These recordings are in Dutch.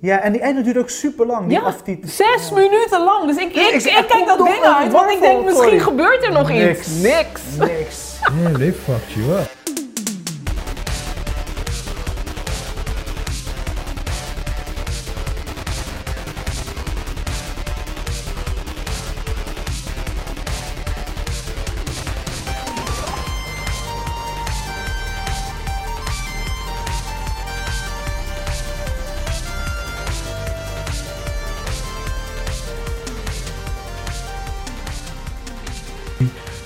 Ja, en die einde duurt ook super lang. Die Ja, aftiteling. zes minuten lang. Dus ik, Dus ik, ik ik, zeg, kijk dat kom ding door, uit, want ik denk waffle, sorry. misschien gebeurt er nog Niks. iets. Niks. Niks. Damn, they fucked you up.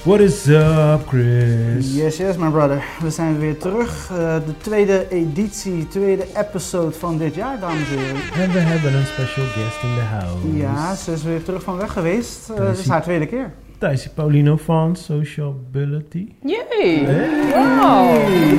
What is up, Chris? Yes, yes, my brother. We zijn weer terug. Eh, de tweede editie, tweede episode van dit jaar, dames en heren. En we hebben een special guest in the house. Ja, ze is weer terug van weg geweest. Eh, is Dit is ie. haar tweede keer. Thijsie Paulino van Sociability. Jee. Hey. Wow.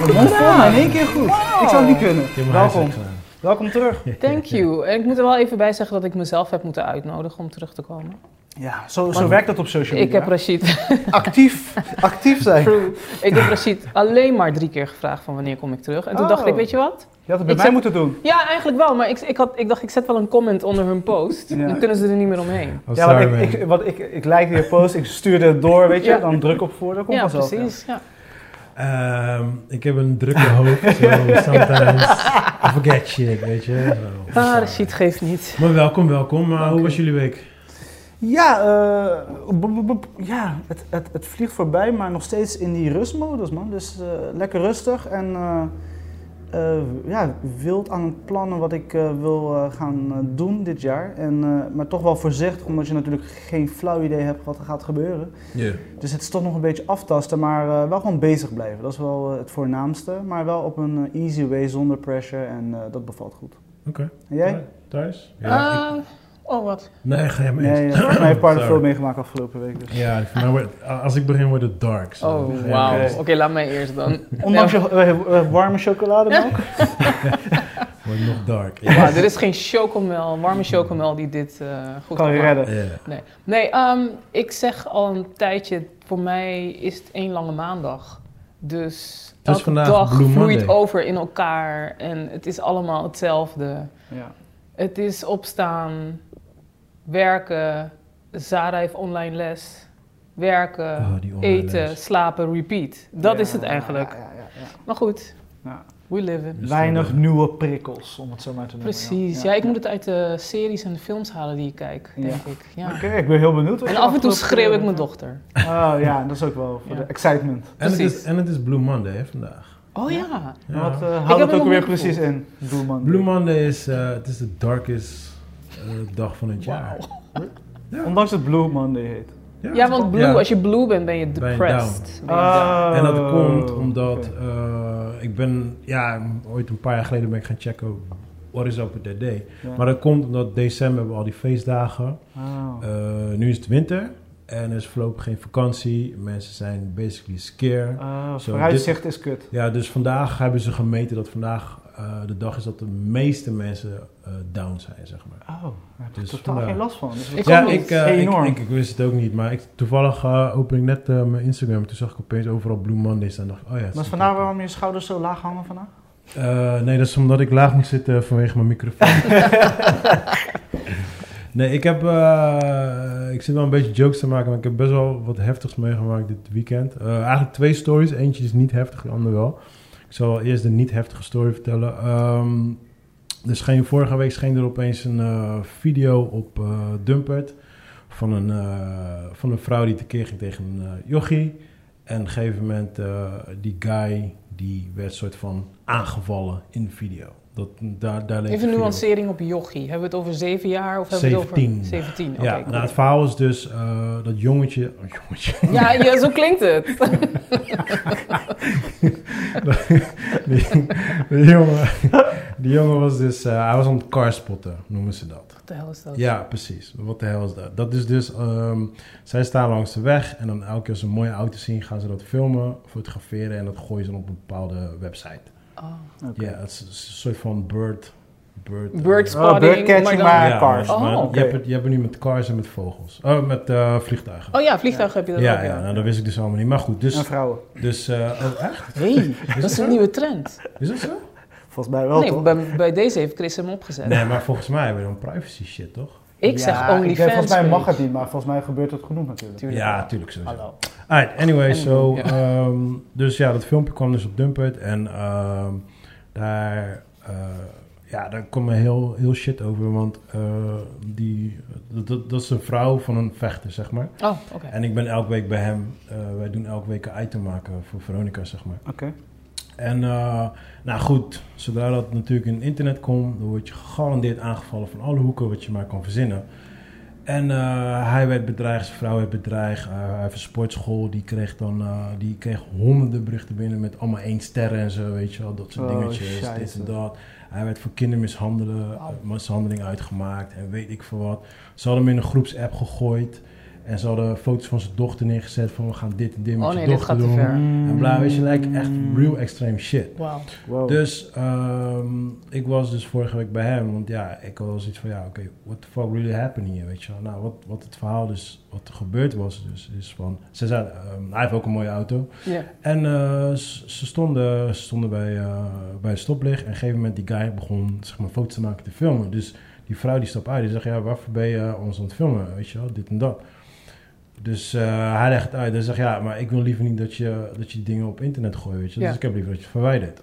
Goed gedaan. nou? In één keer goed. Wow. Ik zou het niet kunnen. Ja, maar hij is Welkom. echt, eh, Welkom terug. Thank you. En ik moet er wel even bij zeggen dat ik mezelf heb moeten uitnodigen om terug te komen. Ja, zo, zo werkt dat op social Ik media. heb Rashid, actief, actief zijn. true. ik heb Rashid alleen maar drie keer gevraagd van wanneer kom ik terug. En toen Oh. dacht ik, weet je wat? Je had het bij Ik mij zeg- moeten doen. Ja, eigenlijk wel. Maar ik, ik, had, ik dacht, ik zet wel een comment onder hun post. Ja. Dan kunnen ze er niet meer omheen. Oh, ja, want sorry, ik, man. ik, wat ik, ik likte je post, ik stuurde het door, weet je. Ja. Dan druk op voor, dat komt ja, vanzelf. precies. Ja. Ehm, ik heb een drukke hoofd, so sometimes I forget shit, weet je. Zo. Ah, Rashid geeft niet. Maar welkom, welkom. Maar hoe was jullie week? Ja, eh, b- b- b- ja het, het, het vliegt voorbij, maar nog steeds in die rustmodus, man. Dus eh, lekker rustig en eh, eh, ja, wild aan het plannen wat ik eh, wil eh, gaan eh, doen dit jaar. En, eh, maar toch wel voorzichtig, omdat je natuurlijk geen flauw idee hebt wat er gaat gebeuren. Ja. Dus het is toch nog een beetje aftasten, maar eh, wel gewoon bezig blijven. Dat is wel eh, het voornaamste, maar wel op een eh, easy way, zonder pressure en eh, dat bevalt goed. Oké. En jij? Thuis? ik- Ah, oh, wat. nee, ga je mee Nee, eens. eh, volgens mij heeft Paarden Sorry. veel meegemaakt afgelopen week. Dus. Ja, voor mij wordt- als ik begin wordt het dark. so. Oh, Ga je wauw. mee eens. Oké, laat mij eerst dan. Ondanks je eh, eh, warme chocolademelk. Wordt nog dark. Wauw, er is geen chocomel, warme chocomel die dit eh, goed kan kan je maken. redden. Ja. Nee, nee ehm, ik zeg al een tijdje, voor mij is het één lange maandag. Dus is elke vandaag dag Blue vloeit Monday. over in elkaar en het is allemaal hetzelfde. Ja. Het is opstaan, werken, Zara heeft online les, werken, Oh, die online Eh, eten, les. slapen, repeat. Dat Ja, is het eigenlijk. ja, ja, ja, ja. Maar goed, Ja. we live it. Dus Weinig dan, nieuwe prikkels, om het zo maar te noemen. Precies, ja. ik moet het uit de series en de films halen die ik kijk, Ja. denk ik. Ja. Oké, ik ben heel benieuwd. wat En je af en toe afgelopen schreeuw ik periode- mijn dochter. Oh ja, dat is ook wel voor Ja. de excitement. En het, is, Precies. en het is Blue Monday hè, vandaag. Oh ja. Ja. Wat eh houdt heb het hem ook nog weer niet precies gevoeld. in, Doelman? Blue Monday is, eh, het is de darkest eh, dag van het jaar. Ondanks dat Blue Monday heet. Ja, want blue, Ja. als je blue bent, ben je Ben je depressed. Ben je down. Oh, En dat komt omdat oké. eh, ik ben, ja, ooit een paar jaar geleden ben ik gaan checken what is up with that day. Ja. Maar dat komt omdat december hebben we al die feestdagen. Oh. Eh, nu is het winter en er is voorlopig geen vakantie. Mensen zijn basically scared. Oh, het zo, vooruitzicht is kut. Ja, dus vandaag hebben ze gemeten dat vandaag eh, de dag is dat de meeste mensen eh, down zijn, zeg maar. Oh, daar heb ik Dus totaal vandaar. geen last van. Dus Ik ja, ook niet. ik, eh, ik, Enorm. ik, ik wist het ook niet, maar ik, toevallig eh open ik net eh, mijn Instagram. Toen zag ik opeens overal Blue Monday staan. en dacht ik, oh ja. het Maar is vandaar natuurlijk- waarom je schouders zo laag hangen vandaag? Eh, nee, dat is omdat ik laag moet zitten vanwege mijn microfoon. nee, ik heb... eh, ik zit wel een beetje jokes te maken, maar ik heb best wel wat heftigs meegemaakt dit weekend. Eh, eigenlijk twee stories. Eentje is niet heftig, de ander wel. Ik zal eerst de niet heftige story vertellen. Ehm, er scheen, vorige week scheen er opeens een eh, video op eh Dumpert... Van een, eh, van een vrouw die tekeer ging tegen een eh, jochie. En op een gegeven moment, eh, die guy, die werd soort van aangevallen in de video. Dat, daar, daar Even leek de video op. nuancering op jochie. Hebben we het over zeven jaar of hebben we het 17. over 17? Oké. Ja, cool. nou, het verhaal is dus eh, dat jongetje... Oh, jongetje. ja, ja, zo klinkt het. die, die jongen, die jongen was dus... eh, hij was aan het carspotten, noemen ze dat. Wat de hel is dat? Ja, precies. Wat de hel is dat? Dat is dus, ehm, zij staan langs de weg en dan elke keer als ze een mooie auto zien, gaan ze dat filmen, fotograferen en dat gooien ze dan op een bepaalde website. Oh. Oké. Ja, het is een soort van bird. Bird, Bird eh, Oh, birdcatching, maar dan- maar cars. Oh, maar oké. je, hebt het, je hebt het nu met cars en met vogels. Oh, met eh, vliegtuigen. Oh ja, vliegtuig heb je dat ja, ook. ja, nou, dat wist ik dus allemaal niet. Maar goed, En dus. vrouwen. dus eh, oh, echt? Hey, dat is een nieuwe trend. Is dat zo? Volgens mij wel, nee, toch? bij, bij deze heeft Chris hem opgezet. Nee, maar volgens mij hebben we dan privacy shit, toch? Ik zeg Ja, ik OnlyFans. denk, Volgens mij mag page. het niet, maar volgens mij gebeurt het genoeg natuurlijk. Tuurlijk. Ja, tuurlijk sowieso. Hallo. Alright, anyway, so, Ja. ehm, dus ja, dat filmpje kwam dus op Dumpert en ehm, daar, eh, ja, daar kwam er heel, heel shit over, want eh, die, dat, dat, dat is een vrouw van een vechter, zeg maar. Oh, oké. En ik ben elke week bij hem, eh, wij doen elke week een item maken voor Veronica, zeg maar. Oké. En eh, nou goed, zodra dat natuurlijk in het internet komt, dan word je gegarandeerd aangevallen van alle hoeken wat je maar kan verzinnen. En eh, hij werd bedreigd, zijn vrouw werd bedreigd. eh, hij heeft een sportschool, die kreeg dan eh, die kreeg honderden berichten binnen met allemaal één sterren en zo, weet je wel, dat soort Oh, dingetjes, dit scheisse. en dat. Hij werd voor kindermishandelen, mishandeling uitgemaakt en weet ik veel wat. Ze hadden hem in een groepsapp gegooid en ze hadden foto's van zijn dochter neergezet van we gaan dit en dit met Oh je nee, dit dochter gaat te doen. ver. Mm. En bla, weet je, lijkt echt Mm. real extreme shit. Wauw. Wow. Dus ehm, ik was dus vorige week bij hem, want ja, ik had wel zoiets van, ja, oké, what the fuck really happened hier, weet je wel. Nou, wat, wat het verhaal dus, wat er gebeurd was dus, is van, ze zei, ehm, hij heeft ook een mooie auto. Ja. En eh, s- ze stonden, ze stonden bij, eh, bij het stoplicht en op een gegeven moment die guy begon, zeg maar, foto's te maken te filmen. Dus die vrouw die stapt uit, die zegt, ja, waarvoor ben je eh, ons aan het filmen, weet je wel, dit en dat. Dus eh, hij legt het uit. Hij zegt, ja, maar ik wil liever niet dat je, dat je dingen op internet gooit, weet je. wel. Ja. Dus ik heb liever dat je het verwijdert.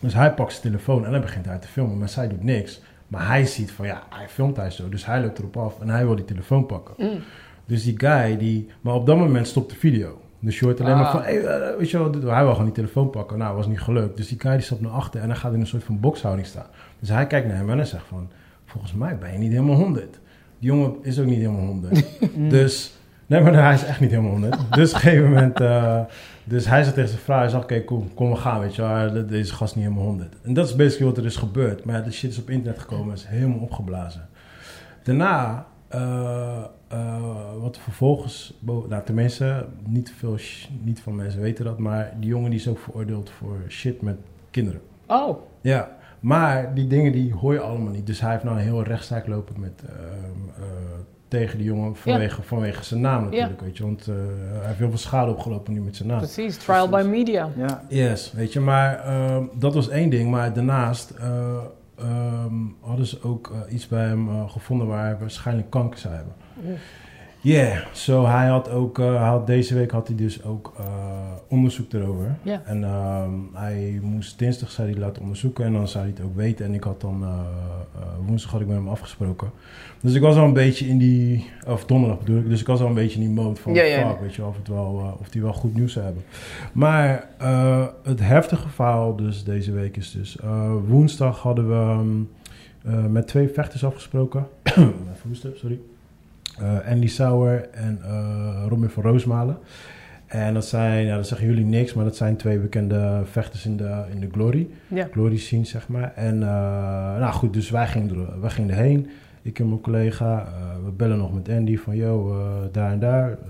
Dus hij pakt zijn telefoon en hij begint haar te filmen. Maar zij doet niks. Maar hij ziet van, ja, hij filmt hij zo. Dus hij loopt erop af en hij wil die telefoon pakken. Mm. Dus die guy, die... Maar op dat moment stopt de video. Dus je hoort alleen Ah. maar van, hey, eh, weet je wel, dit- hij wil gewoon die telefoon pakken. Nou, was niet gelukt. Dus die guy die stapt naar achter en hij gaat in een soort van bokshouding staan. Dus hij kijkt naar hem en hij zegt van, volgens mij ben je niet helemaal 100. Die jongen is ook niet helemaal 100. Dus, nee, maar hij is echt niet helemaal 100. Dus op een gegeven moment, eh, dus hij zegt tegen zijn vrouw, hij zegt, oké, kom, kom, we gaan, weet je wel. De- Deze gast is niet helemaal 100. En dat is basically wat er is gebeurd. Maar ja, de shit is op internet gekomen en is helemaal opgeblazen. Daarna, eh, eh, wat vervolgens, bo- nou tenminste, niet veel, sh- niet veel mensen weten dat, maar die jongen die is ook veroordeeld voor shit met kinderen. Oh, Ja, maar die dingen die hoor je allemaal niet. Dus hij heeft nou een heel rechtszaak lopen met, ehm, eh, tegen die jongen vanwege, vanwege zijn naam natuurlijk, weet je. Want eh, hij heeft heel veel schade opgelopen nu met zijn naam. precies. Trial by media. Ja. Yes, weet je, maar ehm, dat was één ding. Maar daarnaast eh, ehm, hadden ze ook eh, iets bij hem eh, gevonden waar hij waarschijnlijk kanker zou hebben. Yeah, so hij had ook, eh, hij had, deze week had hij dus ook eh, onderzoek erover. Ja. En ehm, hij moest dinsdag zou hij laten onderzoeken en dan zou hij het ook weten. En ik had dan, eh, eh, woensdag had ik met hem afgesproken. Dus ik was al een beetje in die, of donderdag bedoel ik, dus ik was al een beetje in die mode van Ja, ja, ja. fuck, weet je wel, of, het wel, eh, of die wel goed nieuws zou hebben. Maar eh, het heftige verhaal dus deze week is dus... eh, woensdag hadden we ehm, eh, met twee vechters afgesproken. Even hoesten, sorry. Eh Andy Sauer en eh Robin van Roosmalen. En dat zijn, ja, dat zeggen jullie niks, maar dat zijn twee bekende vechters in de, in de Glory. Ja. Glory scene, zeg maar. En eh, nou goed, dus wij gingen, er, wij gingen erheen. Ik en mijn collega, eh, we bellen nog met Andy van, yo, eh, daar en daar. ehm,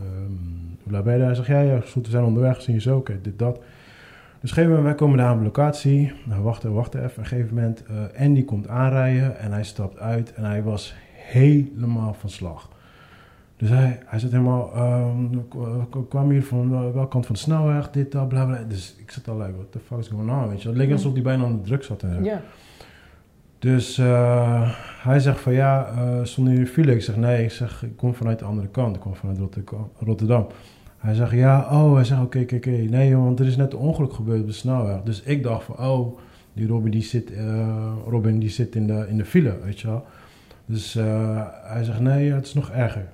Hoe laat ben je daar? Hij zegt, ja, ja, is goed, we zijn onderweg, zien je zo, oké, dit, dat. Dus op een gegeven moment, wij komen daar aan de locatie. Nou, wachten, wachten even. Op een gegeven moment, eh, Andy komt aanrijden en hij stapt uit en hij was helemaal van slag. Dus hij, hij zat helemaal, ehm, k- k- kwam hier van wel- welke kant van de snelweg, dit, dat, bla, bla. Dus ik zat al like, what the fuck is going on, weet je. Het leek alsof hij bijna aan de drugs zat en zo. Ja. Dus eh, hij zegt van ja, eh stond hier in de file? Ik zeg nee, ik, zeg, ik kom vanuit de andere kant, ik kom vanuit Rotterdam- Rotterdam. Hij zegt ja, oh, hij zegt oké, oké, oké, nee joh, want er is net een ongeluk gebeurd op de snelweg. Dus ik dacht van oh, die Robin die zit, eh, Robin, die zit in, de, in de file, weet je wel. Dus eh, hij zegt nee, het is nog erger.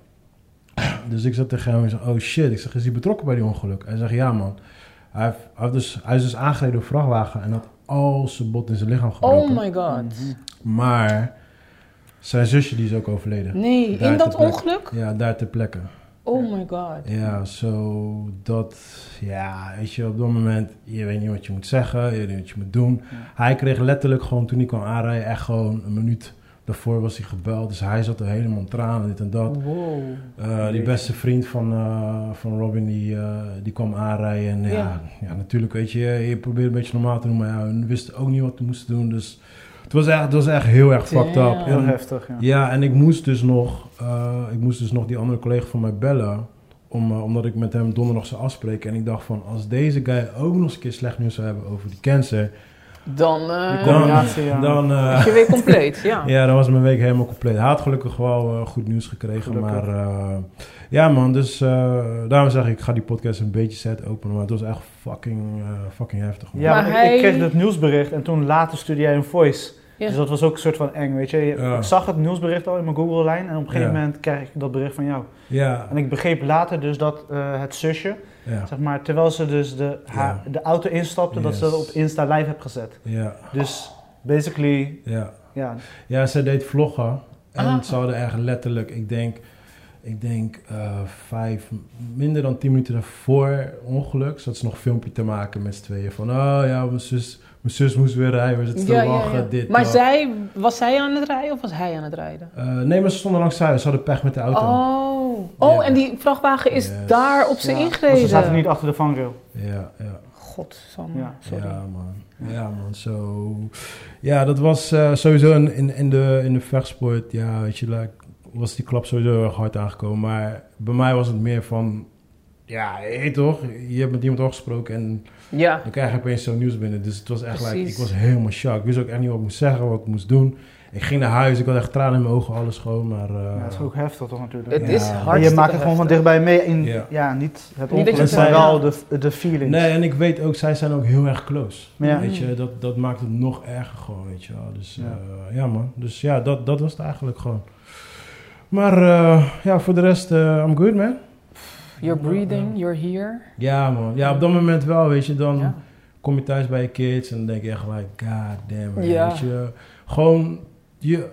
Dus ik zat tegen hem en zeg oh shit, ik zeg is hij betrokken bij die ongeluk? Hij zegt ja man. Hij, heeft, hij, heeft dus, hij is dus aangereden door een vrachtwagen en had al zijn bot in zijn lichaam gebroken. Oh my god. Mm. Maar zijn zusje die is ook overleden. Nee, Daar in dat ter plekke. ongeluk? Ja, daar ter plekke. Oh my god. Ja, zo dat... Ja, weet je, op dat moment... Je weet niet wat je moet zeggen, je weet niet wat je moet doen. Hij kreeg letterlijk gewoon, toen hij kwam aanrijden... echt gewoon een minuut daarvoor was hij gebeld. Dus hij zat er helemaal in tranen, dit en dat. Wow. Eh, die beste vriend van, eh, van Robin, die, eh, die kwam aanrijden. En ja, Ja. ja. natuurlijk, weet je, je probeert een beetje normaal te doen. Maar ja, we wisten ook niet wat we moesten doen. Dus het was echt, het was echt heel erg fucked up. Damn. Heel En- heftig, ja. ja, en ik moest dus nog, eh, ik moest dus nog die andere collega van mij bellen. Om, eh, omdat ik met hem donderdag zou afspreken. En ik dacht van, als deze guy ook nog eens een keer slecht nieuws zou hebben over die cancer. Dan eh Die Dan- combinatie, ja. Dan, eh, is je weer compleet, ja. ja, dan was mijn week helemaal compleet. Hij had gelukkig wel eh, goed nieuws gekregen. Gelukkig. Maar eh, ja, man, dus eh, daarom zeg ik, ik ga die podcast een beetje set openen. Maar het was echt fucking, eh, fucking heftig. man. Ja, Maar want hij- ik kreeg dat nieuwsbericht en toen later stuurde jij een voice. Ja. Dus dat was ook een soort van eng, weet je. Ja. Ik zag het nieuwsbericht al in mijn Google-lijn en op een gegeven Ja. moment kreeg ik dat bericht van jou. Ja, En ik begreep later dus dat eh, het zusje, ja, zeg maar, terwijl ze dus de, haar- de auto instapte, dat ze Yes. dat op Insta live hebt gezet. ja, Dus basically, ja. ja, Ja, zij deed vloggen. En Ah. ze hadden echt letterlijk, ik denk, ik denk eh, vijf, minder dan tien minuten daarvoor het ongeluk. Zat ze nog een filmpje te maken met z'n tweeën. Van, oh ja, mijn zus, mijn zus moest weer rijden. We zitten te Ja, ja, lachen, ja. dit, maar dat. zij, was zij aan het rijden of was hij aan het rijden? Eh, nee, maar ze stonden langs zij. Ze hadden pech met de auto. Oh, oh Ja. en die vrachtwagen is Yes. daar op ze Ja, ingereden. want ze zaten niet achter de vangrail. Ja, ja. Godsamme, Ja. sorry. Ja, man. Ja, man. Zo. Ja, dat was eh, sowieso in, in, in, de, in de vechtsport. Ja, weet je, like, was die klap sowieso heel erg hard aangekomen. Maar bij mij was het meer van. Ja, hé toch? Je hebt met iemand afgesproken en Ja. dan krijg je opeens zo'n nieuws binnen. Dus het was echt, like, Precies. ik was helemaal shock. Ik wist ook echt niet wat ik moest zeggen, wat ik moest doen. Ik ging naar huis, ik had echt tranen in mijn ogen, alles gewoon. Maar, eh, Ja, dat is ook heftig toch natuurlijk. Het Ja. Ja. is En je En hartstikke je maakt het gewoon van heftig. dichtbij mee in, Ja. ja. niet het Niet dat je ongeluk, het maar zei, wel de, de feelings. Nee, en ik weet ook, zij zijn ook heel erg close. Maar ja. Weet je, dat, dat maakt het nog erger gewoon, weet je wel. Dus ja, Ja. ja man. Dus ja, dat, dat was het eigenlijk gewoon. Maar eh, ja, voor de rest, eh, I'm good man. You're breathing, you're here. Ja man, ja op dat moment wel, weet je. Dan Ja. kom je thuis bij je kids en dan denk je echt like, god damn it, Ja. weet je. Gewoon, je,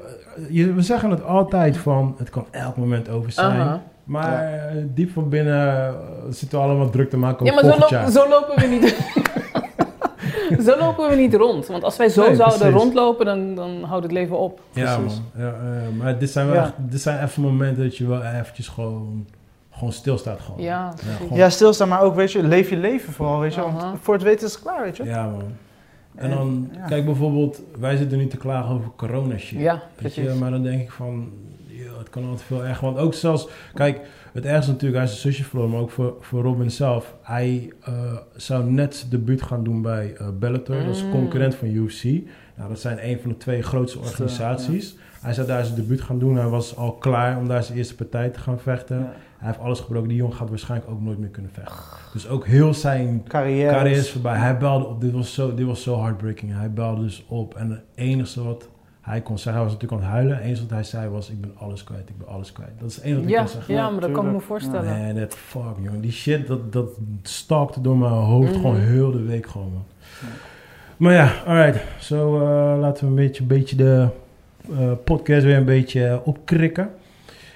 je, we zeggen het altijd van, het kan elk moment over zijn. Aha. Maar eh, diep van binnen eh, zitten we allemaal druk te maken Ja, over maar zo, volgend lo- jaar. zo lopen we niet... zo lopen we niet rond. Want als wij zo Nee, zouden precies. rondlopen, dan, dan houdt het leven op. Ja, Precies. man. Ja, eh, maar dit zijn, wel Ja. echt, dit zijn even momenten dat je wel eventjes gewoon, gewoon stilstaat. Gewoon. Ja, precies. gewoon- Ja, stilstaan, maar ook, weet je, leef je leven vooral, weet je. want Aha. voor het weten is het klaar, weet je. Ja, man. En dan, En, ja. kijk bijvoorbeeld, wij zitten nu te klagen over corona shit. Ja, weet precies. je, maar dan denk ik van, joh, het kan altijd veel erger. Want ook zelfs, kijk, het ergste natuurlijk, hij is zijn zusje verloren, maar ook voor, voor Robin zelf. Hij eh, zou net zijn debuut gaan doen bij eh, Bellator, dat is Mm. concurrent van UFC. Nou, dat zijn een van de twee grootste Dat is, eh, organisaties. Hij zou daar zijn debuut gaan doen, hij was al klaar om daar zijn eerste partij te gaan vechten. Ja. Hij heeft alles gebroken, die jongen gaat waarschijnlijk ook nooit meer kunnen vechten. Dus ook heel zijn Carrière. carrière is voorbij. Hij belde op. Dit was, zo, dit was zo heartbreaking. Hij belde dus op. En het enige wat hij kon zeggen... Hij was natuurlijk aan het huilen. Het enige wat hij zei was... Ik ben alles kwijt. Ik ben alles kwijt. Dat is het enige wat hij Ja, kon zeggen. ja, maar dat kan ik me Tuurlijk. voorstellen. En dat fuck, jongen. Die shit, dat, dat stalkte door mijn hoofd Mhm. gewoon heel de week gewoon, man. Ja. Maar ja, alright. Zo eh, laten we een beetje, beetje de eh, podcast weer een beetje eh, opkrikken.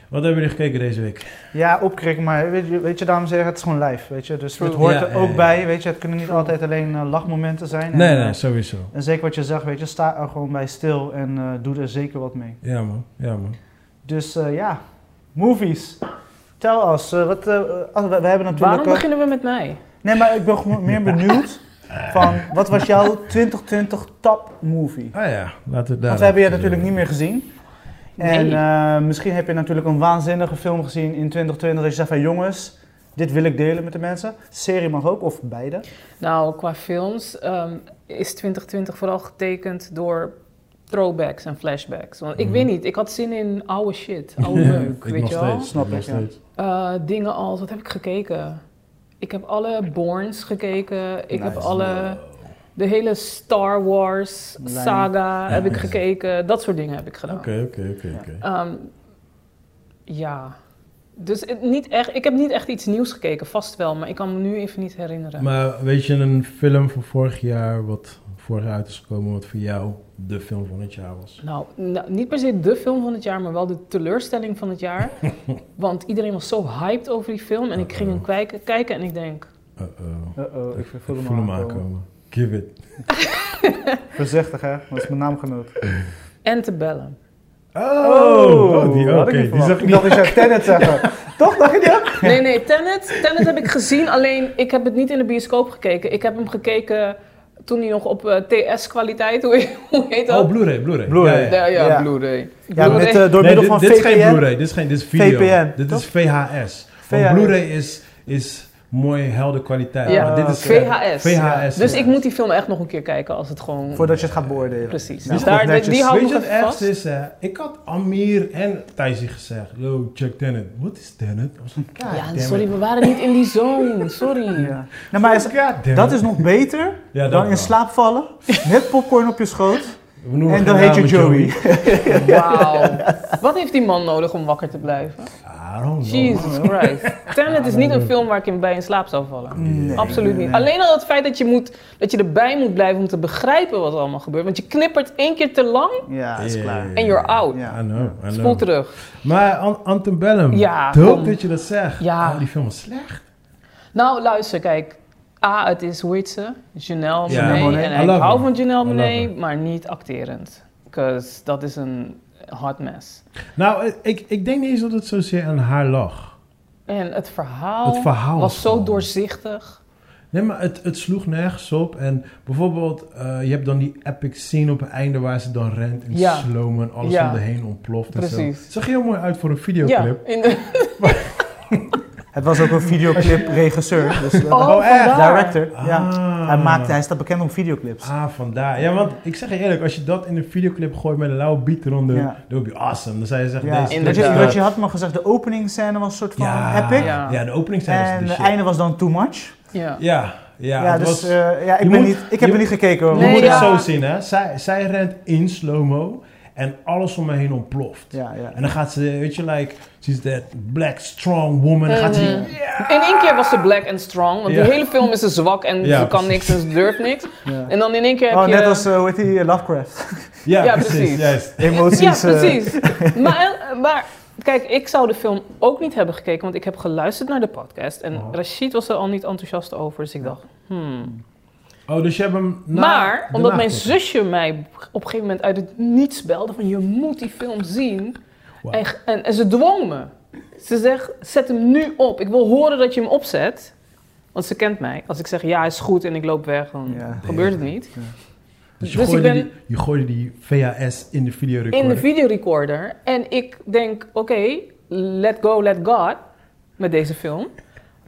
Wat hebben jullie gekeken deze week? Ja, opkrikken, maar weet je, weet je dames en heren, het is gewoon live, weet je. Dus True. het hoort Ja, er ja, ook ja. bij, weet je. Het kunnen niet altijd alleen eh, lachmomenten zijn. En, Nee, eh, nee, sowieso. En zeker wat je zegt, weet je, sta er gewoon bij stil en eh, doe er zeker wat mee. Ja, man. Ja, man. Dus eh, ja, movies. Tel us. eh, wat, eh, eh, we, we hebben Waarom natuurlijk... eh, beginnen we met mij? nee, maar ik ben gewoon meer benieuwd van wat was jouw 2020 top movie? Ah ja, laten we daar... Want we hebben je even- eh, natuurlijk niet meer gezien. Nee. En eh, misschien heb je natuurlijk een waanzinnige film gezien in 2020 dat je zegt van jongens, dit wil ik delen met de mensen. Serie mag ook, of beide. Nou, qua films ehm, is 2020 vooral getekend door throwbacks en flashbacks. Want ik Mhm. weet niet, ik had zin in oude shit, Oh, oude Ja, meuk, ik weet nog je wel. steeds, Snap nog ik, ja. steeds. Eh, dingen als, wat heb ik gekeken? Ik heb alle Bournes gekeken, ik heb Nice. alle, de hele Star Wars Lijn. saga heb ik nice. gekeken. Dat soort dingen heb ik gedaan. Oké, oké, oké, oké. Ehm, ja, dus het, niet echt, ik heb niet echt iets nieuws gekeken, vast wel, maar ik kan me nu even niet herinneren. Maar weet je een film van vorig jaar, wat vorig jaar uit is gekomen, wat voor jou de film van het jaar was? Nou, nou, niet per se de film van het jaar, maar wel de teleurstelling van het jaar. Want iedereen was zo hyped over die film en ik ging hem kijken, kijken en ik denk, Uh-oh. Uh-oh, Eh, ik voel hem, aankomen. aankomen. Give it. Voorzichtig hè, dat is mijn naamgenoot. en te bellen. Oh, die, had oké, ik niet die verwacht. zag ik ik niet. dacht dat je Tenet zeggen. Toch, dacht je die ook? Nee, nee, Tenet, Tenet heb ik gezien, alleen ik heb het niet in de bioscoop gekeken. Ik heb hem gekeken toen hij nog op eh, TS-kwaliteit, hoe, heet- hoe heet dat? Oh, Blu-ray, Blu-ray. Blu-ray. Ja, ja, ja. ja, Ja. Blu-ray. Ja, Blu-ray. met, eh, door Nee, middel dit, van dit is geen VPN. Blu-ray, dit is geen dit is video. VPN, dit toch? is VHS. VHS. Want Blu-ray is, is mooie, helder kwaliteit. Ja, Maar dit is oké. VHS. VHS. Dus ja. ik moet die film echt nog een keer kijken als het gewoon... Voordat je het gaat beoordelen. Precies. Nou, dus goed, daar, die, netjes. die hou ik Weet je nog wat even vast. ergst is? hè? ik had Amir en Thijsie gezegd. Yo, check Tenet. Wat is Tenet? I was like, God damn Ja, it. sorry, we waren niet in die zone. Sorry. Ja. Nou, maar is- God damn dat it. is nog beter Ja, dat dan in wel. slaap vallen, met popcorn op je schoot We noemen en geen dan heet je namen, Joey. Wauw. Wat heeft die man nodig om wakker te blijven? I don't know. Jesus Christ. Tenet is niet een film waar ik in bij in slaap zou vallen. Nee. Absoluut niet. Alleen al het feit dat je, moet, dat je erbij moet blijven om te begrijpen wat er allemaal gebeurt. Want je knippert één keer te lang Ja, is Ja, klaar. ja, en you're out. Ja. I know, I Spoel know. terug. Maar An- Antebellum, Ja, dope kom. dat je dat zegt. Ja. Oh, die film is slecht. Nou, luister, kijk. A, het is, hoe heet ze? Janelle Ja, Monáe. Monáe. En I ik love hou her. van Janelle I love Monáe, her. maar niet acterend. Because dat is een hot mess. Nou, ik, ik denk niet eens dat het zozeer aan haar lag. En het verhaal, Het verhaal was is zo gewoon- doorzichtig. Nee, maar het, het sloeg nergens op. En bijvoorbeeld, eh, je hebt dan die epic scene op het einde waar ze dan rent in Ja. slow en alles Ja. om de heen ontploft. En zo. Precies. Zag er heel mooi uit voor een videoclip. Ja, in de, Het was ook een videoclip-regisseur. Dus, eh, Oh, echt? vandaar. director. Ja. Ah. Hij, maakte, hij staat bekend om videoclips. Ah, vandaar. Ja, want ik zeg je eerlijk, als je dat in een videoclip gooit met een lauwe beat eronder, Ja. dan be awesome. Dan zou je zeggen, Ja. deze Dat je, inderdaad. dat je had me gezegd, de openingscène was een soort van epic. Ja, ja, de openingscène En is de het shit. einde was dan too much. ja. Ja, ja, Ja, het dus was... eh, ja, je ik, ben moet- niet, ik je heb er moet- niet gekeken hoor. Je Nee, moet ja. het zo zien, hè. Zij, zij rent in slow-mo en alles om me heen ontploft. Ja, ja. En dan gaat ze, weet je, like, she's that black strong woman. Dan gaat ze, Mhm. In één keer was ze black and strong. Want Ja. de hele film is ze zwak en Ja, ze kan precies. niks en ze durft niks. Ja. En dan in één keer heb Oh, je... net als, eh, hoe heet die, eh, Lovecraft. ja, Ja, precies, precies. juist. Emoties. ja, eh, precies. maar, eh, maar kijk, ik zou de film ook niet hebben gekeken, want ik heb geluisterd naar de podcast. En Oh. Rashid was er al niet enthousiast over, dus ik dacht, hmm. Oh, dus je hebt hem Nou, na- maar, daarna omdat mijn gekeken. zusje mij op een gegeven moment uit het niets belde van, je moet die film zien. Wow. En, en, en ze dwong me. Ze zegt, zet hem nu op. Ik wil horen dat je hem opzet. Want ze kent mij. Als ik zeg, ja, is goed en ik loop weg, dan Ja. gebeurt het niet. Dus je, dus ik gooide ben- die, je gooide die VHS in de videorecorder. in de videorecorder. En ik denk, oké, let go, let God met deze film.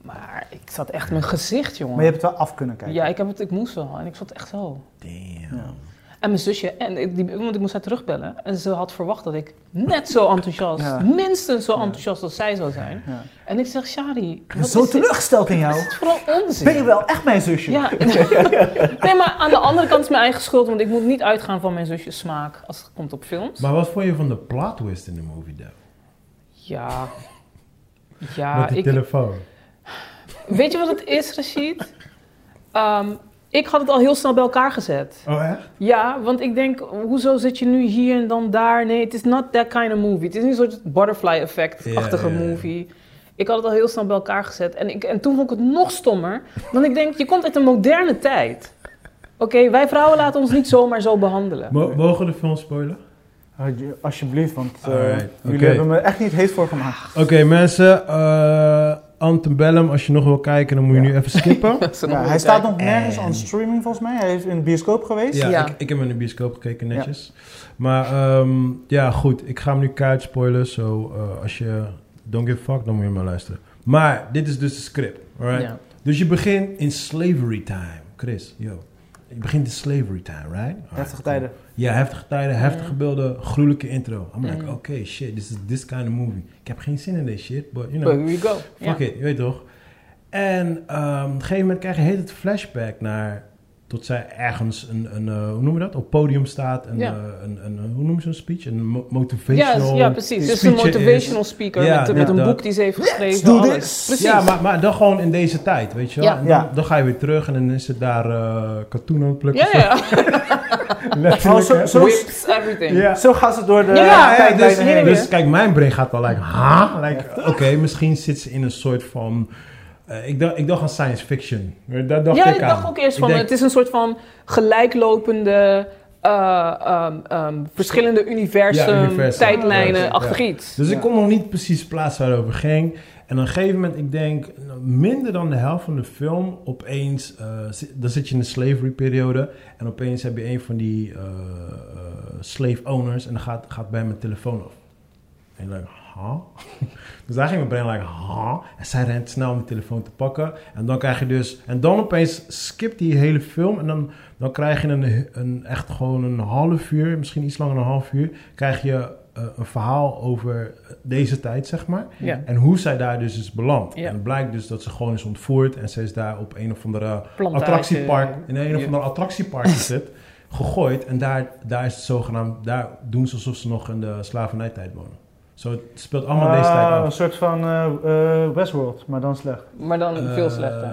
Maar ik zat echt mijn gezicht, jongen. Maar je hebt het wel af kunnen kijken. Ja, ik, heb het, ik moest wel. En ik zat echt zo. Damn. En mijn zusje, en ik- die, want ik moest haar terugbellen. En ze had verwacht dat ik net zo enthousiast, Ja. minstens zo enthousiast als zij zou zijn. Ja. En ik zeg, Shari, Ik ben wat zo is dit? teleurgesteld in jou. Wat is dit vooral onzin? Ben je wel echt mijn zusje? Ja. nee, maar aan de andere kant is mijn eigen schuld, want ik moet niet uitgaan van mijn zusjes smaak als het komt op films. Maar wat vond je van de plot twist in de movie, though? Ja. Ja, Met die ik, telefoon. weet je wat het is, Rashid? Ehm, ik had het al heel snel bij elkaar gezet. Oh, echt? Ja, want ik denk, hoezo zit je nu hier en dan daar? Nee, het is not that kind of movie. Het is niet een soort butterfly effect-achtige Ja, ja, ja. movie. Ik had het al heel snel bij elkaar gezet. En, ik, en toen vond ik het nog stommer. Want ik denk, je komt uit een moderne tijd. Oké, wij vrouwen laten ons niet zomaar zo behandelen. Mo- mogen we de film spoilen? Alsje- Alsjeblieft, want eh, Alright, jullie oké. hebben me echt niet heet voor Ah, gemaakt. Oké, mensen. eh Antebellum, als je nog wil kijken, dan moet je nu even skippen. Dat is een Ja, hij andere staat tijd. nog nergens En- aan streaming volgens mij. Hij heeft in de bioscoop geweest. Ja, Ja. Ik, ik heb hem in de bioscoop gekeken netjes. Maar ehm, ja, goed. Ik ga hem nu kuit spoilen. Zo, eh, als je don't give a fuck, dan moet je maar luisteren. Maar dit is dus de script. Alright? Ja. Dus je begint in slavery time. Chris, yo. Je begint in slavery time, right? Alright, Heftige cool. tijden. Ja, heftige tijden, heftige beelden, gruwelijke intro. I'm like, oké, shit, this is this kind of movie. Ik heb geen zin in deze shit, but you know. But here we go. Ja. Fuck it, je weet toch. En ehm, op een gegeven moment krijg je heet het flashback naar... Tot zij ergens een, een eh, hoe noem je dat? Op het podium staat. Een, Ja. eh, een, een, hoe noemen ze een speech? Een mo- Ja, motivational ja, precies. Dus een speech eh, motivational is. speaker Ja, met, met een ja. boek die ze heeft geschreven. do alles. this. Precies. Ja, maar, maar dan gewoon in deze tijd, weet je wel. Ja. En dan, Ja. dan ga je weer terug en dan is het daar eh katoen aan het plukken. ja, ja. Oh, Letterlijk, zo, hè. zo, Whips, everything. Ja. zo gaat ze door de Ja, Ja, ja, tijdlijnen dus, heen. en weer. dus kijk, mijn brein gaat al like, ha? Like, Oké, misschien zit ze in een soort van... eh, ik, dacht, ik dacht aan science fiction. Dat dacht ja, ik ik aan. dacht ook eerst Ik van, denk, het is een soort van gelijklopende, eh, ehm, ehm, verschillende universum, Ja, universum. tijdlijnen, Ja, achtig ja. iets. Dus Ja. ik kon nog niet precies plaatsen waar het over ging. En op een gegeven moment, ik denk, nou, minder dan de helft van de film, opeens, eh, zi- dan zit je in de slavery periode. En opeens heb je een van die eh, eh, slave owners en dan gaat, gaat bij mijn telefoon af. En ik like, huh? dus daar ging mijn brein like, huh? En zij rent snel om die telefoon te pakken. En dan krijg je dus... En dan opeens skipt die hele film. En dan, dan krijg je een, een, echt gewoon een half uur, misschien iets langer dan een half uur... krijg je eh, een verhaal over deze tijd, zeg maar. Ja. En hoe zij daar dus is beland. Ja. En het blijkt dus dat ze gewoon is ontvoerd. En ze is daar op een of andere Plantage. attractiepark... In een of eh, Ja. ander attractiepark zit... gegooid. En daar, daar is het zogenaamd... Daar doen ze alsof ze nog in de slavernijtijd wonen. Zo, het speelt allemaal deze tijd Ah, af. Een soort van eh, eh, Westworld, maar dan slecht. Maar dan veel Eh, slechter.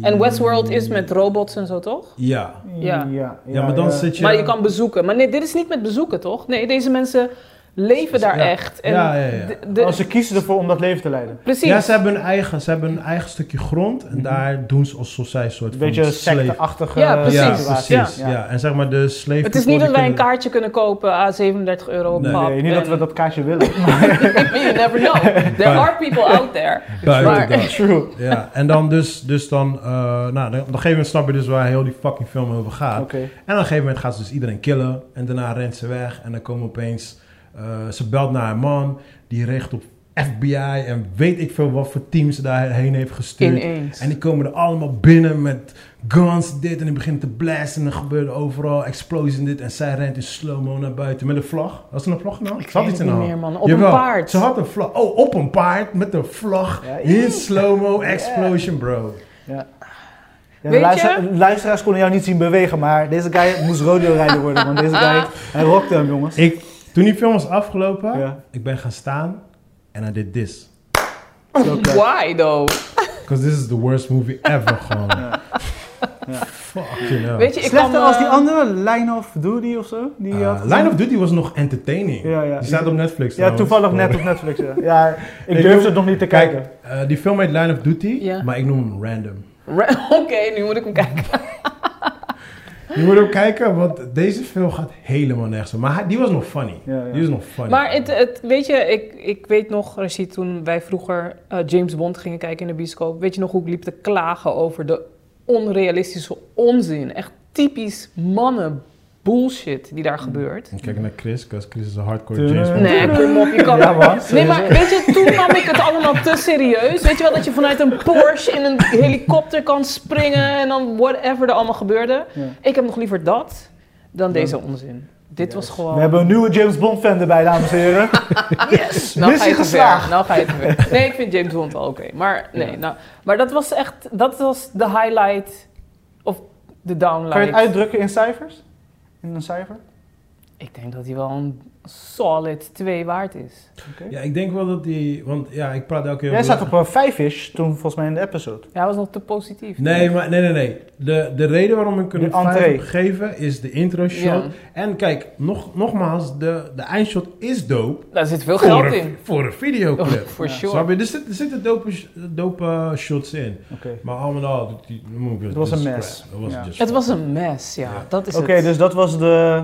En Westworld is met robots en zo, toch? Ja. Ja. ja, Ja, maar dan zit je... Maar je kan bezoeken. Maar nee, dit is niet met bezoeken, toch? Nee, deze mensen leven daar Ja. echt. En Ja, ja, ja. de- de- Als ze kiezen ervoor om dat leven te leiden. Precies. Ja, ze hebben, een eigen, ze hebben een eigen stukje grond en Mhm. daar doen ze alsof zij een soort Een beetje van slave... secteachtige Ja, precies. Ja, situatie. precies. Ja. en zeg maar de slave... het is niet dat wij een people kaartje kunnen kopen aan 37 euro op Nee. pap. Nee, niet dat En- we dat kaartje willen. you never know. There are people out there. die kunnen- Maar- Buiten dat. True. Ja, en dan dus, dus dan... eh, nou, dan- op een gegeven moment snap je dus waar heel die fucking film over gaat. Oké. En op een gegeven moment gaat ze dus iedereen killen. En daarna rent ze weg. En dan komen opeens... eh, ze belt naar haar man. Die richt op FBI. En weet ik veel wat voor team ze daarheen heeft gestuurd. Ineens. En die komen er allemaal binnen met guns, dit. En die beginnen te blazen. En er gebeurde overal explosies en dit. En zij rent in slow-mo naar buiten met een vlag. Was er een vlag nou? Ik weet het niet haar meer, hand. man. Op Jawel, een paard. Ze had een vlag. Oh, op een paard met een vlag. Ja, in slow-mo, explosion, bro. Ja, de Weet luister- luisteraars konden jou niet zien bewegen, maar deze guy moest rodeo-rijder worden. Want deze guy, hij rockte hem, jongens. Ik, toen die film was afgelopen, Ja. ik ben gaan staan en I did this. Zo kut. Why though? Because this is the worst movie ever, gewoon. Ja. Ja. Fucking hell. Weet je, ik Slechter kwam, als die eh, andere, Line of Duty of zo? Die je Eh, had gezien? Line of Duty was nog entertaining. Ja, ja. Die staat op Ja, Netflix trouwens. toevallig Sorry. net op Netflix. Ja, ja ik Ik durfde noem- het nog niet te Kijk, kijken. eh, die film heet Line of Duty, Ja. maar ik noem hem Random. Ra- Oké, nu moet ik hem kijken. Je moet ook kijken, want deze film gaat helemaal nergens. om. Maar hij- die was nog funny. Ja, ja. Die was nog funny. Maar het, het, weet je, ik, ik weet nog, Rashid, toen wij vroeger eh, James Bond gingen kijken in de bioscoop. Weet je nog hoe ik liep te klagen over de onrealistische onzin? Echt typisch mannen bullshit die daar gebeurt. Ik Kijk naar Chris, want Chris is een hardcore Tudu. James Bond. Nee, kom op, je kan Ja, man. Nee, maar weet je, toen nam ik het allemaal te serieus. Weet je wel dat je vanuit een Porsche in een helikopter kan springen en dan whatever er allemaal gebeurde. Ja. Ik heb nog liever dat dan Ja. deze onzin. Dit was gewoon. We hebben een nieuwe James Bond fan erbij, dames en heren. Yes! Nou Missie ga je te ver. geslaagd. Nou ga je te ver. Nee, ik vind James Bond wel oké. Maar nee, nou, maar dat was echt, dat was de highlight of de downlight. Kan je het uitdrukken in cijfers? In een cijfer? Ik denk dat hij wel een solid 2 waard is. Oké. Ja, ik denk wel dat die... Want ja, ik praat elke keer... Jij over- zat op een vijf-ish toen, volgens mij, in de episode. Ja, hij was nog te positief. Nee, maar nee, nee, nee. De, de reden waarom ik De een vijf entree. heb gegeven is de intro shot. Ja. En kijk, nog, nogmaals, de, de eindshot is dope. Daar zit veel Voor geld een, in. voor een videoclip. Oh, for Ja. sure. Snap je? Er zitten er zitten dope, sh- dope eh, shots in. Oké, Maar al met al, die- die movie Het was just een mess. crap. Het dus was Ja. just Het crap. was een mes, ja. Ja. Dat is Oké, het. dus dat was de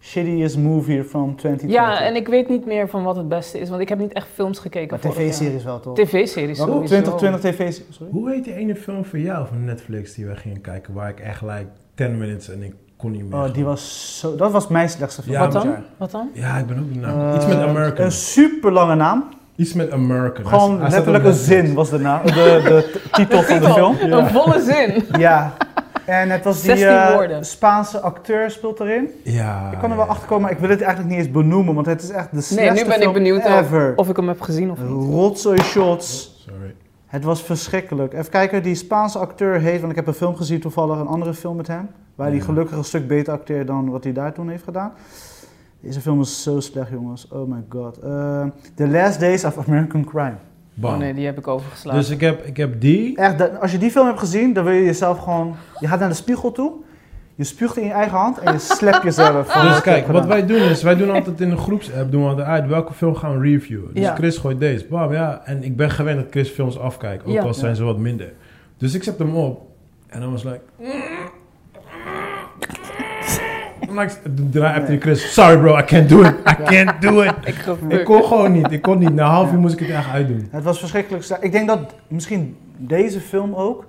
shittiest movie from 2020. Ja, en ik weet niet meer van wat het beste is, want ik heb niet echt films gekeken. Maar vorig jaar. tv-series wel, toch? TV-series Wat? sowieso. 2020 tv-series, sorry. Hoe heet die ene film van jou van Netflix die we gingen kijken, waar ik echt like 10 minutes en ik kon niet meer. Oh, die was zo... Dat was mijn slechtste film Ja, Wat van dan? Wat dan? Ja, ik ben ook niet Eh, Iets met American. Een super lange naam. Iets met American. Hij- Gewoon hij staat letterlijk op een Netflix. zin was de, naam, de, de t- titel van de film. Een volle zin. Ja. En het was die 16 eh, woorden. Spaanse acteur speelt erin. Ja. Ik kan er wel ja. achter komen, maar ik wil het eigenlijk niet eens benoemen, want het is echt de Nee, slechtste nu ben ik film benieuwd ever. of, of ik hem heb gezien of niet. Rotzooi shots. Sorry. Het was verschrikkelijk. Even kijken, die Spaanse acteur heeft, want ik heb een film gezien toevallig, een andere film met hem. Waar hij Ja. gelukkig een stuk beter acteert dan wat hij daar toen heeft gedaan. Deze film is zo slecht, jongens. Oh my god. Eh, The Last Days of American Crime. Bam. Oh nee, die heb ik overgeslagen. dus ik heb, ik heb die. Echt, dat- als je die film hebt gezien, dan wil je jezelf gewoon... Je gaat naar de spiegel toe, je spuugt in je eigen hand en je slept jezelf. van wat Dus je kijk, hebt wat gedaan. wij doen is, wij doen altijd in een groepsapp, doen we altijd uit welke film gaan we reviewen. Dus Ja. Chris gooit deze. Bam, ja. En ik ben gewend dat Chris films afkijkt, ook Ja. al zijn ze wat minder. Dus ik zet hem op en dan was like... En dan draai ik tegen Chris, sorry bro, I can't do it, I can't do it. ik Ik gebeurt. kon gewoon niet, ik kon niet. Na een half uur moest ik het echt uitdoen. Het was verschrikkelijk. sta- Ik denk dat misschien deze film ook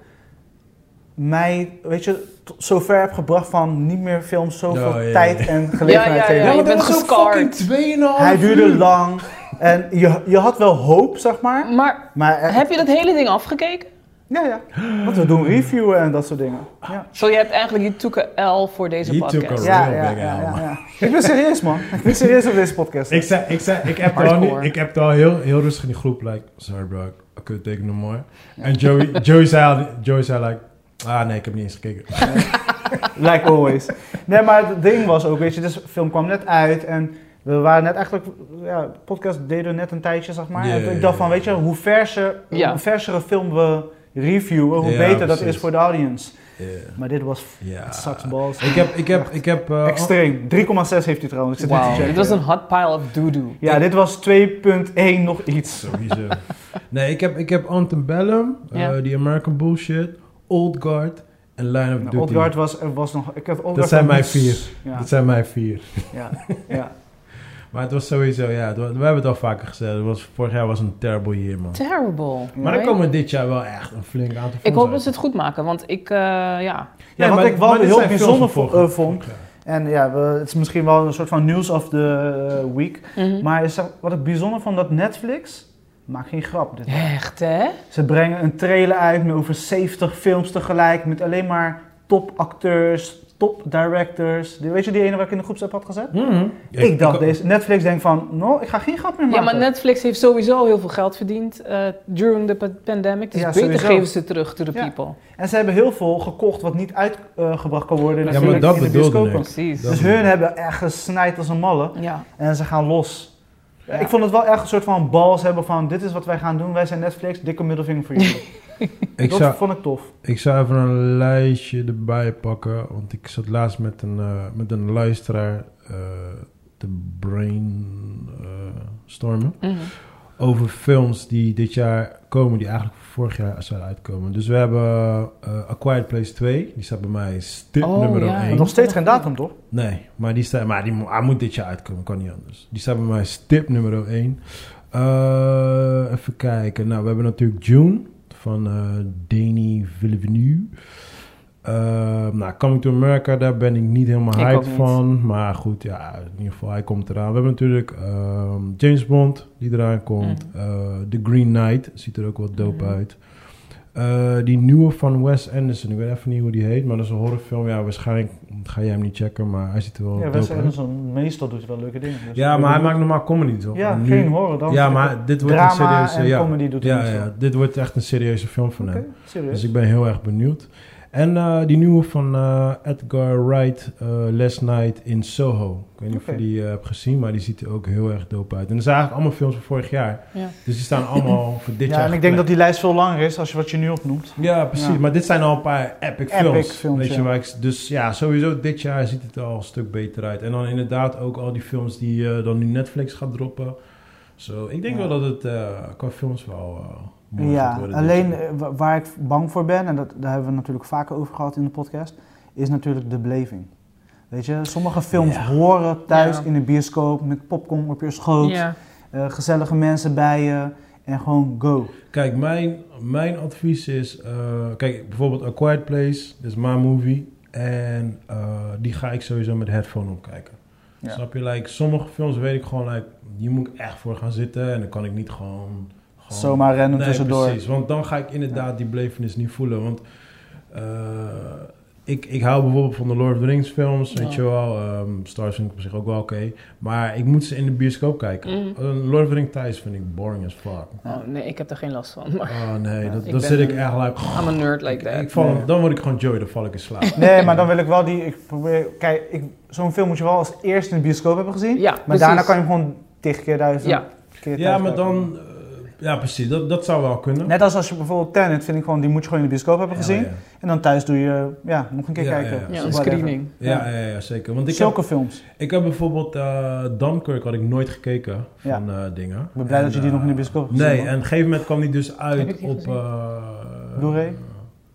mij, weet je, t- zover heb gebracht van niet meer films zoveel Oh, Ja, ja, ja. tijd en gelegenheid Ja, ja, ja. geven. je bent was ook gescarred. fucking 2,5 Hij duurde uur. lang. En je, je had wel hoop, zeg maar. Maar Maar eh, heb je dat hele ding afgekeken? ja, ja. Want we doen reviewen en dat soort dingen. Ja, Zo, je hebt eigenlijk je took a L voor deze Je took a podcast. real ja, Oh, big ja, L, ja, ja, man. ja. Ik ben serieus, man. Ik ben serieus op deze podcast. Ik zei, ik zei, ik heb al, Hardcore. niet- ik heb al heel, heel rustig in die groep, like, sorry bro, ik kan het teken nog mooi. En Joey, Joey zei, al- Joey zei, like, ah nee, ik heb niet eens gekeken. Like always. Nee, maar het ding was ook, weet je, dus de film kwam net uit en we waren net eigenlijk, ja, de podcast deden we net een tijdje, zeg maar. Ja, en ja, ik dacht ja. van, weet je, hoe, verse, Ja. hoe versere film we reviewen, hoe Ja, beter dat precies. is voor de audience. Ja. Maar dit was, f- Ja. het sucks balls. Ik heb, ik heb, ik heb, eh, Extreem. 3,6 heeft hij trouwens. Ik zit net te Wauw, checken. dit was een hot pile of doo-doo. Ja, dit was 2.1 nog iets. Sowieso. oh, nee, ik heb, ik heb Antebellum, eh, Ja. die American Bullshit, Old Guard en Line of Nou, Duty. Old Guard was, er was nog... Ik had Old Guard dat zijn nog mijn niet- vier. Ja, Dat zijn mijn vier. ja, ja. Maar het was sowieso, ja, het wa- we hebben het al vaker gezegd. Het was, vorig jaar was een terrible year, man. Terrible. Maar right? dan komen dit jaar wel echt een flink aantal Ik films hoop uit. dat ze het goed maken, want ik, eh, ja. Ja, Nee, wat maar- ik wel maar dit heel zijn films bijzonder van vo- eh, vorig- vond, vorig jaar. En ja, we, het is misschien wel een soort van news of the eh, week. Mhm. Maar is dat- wat ik bijzonder vond, dat Netflix... Maakt geen grap. Dit. Echt, hè? Ze brengen een trailer uit met over 70 films tegelijk. Met alleen maar topacteurs, topdirectors. Die- Weet je die ene waar ik in de groepsapp had gezet? Mhm. ik dacht, deze, Netflix denkt van, no, ik ga geen grap meer Ja, maken. maar Netflix heeft sowieso heel veel geld verdiend eh, during de pa- pandemic. Dus Ja, beter sowieso. geven ze terug to the Ja. people. En ze hebben heel veel gekocht wat niet uitgebracht kan worden Ja, natuurlijk maar dat in de bedoelde bioscopen. ik. Precies. Dat- Dus hun hebben echt gesnijd als een malle Ja. en ze gaan los. Ja. Ik vond het wel echt een soort van bals hebben van dit is wat wij gaan doen. Wij zijn Netflix, dikke middelvinger voor jullie. Ik dat zou, vond ik tof. ik zou even een lijstje erbij pakken. Want ik zat laatst met een, eh, met een luisteraar eh, te brainstormen. stormen Mhm. over films die dit jaar komen, die eigenlijk vorig jaar zouden uitkomen. Dus we hebben eh A Quiet Place 2, die staat bij mij stip Oh, nummer ja. 1. Nog steeds geen datum toch? Nee, maar, die staat, maar die, mo- hij moet dit jaar uitkomen, kan niet anders. Die staat bij mij stip nummer 1. even kijken. Nou, we hebben natuurlijk June van eh Danny Villeneuve. Eh, nou, Coming to America, daar ben ik niet helemaal Ik ook hyped niet. van. Maar goed, ja, in ieder geval, hij komt eraan. We hebben natuurlijk ehm, James Bond, die eraan komt. Mm. Eh, The Green Knight, ziet er ook wel dope Mhm. uit. Eh, die nieuwe van Wes Anderson, ik weet even niet hoe die heet, maar dat is een horrorfilm. Ja, waarschijnlijk ga jij hem niet checken, maar hij ziet er wel Ja, Wes dope uit. Anderson meestal doet wel leuke dingen. dus- Ja, maar hij maakt normaal comedy toch? Ja, En nu- geen horror dan. Ja, maar dit wordt een drama serieuze... en ja. comedy doet hij ja, niet ja, zo. dit wordt echt een serieuze film van Oké, hem. serieus. Dus ik ben heel erg benieuwd. En eh, die nieuwe van eh, Edgar Wright, eh, Last Night in Soho. Ik weet niet Oké. of je die eh, hebt gezien, maar die ziet er ook heel erg dope uit. En dat zijn eigenlijk allemaal films van vorig jaar. Ja. Dus die staan allemaal voor dit ja, jaar en ik denk dat gepland. die lijst veel langer is als je wat je nu opnoemt. Ja, precies. Ja. Maar dit zijn al een paar epic Epic films. films, weet ja. je, waar ik, dus ja, sowieso dit jaar ziet het er al een stuk beter uit. En dan inderdaad ook al die films die eh, dan nu Netflix gaat droppen. Zo, ik denk Ja. wel dat het eh, qua films wel eh, mooi gaat Ja, worden dit alleen jaar. eh, wa- waar ik bang voor ben, en dat, daar hebben we natuurlijk vaker over gehad in de podcast, is natuurlijk de beleving. Weet je, sommige films Ja. horen thuis Ja. in de bioscoop met popcorn op je schoot, Ja. eh, gezellige mensen bij je en gewoon go. Kijk, mijn, mijn advies is... eh, kijk, bijvoorbeeld A Quiet Place, dat is mijn movie. En eh, die ga ik sowieso met headphone opkijken. Ja. Snap je? Like, sommige films weet ik gewoon, like, hier moet ik echt voor gaan zitten. En dan kan ik niet gewoon... gewoon Zomaar rennen tussendoor. precies. Want dan ga ik inderdaad die belevenis niet voelen. Want eh, ik, ik hou bijvoorbeeld van de Lord of the Rings films, weet Ja. je wel. Ehm, Star vind ik op zich ook wel oké. Maar ik moet ze in de bioscoop kijken. Mhm. Eh, Lord of the Rings thuis vind ik boring as fuck. Oh, nee, ik heb er geen last van. Maar Oh nee, dat, Ah, Ik dan ben zit ik een- echt like... I'm a nerd like that. ik val, Nee. Dan word ik gewoon Joey, dan val ik in slaap. Nee, maar dan wil ik wel die, ik probeer, kijk, ik, zo'n film moet je wel als eerst in de bioscoop hebben gezien, Ja, maar precies. daarna kan je hem gewoon tig keer duizend Ja. keer ja, thuis maar kijken. dan... eh, ja, precies. Dat, dat zou wel kunnen. Net als als je bijvoorbeeld Tenet, vind ik gewoon, die moet je gewoon in de bioscoop hebben Ja, gezien. Ja, En dan thuis doe je, ja, nog een keer Ja, kijken. ja, Ja, Zo een whatever. screening. ja, ja, ja, zeker. Want ik heb, Zulke films. ik heb bijvoorbeeld eh Dunkirk had ik nooit gekeken van eh, dingen. Ik ben blij dat je die eh, nog in de bioscoop hebt Nee, gezien, en man. op een gegeven moment kwam die dus Heb uit ik die op... gezien? eh, Blu-ray?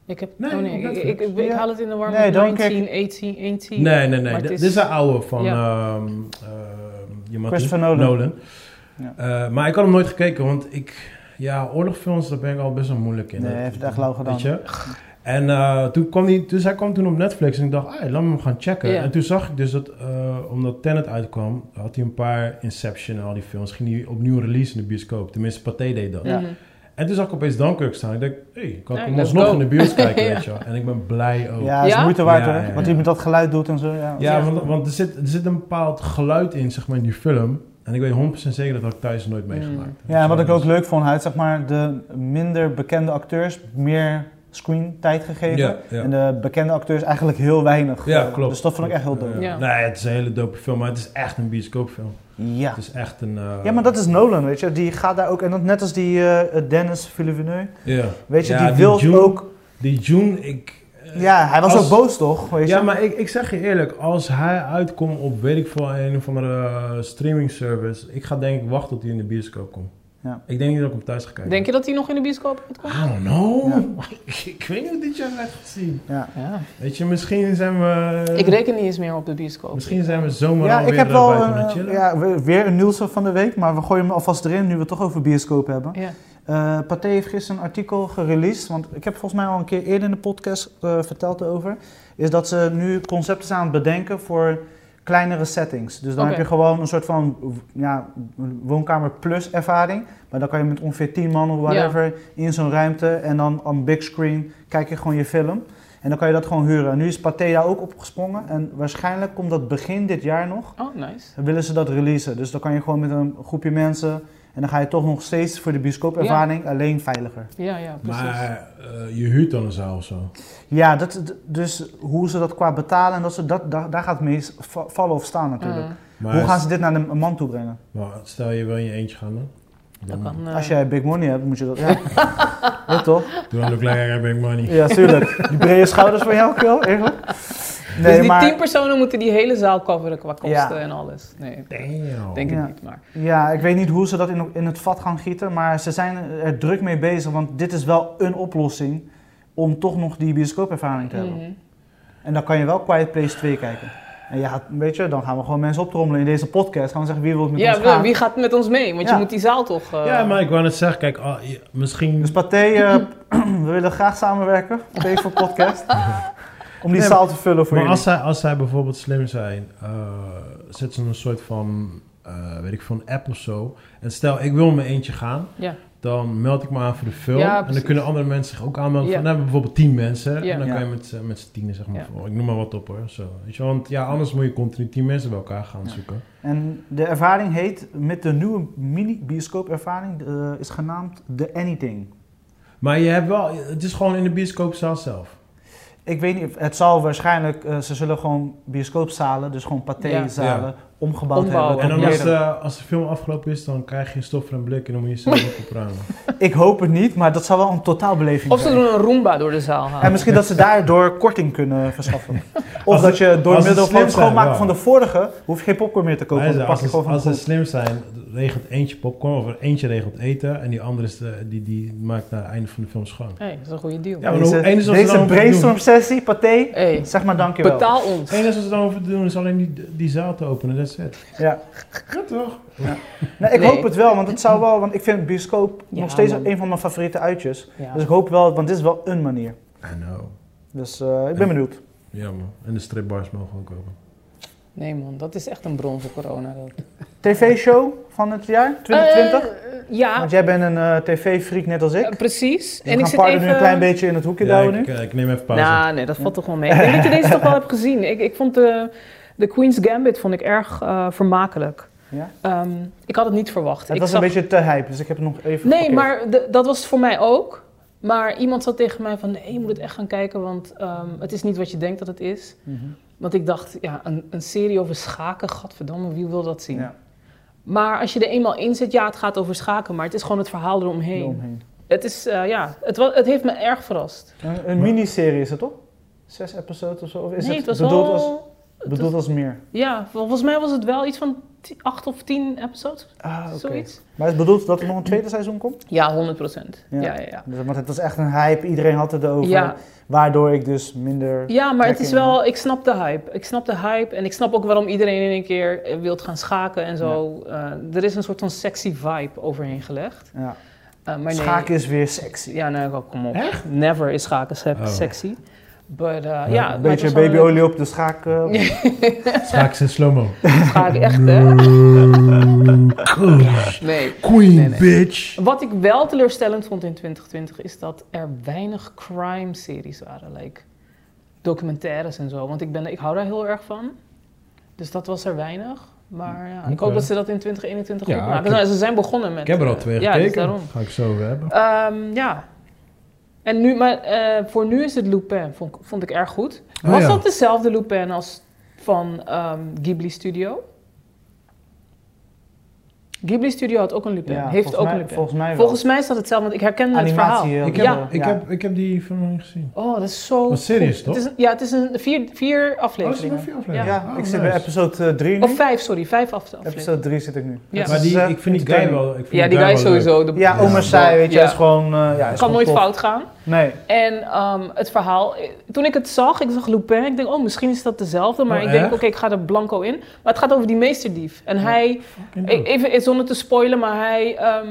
Ik heb... Nee, oh, nee, dat ik, is- ik, ik- ik ja. haal het in de war Nee, met dan kijk- 19, 18, 18. Nee, nee, nee. Maar Dit het dit is de oude van Ja. ehm, ehm, iemand- Christopher Nolan. Ja. Eh, maar ik had hem nooit gekeken, want ik... Ja, oorlogfilms, daar ben ik al best wel moeilijk in. Nee, hij heeft het echt lauw gedaan. Weet je? En eh, toen kwam die, dus hij kwam toen op Netflix en ik dacht, ah, laat me hem gaan checken. Ja. En toen zag ik dus dat, eh, omdat Tenet uitkwam, had hij een paar Inception en al die films. Ging hij opnieuw release in de bioscoop. Tenminste, Pathé deed dat. Ja. Mhm. En toen zag ik opeens Dunkirk staan. Ik dacht, hé, hey, kan ik Ja, hem let's alsnog go. in de bios kijken, Ja. weet je wel. En ik ben blij ook. Ja, is Ja? moeite waard Ja, hoor. ja, ja. Wat hij met dat geluid doet en zo. Ja, Ja, Ja. want, want er, zit, er zit een bepaald geluid in, zeg maar, in die film. En ik weet 100% zeker dat had ik thuis Mm. nooit meegemaakt. Ja, en wat ik Dus- ook leuk vond, hij had zeg maar de minder bekende acteurs meer screen tijd gegeven. Ja, ja. En de bekende acteurs eigenlijk heel weinig. Ja, Eh, klopt. Dus dat vond ik echt heel Ja. dope. Ja, Ja. Nee, het is een hele dope film, maar het is echt een bioscoopfilm. ja. Het is echt een... eh, maar dat is Nolan, weet je. Die gaat daar ook, en dat net als die eh, Dennis Villeneuve, ja. weet je, Ja, die, wil Dune- ook... Die June, ik... eh, Ja, hij was als- ook boos toch, weet je. Ja, maar ik, ik zeg je eerlijk, als hij uitkomt op, weet ik veel, een of andere eh, streaming service, ik ga denk ik wachten tot hij in de bioscoop komt. Ja. Ik denk niet dat ik hem thuis ga kijken. Denk je dat hij nog in de bioscoop komt? I don't know. Ja. ik weet niet hoe dit jaar uit gaat zien. Ja. Ja. Weet je, misschien zijn we... Ik reken niet eens meer op de bioscoop. Misschien zijn we zomaar Ja, alweer ik heb eh, wel buiten aan eh, het chillen. ja, we- weer een Nielsen van de week, maar we gooien hem alvast erin nu we het toch over bioscoop hebben. Ja. Eh Pathé heeft gisteren een artikel gereleased, want ik heb volgens mij al een keer eerder in de podcast eh, verteld over, is dat ze nu concepten zijn aan het bedenken voor kleinere settings. Dus dan Oké. heb je gewoon een soort van w- ja, woonkamer plus ervaring, maar dan kan je met ongeveer 10 man of whatever in zo'n ruimte en dan op een big screen kijk je gewoon je film. En dan kan je dat gewoon huren. En nu is Pathé daar ook opgesprongen en waarschijnlijk komt dat begin dit jaar nog Oh, nice. dan willen ze dat releasen. Dus dan kan je gewoon met een groepje mensen. En dan ga je toch nog steeds voor de bioscoopervaring alleen veiliger. Ja, ja, precies. Maar eh, je huurt dan een zaal of zo. Ja, dat, d- dus hoe ze dat qua betalen en dat ze dat, daar, daar gaat het meest va- vallen of staan natuurlijk. Mm. Maar, Hoe gaan ze dit naar de man toe brengen? maar stel je wil in je eentje gaan dan? Dat kan, eh, Als jij big money hebt, moet je dat. Ja, ja toch? Doe dan ook lekker, heb ik money. Ja, tuurlijk. Die brede schouders van jou, Kil, eerlijk. dus Nee, die tien maar. personen moeten die hele zaal coveren qua kosten Ja. en alles. Nee, Damn. denk ik Ja. niet. Maar Ja, ik weet niet hoe ze dat in, in het vat gaan gieten. Maar ze zijn er druk mee bezig. Want dit is wel een oplossing om toch nog die bioscoopervaring te hebben. Mhm. En dan kan je wel Quiet Place 2 kijken. En ja, weet je, dan gaan we gewoon mensen optrommelen in deze podcast. Gaan we zeggen wie wil het met ons ja, gaan. wie gaat met ons mee? Want Ja. je moet die zaal toch. eh, Ja, maar ik wou net zeggen, kijk, ah, je- misschien... Dus Pathé, eh, we willen graag samenwerken op deze podcast. Om die Nee, zaal te vullen voor Maar als jullie. zij, als zij bijvoorbeeld slim zijn, eh zet ze een soort van, eh, weet ik van app of zo. En stel, ik wil in mijn eentje gaan. Ja. Dan meld ik me aan voor de film. Ja, en dan precies. kunnen andere mensen zich ook aanmelden. Ja. Van, dan hebben we bijvoorbeeld tien mensen. Ja. En dan Ja. kan je met, z'n- met z'n tienen, zeg maar. Ja. voor- Ik noem maar wat op hoor. Zo. Weet je, want ja, anders moet je continu tien mensen bij elkaar gaan Ja. zoeken. En de ervaring heet, met de nieuwe mini-bioscoop-ervaring, eh, is genaamd The Anything. Maar je hebt wel, het is gewoon in de bioscoopzaal zelf. Ik weet niet, het zal waarschijnlijk, eh, ze zullen gewoon bioscoopzalen, dus gewoon Pathé-zalen, omgebouwd Ombouwen. En hebben. dan tot Ja. als, meerdere. eh, als de film afgelopen is, dan krijg je stof en blik en dan moet je zelf ook opruimen. Ik hoop het niet, maar dat zal wel een totaalbeleving Of ze zijn. doen een Roomba door de zaal halen. Ah. En misschien dat ze daardoor korting kunnen verschaffen. Of Als dat je door als ze middel van slim het schoonmaken zijn, van ja. de vorige, hoef je geen popcorn meer te kopen. Hij want zei, Dan pak als je ze, gewoon van de als ze koelkast. slim zijn, regelt eentje popcorn of er eentje regelt eten en die andere is de- die, die maakt naar het einde van de film schoon. hey, dat is een goede deal. Ja, maar hoe- en Deze, dus als ze deze dan brainstorm sessie, paté, Hey, zeg maar dankjewel. betaal ons. Het enige wat ze dan hoeven te doen is alleen die, die zaal te openen, that's it. Ja. Ja toch? Nee, Nou, ik Nee. hoop het wel, want het zou wel, want ik vind bioscoop Ja, nog steeds man. een van mijn favoriete uitjes. Ja. Dus ik hoop wel, want dit is wel een manier. I know. Dus eh, ik ben En- benieuwd. Ja man, en de stripbars mogen ook open. Nee man, dat is echt een bron voor corona. dat. TV-show van het jaar 2020? Eh, ja, want jij bent een eh, tv-freak net als ik. Dus eh, precies. We en ik gaan zit Pardo even... nu een klein beetje in het hoekje Ja, duwen nu. ik, eh, ik neem even Nou, pauze. nee, dat valt toch wel mee. Ik denk dat je deze toch wel hebt gezien. Ik, ik vond de, de Queen's Gambit vond ik erg eh, vermakelijk. Ja? Ehm, ik had het niet verwacht. Het ik was zag- een beetje te hype, dus ik heb het nog even Nee, geparkeerd. maar de- dat was het voor mij ook. Maar iemand zat tegen mij van, nee, je moet het echt gaan kijken, want ehm, het is niet wat je denkt dat het is. Mhm. Want ik dacht, ja, een, een serie over schaken, gadverdamme, wie wil dat zien? Ja. Maar als je er eenmaal in zit, ja, het gaat over schaken, maar het is gewoon het verhaal eromheen. Eromheen. Het is, eh, ja, het, wa- het heeft me erg verrast. Een, een miniserie is het toch? Zes episodes of zo? Of is nee, het, het was bedoeld, wel... als, het bedoeld als meer? was- ja, volgens mij was het wel iets van ti- acht of tien episodes, Ah, oké. zoiets. Maar is het bedoeld dat er nog een tweede seizoen komt? Ja, 100 procent. Ja. Ja. Ja, ja, Dus- Want het was echt een hype, iedereen had het erover. Ja. Waardoor ik dus minder... Ja, maar het is Trekking, wel, ik snap de hype. Ik snap de hype en ik snap ook waarom iedereen in een keer eh, wilt gaan schaken en zo. Eh, er is een soort van sexy vibe overheen gelegd. Ja. Eh, maar Schaken nee. is weer sexy. Ja, nee, oh, kom op. Echt? Never is schaken se- Oh. sexy. But, eh, ja, een maar beetje het was wel leuk. babyolie op de schaak. eh, Schaak in slow-mo. Schaken, echt hè? Nee. Queen, Nee, nee. bitch. Wat ik wel teleurstellend vond in 2020 is dat er weinig crime series waren, like documentaires en zo. Want ik, ben, ik hou daar heel erg van. Dus dat was er weinig. Maar ja, ik Oké. hoop dat ze dat in 2021 Ja, goed maken. ik- Nou, ze zijn begonnen met. Ik heb er al eh, twee ja, dus gekeken. daarom. Ga ik zo over hebben. Ehm, ja. En nu, maar eh, voor nu is het Lupin, vond, ik- vond ik erg goed. Oh, Was ja. dat dezelfde Lupin als van ehm, Ghibli Studio? Ghibli Studio had ook een Lupin. ja, Heeft volgens ook mij- een Lupin. Volgens mij wel. Volgens mij is dat hetzelfde, want ik herken het Animatie, verhaal. heel Ik heb, goed, ja. eh, ik, heb, ik heb die film nog niet gezien. Oh, dat is zo. Wat serieus, goed. toch? Het is een- ja, het is een vier, vier Oh, is er afleveringen. nog vier Ja, afleveringen? Oh, ik zit bij nice. episode 3 nu. Of vijf, sorry, vijf af- afleveringen. Episode 3 zit ik nu. Oh, Ja. Maar Dus, die, eh, ik vind die guy wel... Ik vind Ja, die guy wel leuk. sowieso. De, Ja, oma zei, weet je, Ja. is gewoon... eh ja, is kan gewoon nooit tof. fout gaan. Nee. En ehm, het verhaal, eh, toen ik het zag, ik zag Lupin, ik denk, oh, misschien is dat dezelfde, maar Oh, ik denk, echt? oké, ik ga er blanco in. Maar het gaat over die meesterdief. En hij, Fucking dope. e- even eh, zonder te spoilen, maar hij ehm,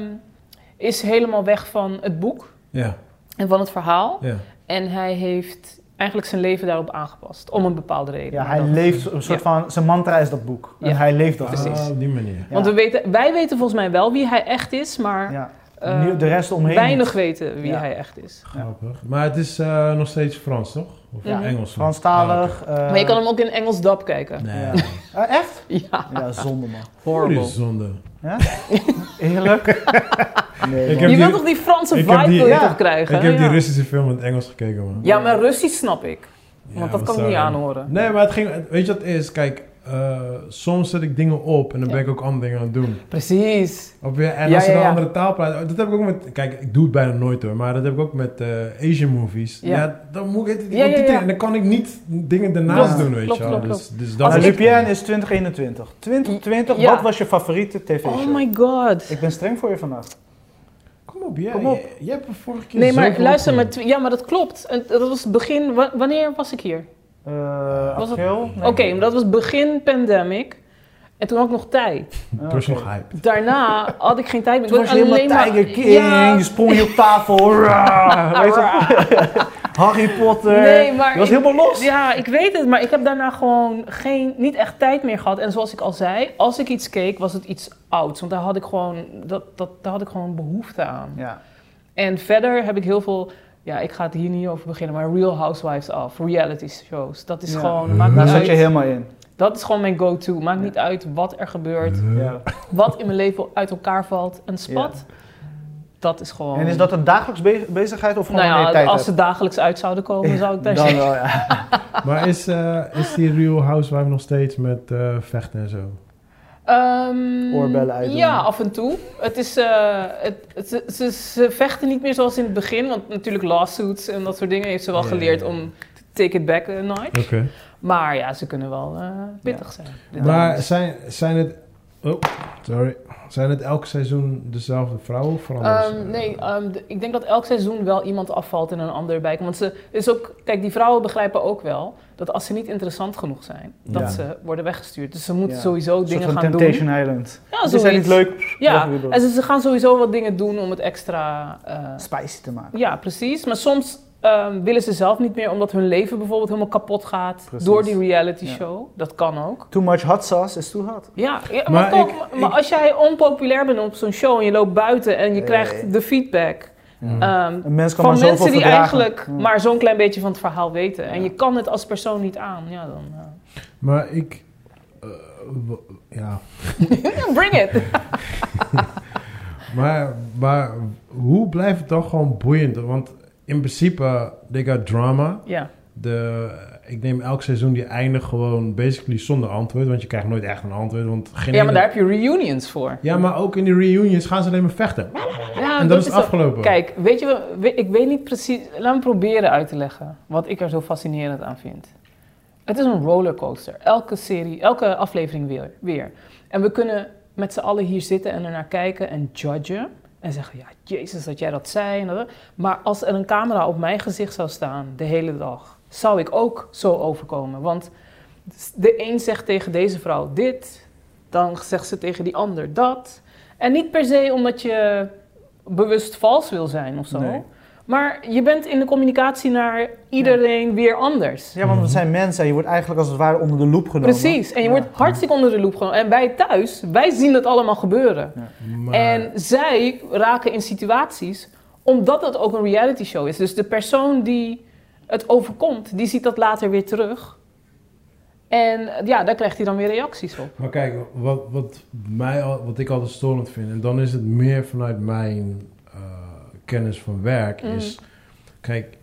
is helemaal weg van het boek Ja, en van het verhaal. ja. En hij heeft eigenlijk zijn leven daarop aangepast, om een bepaalde reden. Ja, hij leeft een soort van... Zijn mantra is dat boek. En Ja. hij leeft dat Precies. Ah, op die manier. Want ja. we weten, wij weten volgens mij wel wie hij echt is, maar Ja. eh, Nu- de rest omheen weinig weten wie Ja. hij echt is. Eh, Grappig. Maar het is eh, nog steeds Frans, toch? Of Ja. Engels? Ah, Franstalig. eh maar je kan hem ook in Engels dub kijken. Nee. Ja. Eh, echt? Ja, Ja, zonde man. Dit horrible. is zonde. Eerlijk? Nee, Ik man. heb Je die- wil toch die Franse ik vibe heb die- wil je ja. toch krijgen? Ik heb die ja. Russische film in het Engels gekeken, man. ja, maar Russisch snap ik. Ja, want maar dat kan ik sorry. niet aanhoren. Nee, maar het ging... het- Weet je wat het is? Kijk, eh, soms zet ik dingen op en dan ben ik ook andere dingen aan het doen. Precies. Op je, en Ja, als je ja, dan ja. andere taal praat... oh, Dat heb ik ook met... Kijk, ik doe het bijna nooit hoor, maar dat heb ik ook met eh, Asian movies. Ja. Ja. dan moet ik het Ja, ja, ondertitelen ja. en dan kan ik niet dingen daarnaast Klopt, doen, weet klopt, je wel. klopt, Dus, dus dat Nou, is- Lupien is 2021. 2020, Ja. wat was je favoriete tv-show? Oh my god. Ik ben streng voor je vandaag. Kom op, jij, Kom op. jij- jij hebt er vorige keer Nee, maar zoveel luister, maar opgenomen. tw- ja, maar dat klopt. En Dat was het begin. wa- Wanneer was ik hier? Eh Was het- april? Oké, maar dat was begin pandemic. En toen had ik nog tijd. Ah, Er was nog oké. hype. Daarna had ik geen tijd meer. Ik Toen was je Oh, alleen helemaal Tiger King, Ja, je sprong je op tafel, raar, weet je wel? ah, rah. Harry Potter. Nee, maar je was ik- helemaal los. Ja, ik weet het, maar ik heb daarna gewoon geen, niet echt tijd meer gehad. En zoals ik al zei, als ik iets keek, was het iets ouds. Want daar had ik gewoon, dat, dat, daar had ik gewoon behoefte aan. Ja. En verder heb ik heel veel, ja, ik ga het hier niet over beginnen, maar Real Housewives af, reality shows. Dat is Ja. gewoon, maakt Daar niet zat je uit. helemaal in. Dat is gewoon mijn go-to. Maakt niet uit wat er gebeurt, Ja. wat in mijn leven uit elkaar valt en spat. Dat is gewoon. En is dat een dagelijks be- bezigheid of gewoon nou ja, een tijd als ze hebt? dagelijks uit zouden komen, zou ik daar Dan eh, zeggen. wel, ja. Maar is, eh, is die Real Housewife nog steeds met eh, vechten en zo? Ehm, Oorbellen uitdoen. Ja, af en toe. Het is, eh, het, het- ze, ze- ze vechten niet meer zoals in het begin, want natuurlijk lawsuits en dat soort dingen heeft ze wel Ja, geleerd ja, ja. om te take it back a night. Oké. Maar ja, ze kunnen wel eh, pittig zijn. Maar zijn, zijn het... Oh, sorry. Zijn het elk seizoen dezelfde vrouwen of veranderen eh, ze? Ehm, nee, ehm, d- ik denk dat elk seizoen wel iemand afvalt en een ander bij komt. Want ze is ook, kijk, die vrouwen begrijpen ook wel dat als ze niet interessant genoeg zijn, dat Ja. ze worden weggestuurd. Dus ze moeten Ja. sowieso Een soort dingen van gaan Temptation doen. Island. Ja, Ze zijn niet zoiets. leuk. Ja, weg weer door. en ze, ze gaan sowieso wat dingen doen om het extra eh, Spicy te maken. Ja, precies. Maar soms ehm, willen ze zelf niet meer omdat hun leven bijvoorbeeld helemaal kapot gaat Precies. door die reality Ja. show. Dat kan ook. Too much hot sauce is too hot. Ja, ja maar, Maar toch, ik- maar ik- als jij onpopulair bent op zo'n show en je loopt buiten en je Nee. krijgt de feedback Mm. ehm, Een mens kan van maar zoveel mensen die verdragen. eigenlijk Ja. maar zo'n klein beetje van het verhaal weten en Ja. je kan het als persoon niet aan, ja dan. eh. Maar ik... eh, w- ja. Bring it! Maar, maar hoe blijft het dan gewoon boeiend? Want in principe, they got drama. ja. De, ik neem elk seizoen die eindigt gewoon basically zonder antwoord. Want je krijgt nooit echt een antwoord. Want geen ja, maar ene- daar heb je reunions voor. ja, maar ook in die reunions gaan ze alleen maar vechten. Ja, en dat, is ook- afgelopen. Kijk, weet je, wel- we- ik weet niet precies. Laat me proberen uit te leggen wat ik er zo fascinerend aan vind. Het is een rollercoaster. Elke serie, elke aflevering weer. weer. En we kunnen met z'n allen hier zitten en ernaar kijken en judgen. En zeggen, ja, jezus dat jij dat zei. en dat- Maar als er een camera op mijn gezicht zou staan de hele dag, zou ik ook zo overkomen. Want de een zegt tegen deze vrouw dit, dan zegt ze tegen die ander dat. En niet per se omdat je bewust vals wil zijn of zo. Nee. Maar je bent in de communicatie naar iedereen weer anders. Ja, want we zijn mensen en je wordt eigenlijk als het ware onder de loep genomen. Precies, en je Ja. wordt hartstikke onder de loep genomen. En wij thuis, wij zien dat allemaal gebeuren. Maar, En zij raken in situaties omdat het ook een reality show is. Dus de persoon die het overkomt, die ziet dat later weer terug. En eh, ja, daar krijgt hij dan weer reacties op. maar kijk, wat, wat, mij, al- wat ik altijd storend vind, en dan is het meer vanuit mijn eh, kennis van werk, Mm. is... Kijk,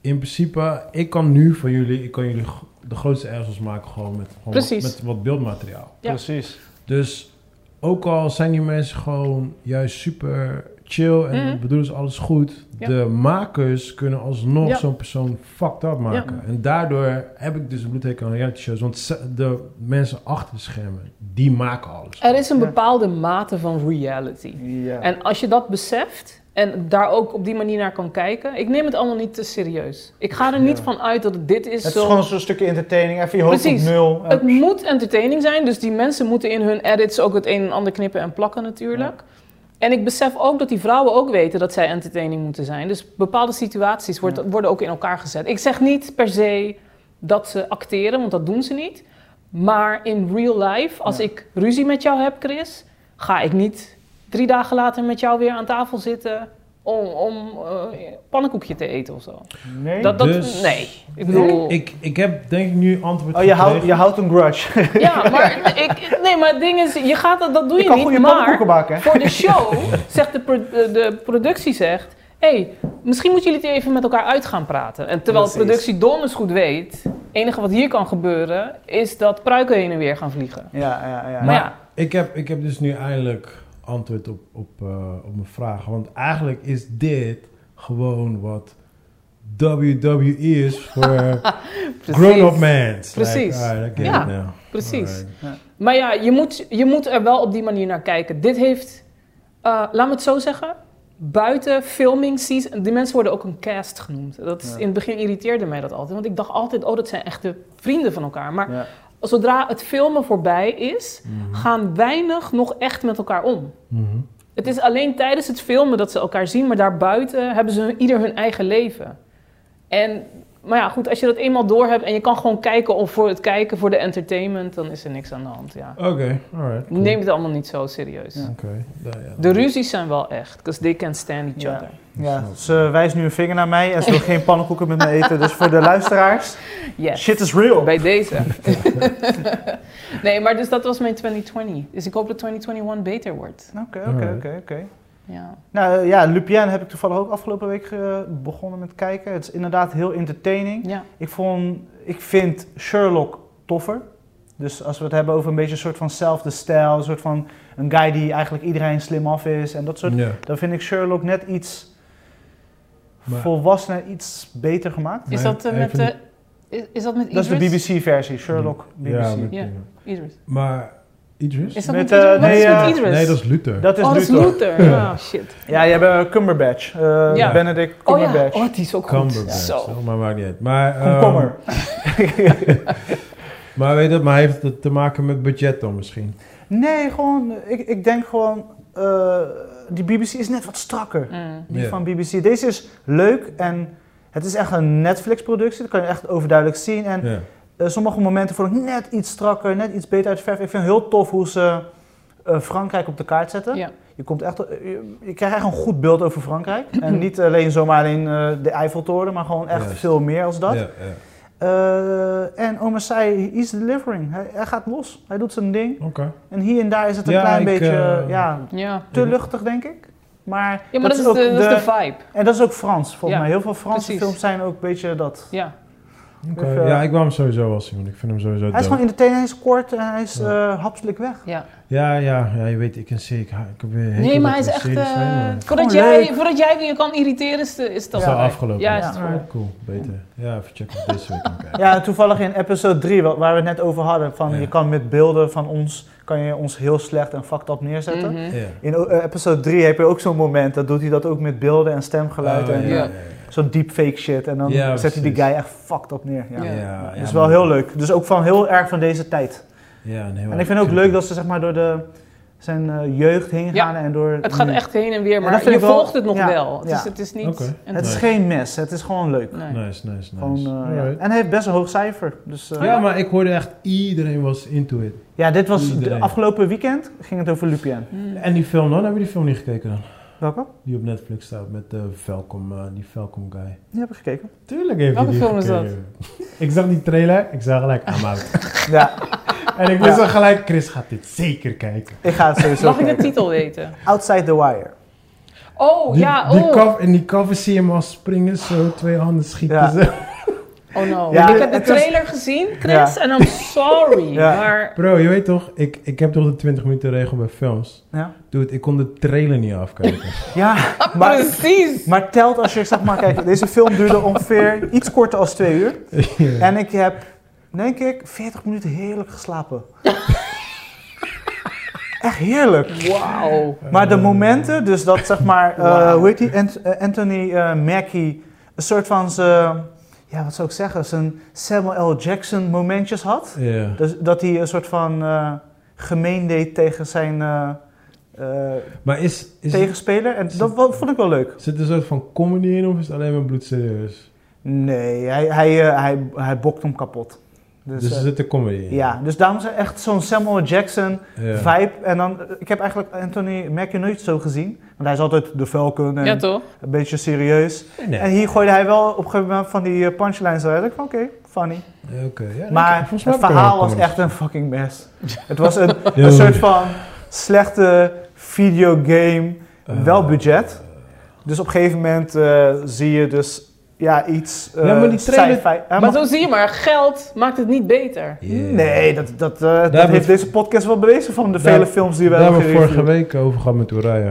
in principe, ik kan nu van jullie, ik kan jullie g- de grootste erzels maken gewoon met, gewoon Precies. met wat beeldmateriaal. Ja. Precies. Dus ook al zijn die mensen gewoon juist super chill en Mhm. bedoelen ze alles goed, Ja. de makers kunnen alsnog Ja. zo'n persoon fucked up maken. En daardoor heb ik dus een bloedhekel aan reality shows, want ze- de mensen achter de schermen, die maken alles. Er is een Ja. bepaalde mate van reality. Ja. En als je dat beseft en daar ook op die manier naar kan kijken, ik neem het allemaal niet te serieus. Ik ga er niet Ja. van uit dat het dit is. het zo. is gewoon zo'n stukje entertaining, even je hoofd Precies. op nul. Het moet entertaining zijn, dus die mensen moeten in hun edits ook het een en ander knippen en plakken natuurlijk. En ik besef ook dat die vrouwen ook weten dat zij entertaining moeten zijn. Dus bepaalde situaties wordt, Ja. worden ook in elkaar gezet. Ik zeg niet per se dat ze acteren, want dat doen ze niet. Maar in real life, als Ja. ik ruzie met jou heb, Chris, ga ik niet drie dagen later met jou weer aan tafel zitten om, om eh, pannenkoekje te eten of zo. nee. Dat, dat, Dus- nee, ik bedoel... Ik, ik heb denk ik nu antwoord oh, je houdt, gekregen. je houdt een grudge. Ja, maar, ik, nee, maar het ding is, je gaat dat, dat doe je, Ik kan niet, goede maar pannenkoeken bakken. hè? voor de show zegt de, pro- eh, de productie zegt, hé, hey, misschien moeten jullie het even met elkaar uit gaan praten. En terwijl de Precies. productie donders goed weet, het enige wat hier kan gebeuren is dat pruiken heen en weer gaan vliegen. Ja, ja, ja. Maar Maar ja, Ik heb, ik heb dus nu eindelijk antwoord op, op, eh, op mijn vraag. Want eigenlijk is dit gewoon wat WWE is voor precies. grown-up man. Precies. Ja, precies. Maar ja, je moet, je moet er wel op die manier naar kijken. Dit heeft, eh, laat me het zo zeggen, buiten filming season, die mensen worden ook een cast genoemd. Dat is, Ja. In het begin irriteerde mij dat altijd, want ik dacht altijd, oh dat zijn echte vrienden van elkaar. Maar Ja. zodra het filmen voorbij is, Mm-hmm. gaan weinig nog echt met elkaar om. Het is alleen tijdens het filmen dat ze elkaar zien, maar daarbuiten hebben ze hun- ieder hun eigen leven. En, maar ja, goed, als je dat eenmaal door hebt en je kan gewoon kijken om voor het kijken, voor de entertainment, dan is er niks aan de hand. Ja. Oké, alright. cool. Neem het allemaal niet zo serieus. Ja. Oké, nou ja. De ruzies zijn wel echt, because they can stand each Ja. other. Ja, ze wijst nu een vinger naar mij en ze wil geen pannenkoeken met me eten. Dus voor de luisteraars, Yes. shit is real. Bij deze. nee, maar dus dat was mijn 2020. Dus ik hoop dat 2021 beter wordt. Oké, oké, oké, oké. Ja. Nou eh, ja, Lupien heb ik toevallig ook afgelopen week eh, begonnen met kijken. Het is inderdaad heel entertaining. ja. Ik, vond, ik vind Sherlock toffer. Dus als we het hebben over een beetje een soort van zelfde stijl, een soort van een guy die eigenlijk iedereen slim af is en dat soort. Ja, Dan vind ik Sherlock net iets Maar- volwassener, iets beter gemaakt. Is, Nee, dat, eh, met, even eh, is, is dat met Dat Idris? is de BBC-versie, Sherlock BBC. ja, met- Ja. Idris. maar Idris? Is dat met, Met, Idris? eh, Wat nee, is met eh, Idris? Nee, dat is Luther. Dat is oh, dat is Luther. Luther. Ah, shit. Ja, je hebt eh, Cumberbatch. eh, Ja. Benedict Oh ja, Cumberbatch. oh, die is ook goed. Cumberbatch, Zo. maar maakt niet uit. Maar, ehm, Komkommer. maar weet je, maar heeft het te maken met budget dan misschien? Nee, gewoon, ik, ik denk gewoon, eh, die BBC is net wat strakker. Mm. Die Ja. van BBC. Deze is leuk en het is echt een Netflix-productie. Dat kan je echt overduidelijk zien. En Ja. eh, sommige momenten vond ik net iets strakker, net iets beter uit de verf. Ik vind het heel tof hoe ze eh, Frankrijk op de kaart zetten. Ja. Je, komt echt, eh, je, je krijgt echt een goed beeld over Frankrijk. en niet alleen zomaar alleen eh, de Eiffeltoren, maar gewoon echt Juist. veel meer als dat. Ja, ja. Eh, en Omar Sy, he is delivering. Hij, hij gaat los. Hij doet zijn ding. Oké. En hier en daar is het een Ja, klein ik, beetje eh, ja, Ja. te luchtig, denk ik. Maar, Ja, maar dat, is, de, dat is de vibe. En dat is ook Frans, volgens Ja, mij. Heel veel Franse precies. films zijn ook een beetje dat. Ja. Oké, Of, eh, ja, ik wil hem sowieso wel zien, want ik vind hem sowieso Hij is dope. gewoon in de teen, hij is kort en hij is Ja. eh, hapselijk weg. ja. Ja, ja, ja, je weet, ik en zie, ik, ha- ik heb weer Nee, maar hij is echt... eh, Gewoon voordat, jij, Oh, leuk. voordat jij je kan irriteren, is, de, is het al is al voorbij. afgelopen. Ja, is Ja. het voorbij. Cool, beter. Ja, even checken of deze week kan kijken. Ja, en toevallig in episode 3, wa- waar we het net over hadden, van Ja. je kan met beelden van ons, kan je ons heel slecht en fucked up neerzetten. Mhm. Ja. Oh, In o- eh, episode 3 heb je ook zo'n moment, dat doet hij dat ook met beelden en stemgeluid Oh, en ja. eh, zo'n deepfake shit. En dan Ja, zet hij die precies. guy echt fucked up neer. Ja. Ja. dat is Dus wel heel leuk. Dus ook van heel erg van deze tijd. Ja, nee, En ik vind het ook leuk dat ze zeg maar door de zijn eh, jeugd heen gegaan en door... Het gaat nu. echt heen en weer, dat maar vind je ik wel- volgt het nog ja, wel. Het, ja. is, het is niet... Oké. en- Het is Nee. geen mes, het is gewoon leuk. nee. Nice, nice, nice. Gewoon, eh, ja. Alright. Oh En hij heeft best een hoog cijfer. Dus, eh, ja, maar ik hoorde echt iedereen was into it. ja, dit was de Iedereen. afgelopen weekend ging het over Lupien. Hmm. En die film dan? Heb je die film niet gekeken dan? Welke? Die op Netflix staat met de Falcom, eh, die Falcom guy. Die heb ik gekeken. Tuurlijk heeft Welke hij die film is dat? gekeken. Ik zag die trailer, ik zag gelijk, I'm out. Ja, en ik wist Ja. al gelijk, Chris gaat dit zeker kijken. ik ga het sowieso Mag ik de kijken. titel weten? Outside the Wire. Oh, Die, ja, die oh. cover, in die cover zie je hem al springen, zo twee handen schieten. Ja. zo. Oh no. Ja, ik heb de het was- trailer gezien, Chris, en I'm sorry. Ja. Maar Bro, je weet toch, ik, ik heb toch de 20 minuten regel bij films. Ja, Dude, ik kon de trailer niet afkijken. ja Oh, maar, precies. maar telt als je, zeg maar, kijk, deze film duurde ongeveer iets korter als twee uur. Ja. En ik heb, denk ik, 40 minuten heerlijk geslapen. Echt heerlijk. Wauw. Maar Eh, de momenten, dus dat zeg maar, eh, Wauw. hoe heet die, Ant- eh, Anthony eh, Mackie, een soort van zijn, ja wat zou ik zeggen, zijn Samuel L. Jackson momentjes had. Ja. Dus dat hij een soort van eh, gemeen deed tegen zijn eh, eh, Maar is, is het, tegenspeler. En dat wa- vond ik wel leuk. zit er een soort van comedy in of is het alleen maar bloedserieus? Nee, hij, hij, eh, hij, hij bokt hem kapot. Dus, Dus er eh, zit een comedy in. ja, dus daarom is er echt zo'n Samuel L. Jackson Ja. vibe. En dan, eh, ik heb eigenlijk Anthony Mackie nooit zo gezien. Want hij is altijd de Falcon en Ja, toch? een beetje serieus. Nee. En hier gooide hij wel op een gegeven moment van die eh, punchlines eruit. Ik van oké, funny. Ja, Oké. ja, Maar ik- volgens mij het heb ik hem verhaal wel was comedy. echt een fucking mess. het was een, Ja. een soort van slechte videogame, Eh, wel budget. Dus op een gegeven moment eh, zie je dus ja, iets. eh, Ja, maar die trailer- sci-fi- eh, Maar maar- zo zie je maar, geld maakt het niet beter. Yeah. Nee, dat, dat, eh, dat hebben heeft we- deze podcast wel bewezen van de Daar- vele films die we Daar hebben hebben we vorige gereviewd. week over gehad met Uraya.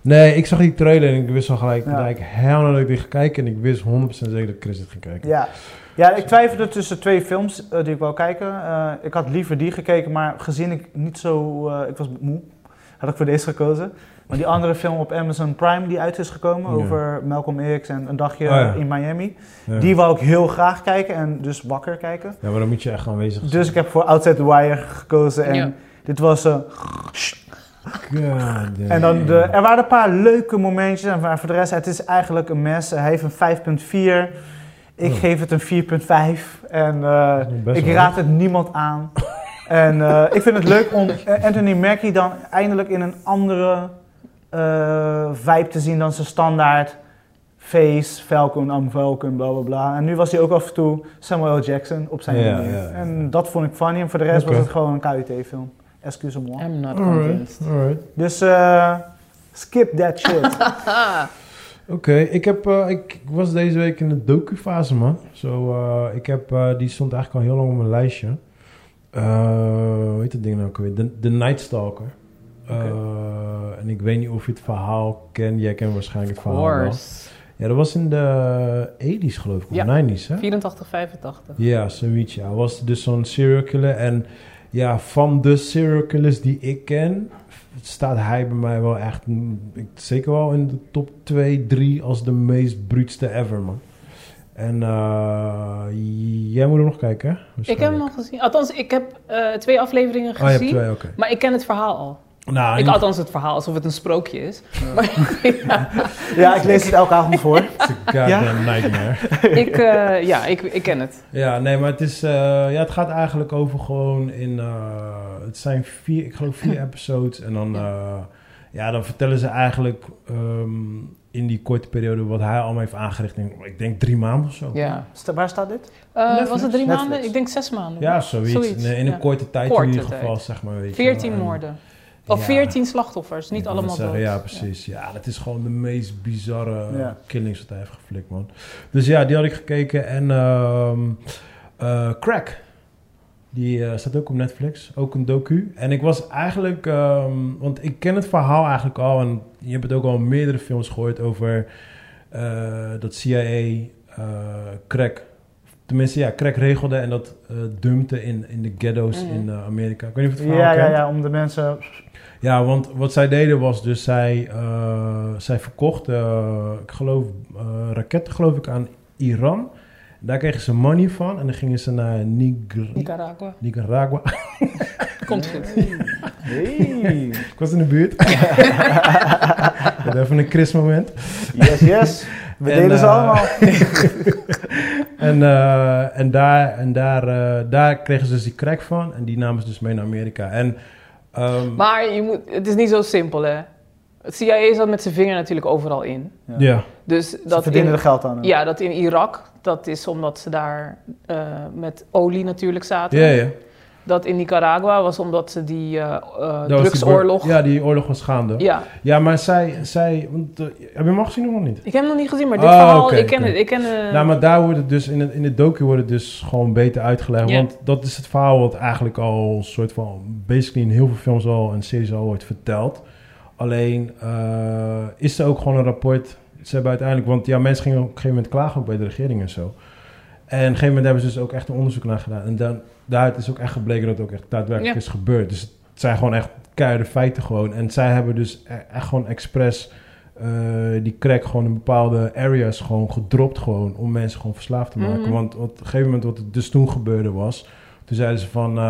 Nee, ik zag die trailer en ik wist al gelijk Ja. dat ik helemaal dat ik dit ga kijken. En ik wist 100% zeker dat Chris dit ging kijken. Ja. ja, ik twijfelde tussen twee films eh, die ik wou kijken. Eh, ik had liever die gekeken, maar gezien ik niet zo... eh, ik was moe, had ik voor deze gekozen. Maar die andere film op Amazon Prime die uit is gekomen... Ja. over Malcolm X en een dagje Oh ja. in Miami... Ja. die wou ik heel graag kijken en dus wakker kijken. Ja, maar dan moet je echt aanwezig zijn. Dus ik heb voor Outside the Wire gekozen en... Ja. Dit was, eh, God en dan de, damn. er waren een paar leuke momentjes, en maar voor de rest, het is eigenlijk een mes. Hij heeft een 5.4, ik Oh. geef het een 4.5. En eh, Best ik wel. raad het niemand aan. en eh, ik vind het leuk om eh, Anthony Mackie dan eindelijk in een andere eh, vibe te zien dan zijn standaard face, Falcon, am Falcon, bla bla bla. En nu was hij ook af en toe Samuel L. Jackson op zijn Ja, manier. ja, ja. En dat vond ik funny. En voor de rest Oké. was het gewoon een KUT-film. Excuse me. I'm not Alright, convinced. alright. Dus eh, skip that shit. Haha. Oké, ik, heb, eh, ik was deze week in de docu-fase, man. Zo, eh, ik heb, eh, die stond eigenlijk al heel lang op mijn lijstje. Eh, hoe heet dat ding nou ook alweer? The, The Night Stalker. Eh, en ik weet niet of je het verhaal kent. Jij kent waarschijnlijk Of het verhaal wel. course. Ja, dat was in de 80s geloof ik, of Ja. 90s hè? 84, 85. Ja, zoiets. Ja. Hij was dus zo'n serial killer. En ja, van de serial killers die ik ken, staat hij bij mij wel echt, mm, ik- zeker wel in de top 2, 3 als de meest bruutste ever, man. En eh, jij moet hem nog kijken, hè? Ik heb hem nog al gezien. Althans, ik heb eh, twee afleveringen Oh, je hebt gezien. twee, oké. Maar ik ken het verhaal al. Nou, ik, in- althans, het verhaal alsof het een sprookje is. Maar ja, ja, ik lees het elke avond voor. it's a goddamn Ja? nightmare. ik, eh, ja ik, ik ken het. Ja, nee, maar het, is, eh, ja, het gaat eigenlijk over gewoon in... eh, het zijn vier, ik geloof vier episodes. En dan, eh, ja, dan vertellen ze eigenlijk ehm, in die korte periode... wat hij allemaal heeft aangericht in, ik denk drie maanden of zo. Ja. Sta- Waar staat dit? Eh, Netflix? was het drie Netflix. maanden? Ik denk zes maanden. Ja, zoiets. Zoiets, in, in een ja. korte tijd Korte in ieder geval, tijd. zeg maar. Weet je wel. Veertien En- moorden. Of Ja. veertien slachtoffers, niet Ik wou net allemaal dood. zeggen, Ja, precies. Ja. dat is gewoon de meest bizarre uh, Ja. killings wat hij heeft geflikt, man. Dus ja, die had ik gekeken. En ehm, eh, Crack. Die eh, staat ook op Netflix. Ook een docu. En ik was eigenlijk... ehm, want ik ken het verhaal eigenlijk al. En je hebt het ook al in meerdere films gehoord over... eh, dat CIA eh, Crack... Tenminste, ja, Crack regelde en dat eh, dumpte in, in de ghettos Mhm. in eh, Amerika. Ik weet niet of je het verhaal Ja, ja, kent. ja, om de mensen... Ja, want wat zij deden was dus zij, eh, zij verkocht, ik geloof, eh, raketten geloof ik aan Iran. Daar kregen ze money van en dan gingen ze naar Niger- Nicaragua. Nicaragua. Komt goed. Hey. Ik was in de buurt. Ik had even een Chris moment. Yes, yes. We En, delen ze eh, allemaal. En, eh, en, daar, en daar, eh, daar kregen ze dus die crack van. En die namen ze dus mee naar Amerika. En, ehm, Maar je moet, het is niet zo simpel, hè. Het CIA zat met zijn vinger natuurlijk overal in. ja. Dus Ze dat verdienen in- er geld aan. hè? Ja, dat in Irak, dat is omdat ze daar eh, met olie natuurlijk zaten. Ja, ja. Dat in Nicaragua was omdat ze die eh, eh, Dat was die drugsoorlog... bor- Ja, die oorlog was gaande. Ja, Ja. maar zij... zij want, eh, heb je hem al gezien of nog niet? ik heb hem nog niet gezien, maar dit Oh, verhaal, oké, ik ken oké. het. Ik ken, eh, Nou, maar daar wordt het dus in het, in het docu wordt het dus gewoon beter uitgelegd. Ja. Want dat is het verhaal wat eigenlijk al een soort van basically in heel veel films al en series al wordt verteld. Alleen eh, is er ook gewoon een rapport. Ze hebben uiteindelijk, want ja, mensen gingen op een gegeven moment klagen ook bij de regering en zo. En op een gegeven moment hebben ze dus ook echt een onderzoek naar gedaan. En dan, daaruit is ook echt gebleken dat het ook echt daadwerkelijk Ja. is gebeurd. Dus het zijn gewoon echt keiharde feiten gewoon. En zij hebben dus e- echt gewoon expres eh, die crack gewoon in bepaalde areas gewoon gedropt gewoon om mensen gewoon verslaafd te maken. Mhm. Want op een gegeven moment wat het dus toen gebeurde was, toen zeiden ze van, eh,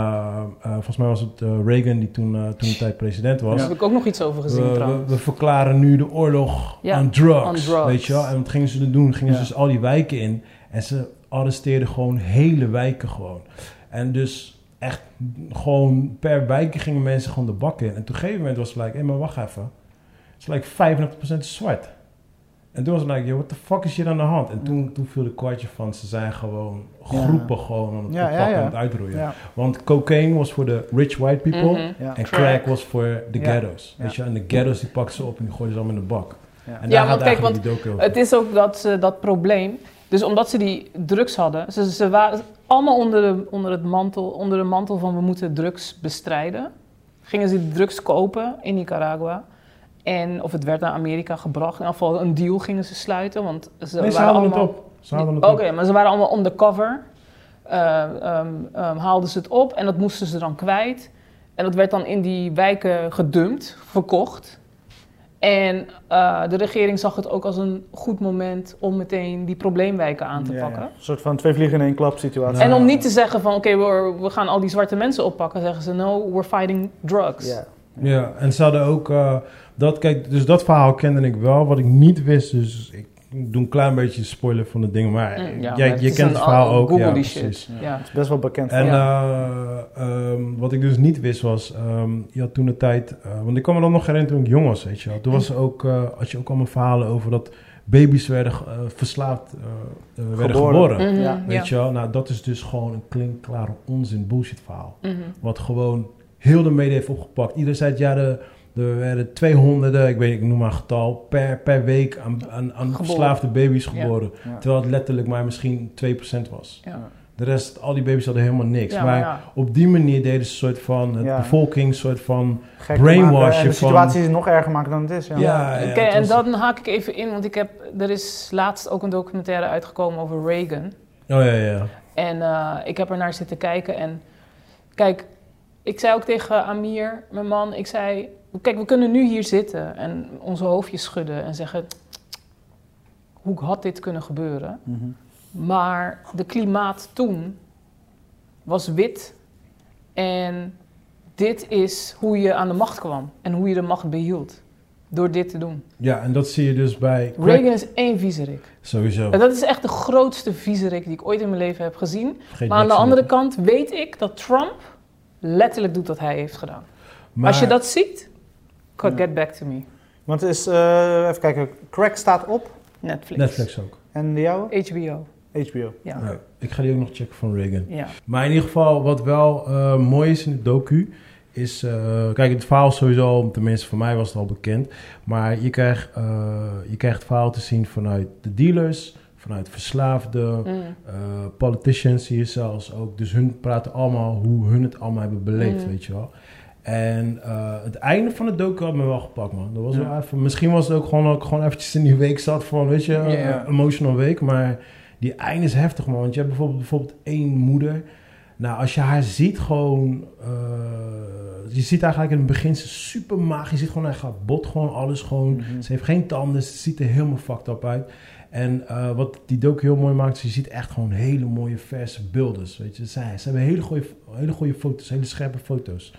eh, volgens mij was het eh, Reagan die toen eh, toen de tijd president was. Daar heb ik ook nog iets over gezien, We, we, trouwens. we verklaren nu de oorlog Ja, aan, drugs, aan drugs. Weet je wel? En wat gingen ze er doen? Gingen Ja. ze dus al die wijken in. En ze arresteerden gewoon hele wijken gewoon. En dus echt gewoon per wijk gingen mensen gewoon de bak in. En toen op een gegeven moment was het like, hé, maar wacht even. Het is like 85% zwart. En toen was het like, yo, what the fuck is hier aan de hand? En toen, toen viel de kwartje van, ze zijn gewoon Ja. groepen gewoon aan het Ja, ja, oppakken en ja. aan het uitroeien. Ja. Want cocaine was voor de rich white people. Mhm. Ja. En Crack. crack was voor de Ja. ghettos. Ja. Weet je, en de ghettos die pakken ze op en die gooien ze allemaal in de bak. Ja. En Ja, daar want gaat kijk, eigenlijk die docu over. Het is ook dat ze dat probleem. Dus omdat ze die drugs hadden, ze, ze waren allemaal onder de, onder, het mantel, onder de mantel van we moeten drugs bestrijden. Gingen ze die drugs kopen in Nicaragua. En of het werd naar Amerika gebracht. In ieder geval een deal gingen ze sluiten. Want ze nee, ze waren haalden het allemaal. op. Ze haalden het Oké, op. maar ze waren allemaal undercover. Eh, ehm, ehm, haalden ze het op en dat moesten ze dan kwijt. En dat werd dan in die wijken gedumpt, verkocht. En eh, de regering zag het ook als een goed moment om meteen die probleemwijken aan te Ja, ja. pakken. Een soort van twee vliegen in één klap situatie. Nou, Ja. En om niet te zeggen van oké, we, we gaan al die zwarte mensen oppakken, zeggen ze no, we're fighting drugs. Ja. Ja, en ze hadden ook... eh, dat, kijk, dus dat verhaal kende ik wel. Wat ik niet wist, dus ik doe een klein beetje spoiler van de dingen. Maar Mm, ja, jij, maar je is kent een- het verhaal ook. Google ja, die precies. shit. Ja. Het is best wel bekend. En verhaal. eh, ehm, wat ik dus niet wist was, ehm, je had toen de tijd, eh, want ik kan me dan nog herinneren toen ik jong was, weet je wel. Toen was er ook, eh, had je ook allemaal verhalen over dat baby's werden ge- eh, verslaafd, eh, eh, werden Geboren. geboren. Mhm, Ja, Weet je wel, nou dat is dus gewoon een klinkklare onzin bullshit verhaal. Mhm. Wat gewoon heel de media heeft opgepakt. Iedereen zei, het, ja, de, er werden 200, ik weet ik noem maar een getal, per, per week aan, aan, aan Geboren. verslaafde baby's Ja. geboren. Ja. Terwijl het letterlijk maar misschien 2% was. Ja. De rest, al die baby's hadden helemaal niks. Ja, maar maar ja. op die manier deden ze een soort van, het Ja. bevolking, een soort van... Gek brainwash maken en je de van- situatie is nog erger maken dan het is. Ja. Ja, ja, Oké, het en was- dan haak ik even in, want ik heb, er is laatst ook een documentaire uitgekomen over Reagan. Oh ja, ja. En eh, ik heb er naar zitten kijken. En kijk, ik zei ook tegen Amir, mijn man, ik zei: Kijk, we kunnen nu hier zitten en onze hoofdjes schudden en zeggen: Hoe had dit kunnen gebeuren? Mhm. Maar de klimaat toen was wit. En dit is hoe je aan de macht kwam en hoe je de macht behield. Door dit te doen. Ja, en dat zie je dus bij... crack. Reagan is één viezerik. Sowieso. En dat is echt de grootste viezerik die ik ooit in mijn leven heb gezien. Vergeet Maar aan de niks andere meer. kant weet ik dat Trump letterlijk doet wat hij heeft gedaan. Maar- Als je dat ziet, God, Ja. get back to me. Want het is, eh, even kijken, Crack staat op Netflix. Netflix ook. en de jouwe? HBO. HBO. Ja. Ja. Ik ga die ook nog checken van Reagan. ja. Maar in ieder geval, wat wel eh, mooi is in de docu, is... eh, kijk, het verhaal is sowieso, tenminste voor mij was het al bekend. Maar je krijgt, eh, je krijgt het verhaal te zien vanuit de dealers, vanuit verslaafden... Mm. eh, politicians zie je zelfs ook. Dus hun praten allemaal hoe hun het allemaal hebben beleefd, Mm. weet je wel. En eh, het einde van de docu had me wel gepakt, man. Dat was Ja. wel even, misschien was het ook gewoon, dat ik gewoon eventjes in die week zat van, weet je, eh, Ja. emotional week. Maar die einde is heftig, man. Want je hebt bijvoorbeeld, bijvoorbeeld één moeder. Nou, als je haar ziet gewoon... eh, je ziet eigenlijk in het begin, ze is super maag. Je ziet gewoon, hij gaat bot gewoon, alles gewoon. Mhm. Ze heeft geen tanden, ze ziet er helemaal fucked up uit. En eh, wat die docu heel mooi maakt, is je ziet echt gewoon hele mooie verse beelden. Weet je, ze, ze hebben hele goede, hele goede foto's, hele scherpe foto's.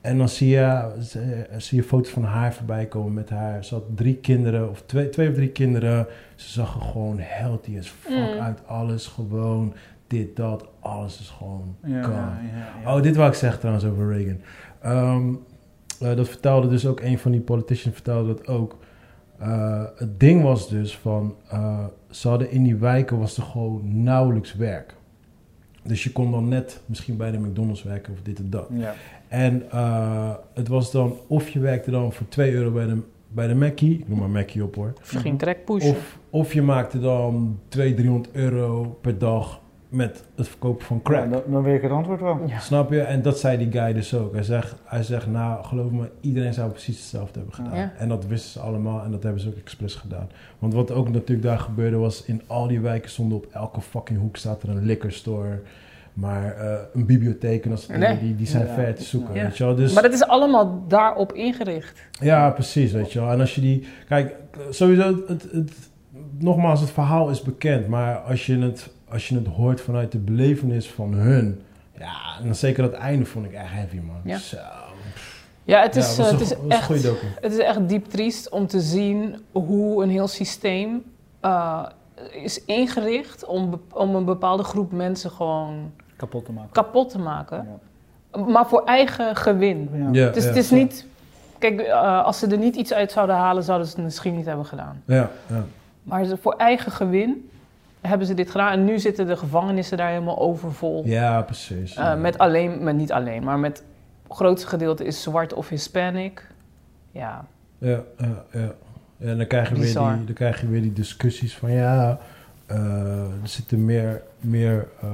En dan zie je, ze- eh, zie je foto's van haar voorbij komen met haar. Ze had drie kinderen, of twee, twee of drie kinderen. Ze zag er gewoon healthy as fuck Mm. uit. Alles gewoon, dit, dat, alles is gewoon Ja, kan. ja, ja. Oh, dit wou ik zeggen trouwens over Reagan. Ehm, eh, dat vertelde dus ook een van die politicians vertelde dat ook. Eh, het ding was dus van, eh, ze hadden in die wijken was er gewoon nauwelijks werk. Dus je kon dan net misschien bij de McDonald's werken of dit en dat. Ja. En eh, het was dan, of je werkte dan voor 2 euro bij de, bij de Mackie, ik noem maar Mackie op hoor. Of je ging direct pushen. Of, of je maakte dan 200, 300 euro per dag met het verkopen van crack. Ja, dan, dan weet ik het antwoord wel. Ja. Snap je? En dat zei die guy dus ook. Hij zegt, hij zegt nou geloof me, iedereen zou precies hetzelfde hebben gedaan. Ja. En dat wisten ze allemaal en dat hebben ze ook expres gedaan. Want wat ook natuurlijk daar gebeurde was, in al die wijken stonden op elke fucking hoek staat er een liquor store. Maar eh, een bibliotheek en dat soort dingen, Nee. die, die zijn Ja. ver te zoeken, Ja. weet je wel. Dus, Maar dat is allemaal daarop ingericht. ja, precies, weet je wel. En als je die... Kijk, sowieso, het, het, nogmaals, het verhaal is bekend. Maar als je, het, als je het hoort vanuit de belevenis van hun... Ja, en dan zeker dat einde vond ik echt heavy, man. Ja. Zo. Ja, het Ja, is, was eh, een het is go- was een echt... goede docu. Het is echt diep triest om te zien hoe een heel systeem eh, is ingericht om, be- om een bepaalde groep mensen gewoon Kapot te maken. kapot te maken. Maar voor eigen gewin. Ja. Ja, Dus ja. het is niet. Kijk, eh, als ze er niet iets uit zouden halen, zouden ze het misschien niet hebben gedaan. Ja, ja. Maar ze- voor eigen gewin hebben ze dit gedaan. En nu zitten de gevangenissen daar helemaal overvol. ja precies. Eh, met alleen, met niet alleen, maar met het grootste gedeelte is zwart of Hispanic. Ja, Ja, ja, ja. Ja, En dan krijg, je weer Bizar. die, dan krijg je weer die discussies van ja, eh, er zitten meer, meer ehm,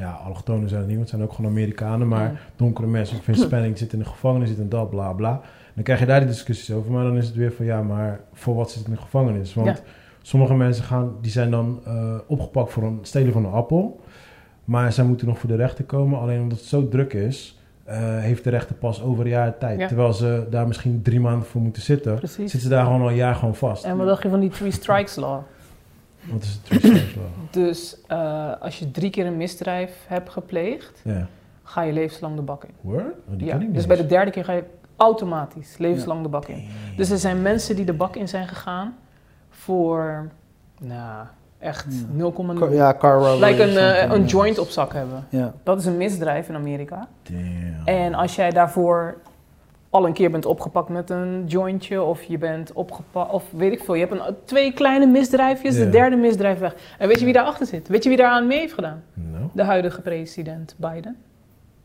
ja, allochtonen zijn het niet, want het zijn ook gewoon Amerikanen, maar Mm. donkere mensen of Hispanic zitten in de gevangenis, zitten en dat, bla bla. Dan krijg je daar die discussies over, maar dan is het weer van ja, maar voor wat zit het in de gevangenis? Want Ja. sommige mensen gaan, die zijn dan eh, opgepakt voor een stelen van een appel, maar zij moeten nog voor de rechter komen, alleen omdat het zo druk is. eh, heeft de rechter pas over een jaar tijd. Ja. Terwijl ze daar misschien drie maanden voor moeten zitten. precies. Zitten ze daar gewoon al een jaar gewoon vast. En wat dacht je van die three strikes law? Wat is het precies wel? Dus eh, als je drie keer een misdrijf hebt gepleegd, Ja. ga je levenslang de bak in. Word? Oh, die Ja, ken ik niet dus bij de eens. derde keer ga je automatisch levenslang de bak in. Damn. Dus er zijn mensen die de bak in zijn gegaan voor, nou, echt Ja. 0,0. Ka- Ja, car robbery Lijkt een, of eh, something. een joint op zak hebben. Ja. Dat is een misdrijf in Amerika. Damn. En als jij daarvoor al een keer bent opgepakt met een jointje, of je bent opgepakt, of weet ik veel, je hebt een, twee kleine misdrijfjes, Ja. de derde misdrijf weg. En weet je wie daarachter zit? Weet je wie daaraan mee heeft gedaan? Nou, De huidige president Biden.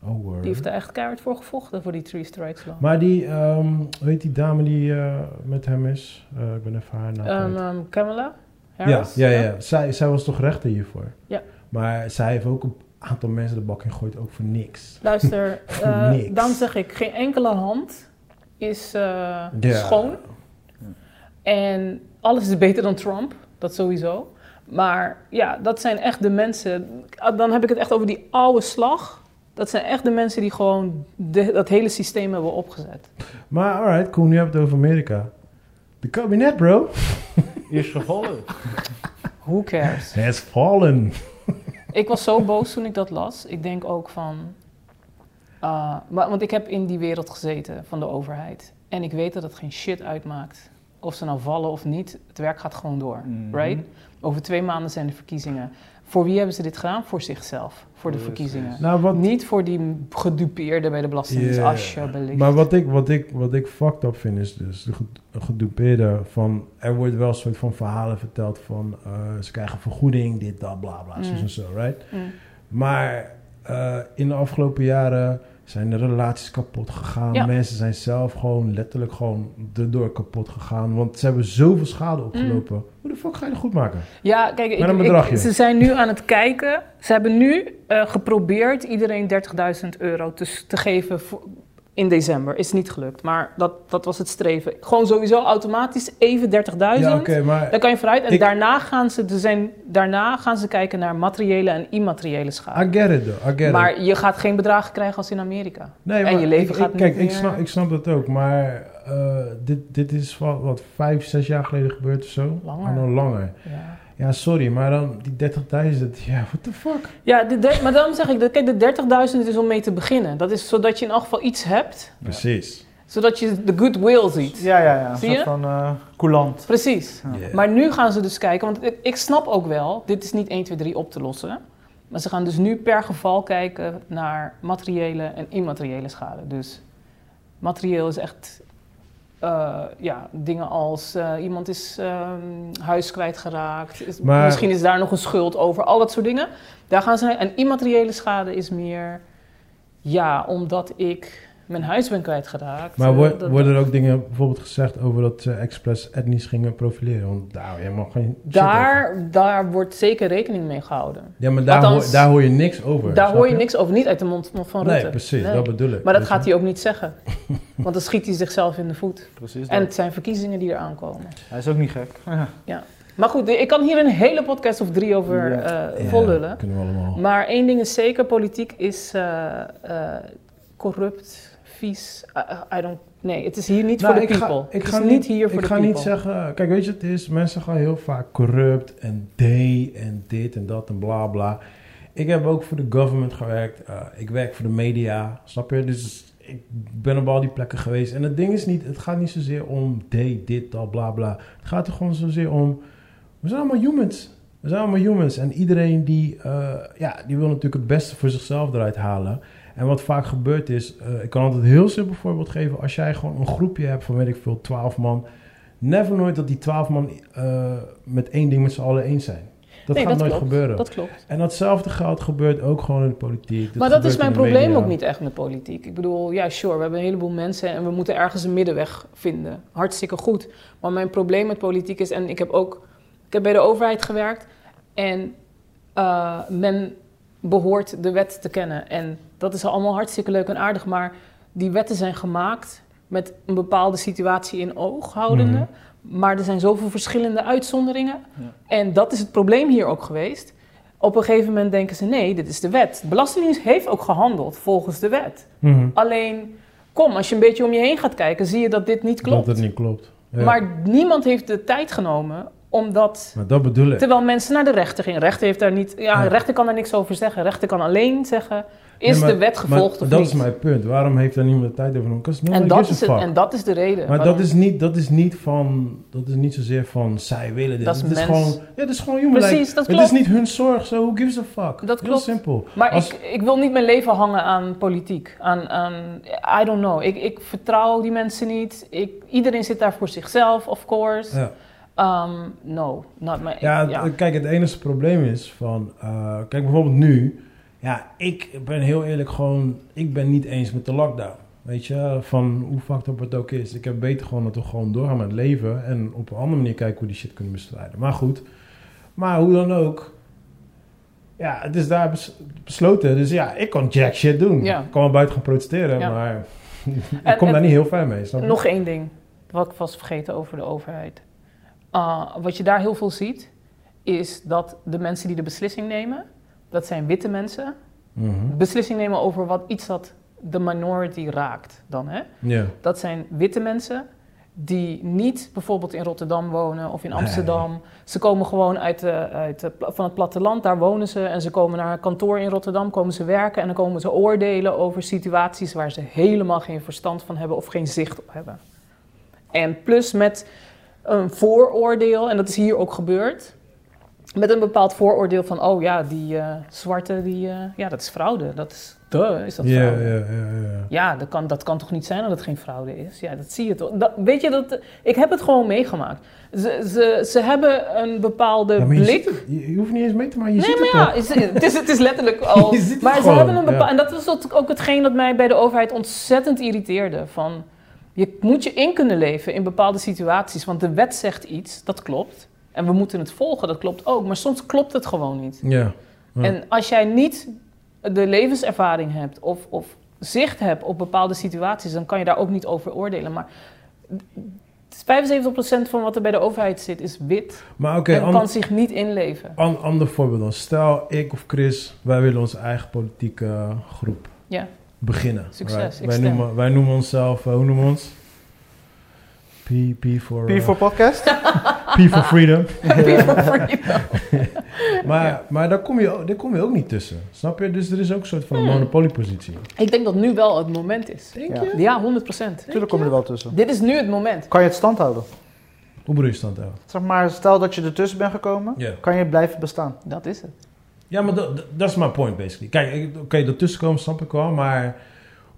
oh word. Die heeft daar echt keihard voor gevochten, voor die three strikes law. Maar die, ehm weet die dame die eh, met hem is? Eh, ik ben even haar naam. Ehm, kwijt. ehm, Kamala ja, Harris? ja, ja. Zij, zij was toch rechter hiervoor? Ja. Maar zij heeft ook een aantal mensen de bak in gegooid, ook voor niks. Luister, eh, Niks. dan zeg ik, geen enkele hand is eh, Ja. schoon. En alles is beter dan Trump, dat sowieso. Maar ja, dat zijn echt de mensen. ah, Dan heb ik het echt over die oude slag. Dat zijn echt de mensen die gewoon de- dat hele systeem hebben opgezet. Maar alright, cool, nu hebben we het over Amerika. De kabinet, bro. Is gevallen. Who cares? Has fallen. Ik was zo boos toen ik dat las. Ik denk ook van. eh, maar, want ik heb in die wereld gezeten van de overheid. En ik weet dat het geen shit uitmaakt. Of ze nou vallen of niet. Het werk gaat gewoon door. Mhm. Right? Over twee maanden zijn de verkiezingen. Voor wie hebben ze dit gedaan? Voor zichzelf. Voor de Precies. verkiezingen. Nou, wat, Niet voor die gedupeerden bij de Belastingdienst, Ja. alsjeblieft. Maar wat ik, wat, ik, wat ik fucked up vind is dus de ged- gedupeerde van... Er wordt wel een soort van verhalen verteld van... eh, ze krijgen vergoeding, dit, dat, bla, bla, Mm. zo en zo, right? Mm. Maar eh, in de afgelopen jaren zijn de relaties kapot gegaan. Ja. Mensen zijn zelf gewoon letterlijk gewoon erdoor kapot gegaan. Want ze hebben zoveel Mm. schade opgelopen. Hoe de fuck ga je dat goed maken? Ja, kijk, ik, Met een ik- bedragje. ze zijn nu aan het kijken. Ze hebben nu eh, geprobeerd iedereen 30.000 euro te, s- te geven voor- in december. Is niet gelukt, maar dat, dat was het streven. Gewoon sowieso automatisch even 30.000. Ja, oké, maar... Dan kan je vooruit. En Ik- daarna, gaan ze, er zijn, daarna gaan ze kijken naar materiële en immateriële schade. I get it, though. I get it. Maar je gaat geen bedragen krijgen als in Amerika. Nee, En maar je leven ik- gaat ik, Kijk, niet ik, snap, meer- ik snap dat ook, maar eh, dit, dit is wat, wat vijf, zes jaar geleden gebeurd of zo. Langer. Ah, nou, langer. Ja. Ja, sorry, maar dan die 30.000, ja, what the fuck? Ja, de der- maar daarom zeg ik, dat- kijk, de 30.000 is om mee te beginnen. Dat is zodat je in elk geval iets hebt, Precies. zodat je de goodwill ziet. Ja, ja, ja. Een Zie soort je? van eh coulant. Precies. Ja. Yeah. Maar nu gaan ze dus kijken, want ik, ik snap ook wel, dit is niet 1, 2, 3 op te lossen. Maar ze gaan dus nu per geval kijken naar materiële en immateriële schade. Dus materieel is echt eh, ja, dingen als eh, iemand is ehm, huis kwijtgeraakt, is, Maar- misschien is daar nog een schuld over, al dat soort dingen. Daar gaan ze naar. En immateriële schade is meer, ja, omdat ik mijn huis ben kwijtgeraakt. Maar eh, wo- dat- worden er ook dingen bijvoorbeeld gezegd over dat ze expres etnisch gingen profileren? Want daar hou je helemaal geen shit over. daar, daar wordt zeker rekening mee gehouden. Ja, maar daar, Althans, hoor, daar hoor je niks over. Daar snap hoor je niks over, niet uit de mond van Rutte. Nee, precies, Nee. dat bedoel ik. Maar dat Dus- gaat hij ook niet zeggen. Want dan schiet hij zichzelf in de voet. Precies. En het zijn verkiezingen die eraan komen. Hij is ook niet gek. Ja. Maar goed, ik kan hier een hele podcast of drie over Ja. eh Ja, vol lullen. Kunnen we allemaal. Maar één ding is zeker, politiek is eh, eh, corrupt, vies. I- I- I don't, nee, het is hier niet Nou, voor de ik ga- people. ik Het ga is niet hier voor de ik ga people. niet zeggen, eh, kijk, weet je, het is, mensen gaan heel vaak corrupt en day en dit en dat en bla bla. Ik heb ook voor de government gewerkt, eh, ik werk voor de media, snap je? Dus ik ben op al die plekken geweest. En het ding is niet, het gaat niet zozeer om day, dit, dat, bla bla. Het gaat er gewoon zozeer om, we zijn allemaal humans. We zijn allemaal humans en iedereen die, eh, ja, die wil natuurlijk het beste voor zichzelf eruit halen. En wat vaak gebeurt is, eh, ik kan altijd een heel simpel voorbeeld geven. Als jij gewoon een groepje hebt van, weet ik veel, 12 man. Never nooit dat die 12 man eh, met één ding met z'n allen eens zijn. Dat Nee, gaat nooit klopt. gebeuren. Dat klopt. En datzelfde geld gebeurt ook gewoon in de politiek. maar dat is gebeurt mijn in de probleem media. ook niet echt met politiek. Ik bedoel, ja, sure, we hebben een heleboel mensen en we moeten ergens een middenweg vinden. Hartstikke goed. Maar mijn probleem met politiek is, en ik heb ook ik heb bij de overheid gewerkt en eh, men behoort de wet te kennen. En dat is allemaal hartstikke leuk en aardig, maar die wetten zijn gemaakt met een bepaalde situatie in oog houdende. Mhm. Maar er zijn zoveel verschillende uitzonderingen. En dat is het probleem hier ook geweest. Op een gegeven moment denken ze: nee, dit is de wet. De Belastingdienst heeft ook gehandeld volgens de wet. Mhm. Alleen, kom, als je een beetje om je heen gaat kijken, zie je dat dit niet klopt. Dat het niet klopt. Ja. Maar niemand heeft de tijd genomen om dat. Maar dat bedoel ik. Terwijl mensen naar de rechter gingen. Rechter, heeft daar niet, ja, Ja. rechter kan daar niks over zeggen. Rechter kan alleen zeggen: is Nee, maar- de wet gevolgd maar of dat niet? is mijn punt. Waarom heeft daar niemand de tijd over? Because nobody en, dat gives is a het, fuck. en dat is de reden. Maar waarom- dat is, niet, dat is niet van, dat is niet zozeer van zij willen dit. Dat is het is mens. gewoon, ja, dat is gewoon human. Precies, like, dat Het klopt. is niet hun zorg, zo who gives a fuck. Dat Heel klopt. simpel. Maar Als- ik, ik wil niet mijn leven hangen aan politiek. Aan, aan I don't know. Ik, ik vertrouw die mensen niet. Ik, iedereen zit daar voor zichzelf, of course. Ja, Um, no, not my... ja, ja. het- kijk, het enige probleem is van, eh, kijk bijvoorbeeld nu, ja, ik ben heel eerlijk gewoon, ik ben niet eens met de lockdown. Weet je, van hoe fucked up het ook is. Ik heb beter gewoon dat we gewoon doorgaan met het leven en op een andere manier kijken hoe die shit kunnen bestrijden. Maar goed, maar hoe dan ook, ja, het is daar bes- besloten. Dus ja, ik kan jack shit doen. Ja. Ik kan wel buiten gaan protesteren, Ja. maar ik En- kom en- daar niet heel ver mee. Snap je? Nog één ding, wat ik was vergeten over de overheid. Uh, wat je daar heel veel ziet, is dat de mensen die de beslissing nemen... dat zijn witte mensen. Mhm. Beslissing nemen over wat iets dat de minority raakt dan, hè? Ja. Dat zijn witte mensen die niet bijvoorbeeld in Rotterdam wonen of in Nee. Amsterdam. Ze komen gewoon uit de, uit de pla- van het platteland, daar wonen ze. En ze komen naar een kantoor in Rotterdam, komen ze werken. En dan komen ze oordelen over situaties waar ze helemaal geen verstand van hebben of geen zicht op hebben. En plus met een vooroordeel, en dat is hier ook gebeurd. Met een bepaald vooroordeel van, oh ja, die eh, zwarte, die, eh, ja, dat is fraude. Dat is, duh, is dat Ja, fraude. ja, ja, ja. Ja, dat kan, dat kan toch niet zijn dat het geen fraude is? Ja, dat zie je toch. Dat, weet je, dat, ik heb het gewoon meegemaakt. Ze, ze, ze hebben een bepaalde Ja, maar je blik. ziet het- je, je hoeft niet eens mee te maken, je nee, ziet maar het ja, toch. is- het is, het is letterlijk al. Je ziet het maar ze gewoon, hebben een bepaalde. ja. En dat was ook- ook hetgeen dat mij bij de overheid ontzettend irriteerde. Van, je moet je in kunnen leven in bepaalde situaties. Want de wet zegt iets, dat klopt. En we moeten het volgen, dat klopt ook. Maar soms klopt het gewoon niet. Ja. Ja. En als jij niet de levenservaring hebt of, of zicht hebt op bepaalde situaties, dan kan je daar ook niet over oordelen. Maar het 75% van wat er bij de overheid zit is wit Maar oké, en ander- kan zich niet inleven. an- ander voorbeeld dan. Stel, ik of Chris, wij willen onze eigen politieke eh, groep Ja. beginnen. Succes, ik Wij, stem. noemen, wij noemen onszelf, eh, hoe noemen we ons? P, P voor... P voor podcast? P for Freedom. People freedom. Maar, maar daar, kom je, ook- daar kom je ook niet tussen. Snap je? Dus er is ook een soort van een monopoliepositie. Ik denk dat nu wel het moment is. Denk Ja. je? Ja, 100%. Natuurlijk kom je er wel tussen. Dit is nu het moment. Kan je het stand houden? Hoe bedoel je stand houden? Zeg maar, stel dat je ertussen bent gekomen, Ja. kan je blijven bestaan. Dat is het. Ja, maar dat, dat- dat is mijn point basically. Kijk, ik- oké, dat tussenkomen snap ik wel, maar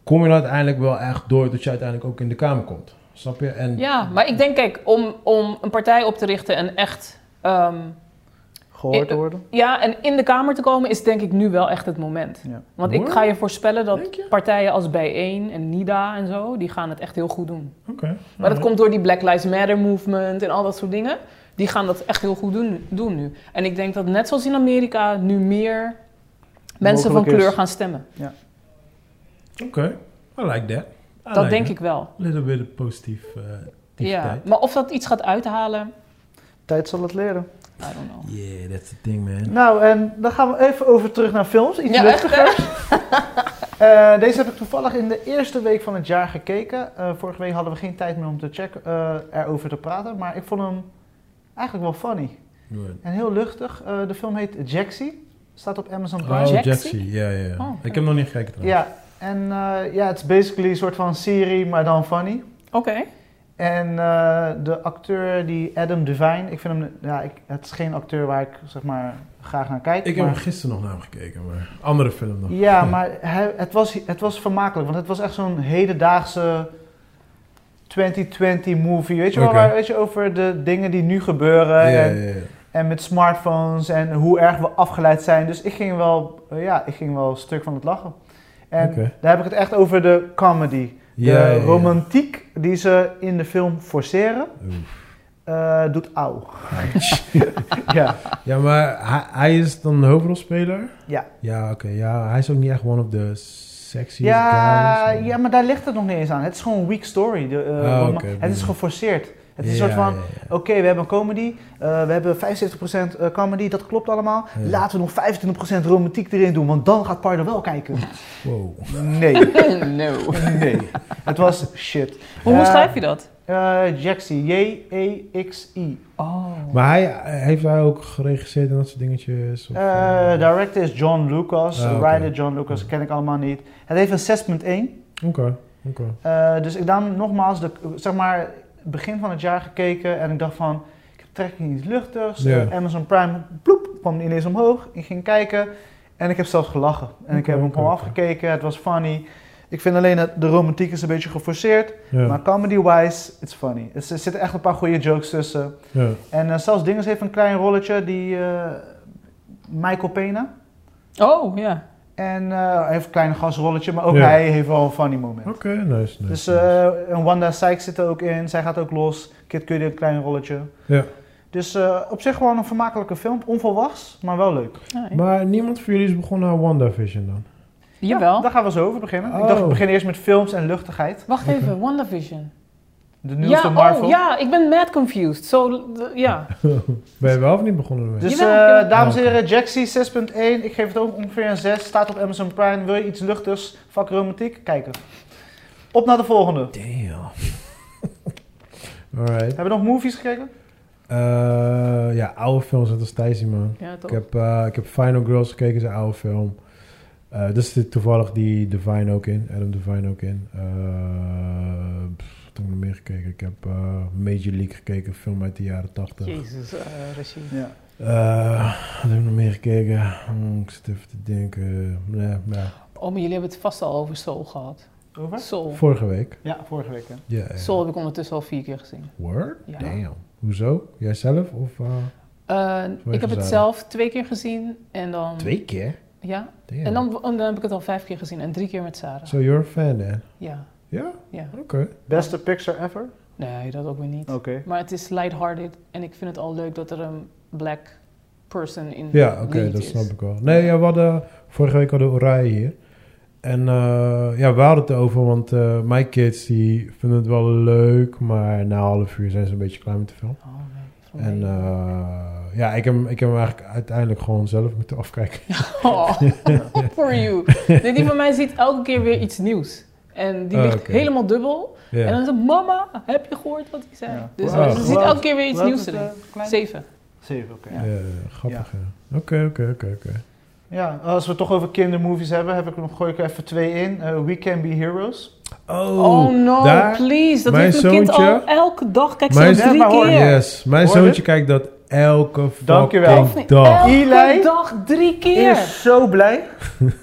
kom je er uiteindelijk wel echt door dat je uiteindelijk ook in de Kamer komt? Snap je? En Ja, maar ik denk, kijk, om, om een partij op te richten en echt ehm, Gehoord Ik- te worden. Ja, en in de Kamer te komen is denk ik nu wel echt het moment. Ja. Want ik ga je voorspellen Denk dat je? partijen als Bijeen en NIDA en zo, die gaan het echt heel goed doen. Oké. Ah, Maar Mhm. dat komt door die Black Lives Matter movement en al dat soort dingen. Die gaan dat echt heel goed doen, doen nu. En ik denk dat net zoals in Amerika nu meer mensen van Mogelijk is. kleur gaan stemmen. Oké, I like that. I dat like denk that. ik wel. A little bit of positief eh Ja. activiteit. Maar of dat iets gaat uithalen, Tijd zal het leren. I don't know. Yeah, that's the thing, man. Nou, en dan gaan we even over terug naar films. Iets Ja, echt, luchtiger. Eh, deze heb ik toevallig in de eerste week van het jaar gekeken. Eh, vorige week hadden we geen tijd meer om te checken, eh, erover te praten. Maar ik vond hem eigenlijk wel funny. Good. En heel luchtig. Eh, de film heet Jaxie. Staat op Amazon Prime. Oh, Jaxie? Jaxie, ja, ja. Oh, ik heb hem nog niet gekeken trouwens. Ja, en eh, ja, het is basically een soort van serie, maar dan funny. Oké. En eh, de acteur, die Adam Devine, ik vind hem, ja, ik, het is geen acteur waar ik zeg maar graag naar kijk. Ik heb hem maar- gisteren nog naar hem gekeken, maar andere film nog. Ja, maar hij- het, was, het was vermakelijk, want het was echt zo'n hedendaagse 2020 movie. Weet je wel, Oké. waar, weet je, over de dingen die nu gebeuren Ja, eh, ja, en, ja. en met smartphones en hoe erg we afgeleid zijn. Dus ik ging wel, eh, ja, ik ging wel een stuk van het lachen. En Oké. daar heb ik het echt over de comedy. De Ja, ja, ja. romantiek die ze in de film forceren, Oef. eh, doet auw. ja. Ja, maar hij, hij is dan de hoofdrolspeler? Ja. Ja, oké. Ja, hij is ook niet echt one of the sexiest Ja, guys. ja, maar daar ligt het nog niet eens aan. Het is gewoon een weak story. De, eh, Ah, roman- oké, het is prima. geforceerd. Het is Ja, een soort van, ja, oké, we hebben een comedy, eh, we hebben 75% eh, comedy, dat klopt allemaal. Ja. Laten we nog 25% romantiek erin doen, want dan gaat Pardo wel kijken. ja. Wow. Nee, no. nee. Het was shit. Hoe, hoe Eh, schrijf je dat? eh, Jaxie, E J-E-X-I. Oh. Maar hij, heeft hij ook geregisseerd en dat soort dingetjes? Of, Eh eh, director is John Lucas, Ah, oké. writer John Lucas, ken ik allemaal niet. Het heeft een 6.1. Oké, oké. Eh, dus ik daarom nogmaals, de, zeg maar, begin van het jaar gekeken en ik dacht van, ik heb trek in iets luchtigs. Ja. Eh, Amazon Prime, ploep, kwam die ineens omhoog. Ik ging kijken en ik heb zelfs gelachen. En ik Oké, heb hem oké, gewoon oké. afgekeken, het was funny. Ik vind alleen dat de romantiek is een beetje geforceerd, Ja, maar comedy-wise, it's funny. Er zitten echt een paar goede jokes tussen. ja. En eh, zelfs Dinges heeft een klein rolletje, die eh, Michael Pena. Oh, ja. En eh, hij heeft een klein gasrolletje, maar ook Ja. hij heeft wel een funny moment. Oké, nice, nice. Dus nice. eh en Wanda Sykes zit er ook in. Zij gaat ook los. Kid Cudi een klein rolletje. Ja. Dus eh, op zich gewoon een vermakelijke film. Onvolwachts, maar wel leuk. Ah, Maar niemand van jullie is begonnen aan WandaVision dan? Jawel. Daar gaan we zo over beginnen. Oh. Ik dacht, we beginnen eerst met films en luchtigheid. Wacht even, WandaVision. De nieuwste ja, Marvel. Oh, ja, ik ben mad confused. Zo, d- ja. ben je wel of niet begonnen ermee? Dus Jawel, eh, jawel. dames en Oké. heren, Jaxie 6.1. Ik geef het ook ongeveer een 6. Staat op Amazon Prime. Wil je iets luchtigs? Vak romantiek? Kijken. Op naar de volgende. Damn. Alright. Hebben we nog movies gekeken? Eh, ja, oude films, net als Thijsie, man. ja toch. Ik heb, eh, ik heb Final Girls gekeken, is een oude film. Eh dus er zit toevallig die Divine ook in, Adam Divine ook in. Eh pff, wat heb ik nog meer gekeken? Ik heb eh, Major League gekeken, een film uit de jaren 80. Jezus, eh regie. Ja. Eh, wat heb ik nog meer gekeken? Hmm, ik zit even te denken. Nee, nee. Oh, maar jullie hebben het vast al over Soul gehad. Over? Soul. Vorige week. Ja, vorige week. Hè. Ja. ja. Soul heb ik ondertussen al vier keer gezien. Word? Ja. Damn. Hoezo? Jijzelf? Of eh, Eh, ik heb gezellig. het zelf twee keer gezien en dan... twee keer? Ja, Damn. en dan, en dan heb ik het al vijf keer gezien en drie keer met Sarah. So you're a fan, hè? Ja, Ja? ja. Oké. Beste Pixar ever? Nee, dat ook weer niet. Oké. Maar het is lighthearted en ik vind het al leuk dat er een black person in Ja, oké, lead dat is. snap ik wel. Nee, ja, we hadden, vorige week hadden we Oranje hier. En eh, ja, we hadden het over, want eh, mijn kids die vinden het wel leuk, maar na een half uur zijn ze een beetje klaar met de film. Oh, nee. voor En mij. eh, ja, ik heb, hem- ik heb hem eigenlijk uiteindelijk gewoon zelf moeten afkijken. Oh, for you. Nee, die van mij ziet elke keer weer iets nieuws. En die Oh, ligt oké. helemaal dubbel. Ja. En dan is het, mama, heb je gehoord wat ik zei? Ja. Dus Wow. ze ziet Wow. elke keer weer iets Hoe oud nieuws is het, erin. eh, klein? Zeven. Zeven, oké. Ja, Ja. grappig, ja. Oké, oké, oké, oké. als we het toch over kindermovies hebben, heb ik er nog, gooi ik er even twee in. Eh, We Can Be Heroes. Oh, no, daar- please. Dat mijn heeft mijn kind zoontje- al elke dag. Kijk, ze Mijn al zo- Ja, drie maar hoor, keer. Yes, mijn Hoor je? zoontje kijkt dat elke Dankjewel. fucking Of- dag. Elke Eli dag drie keer. Is zo blij.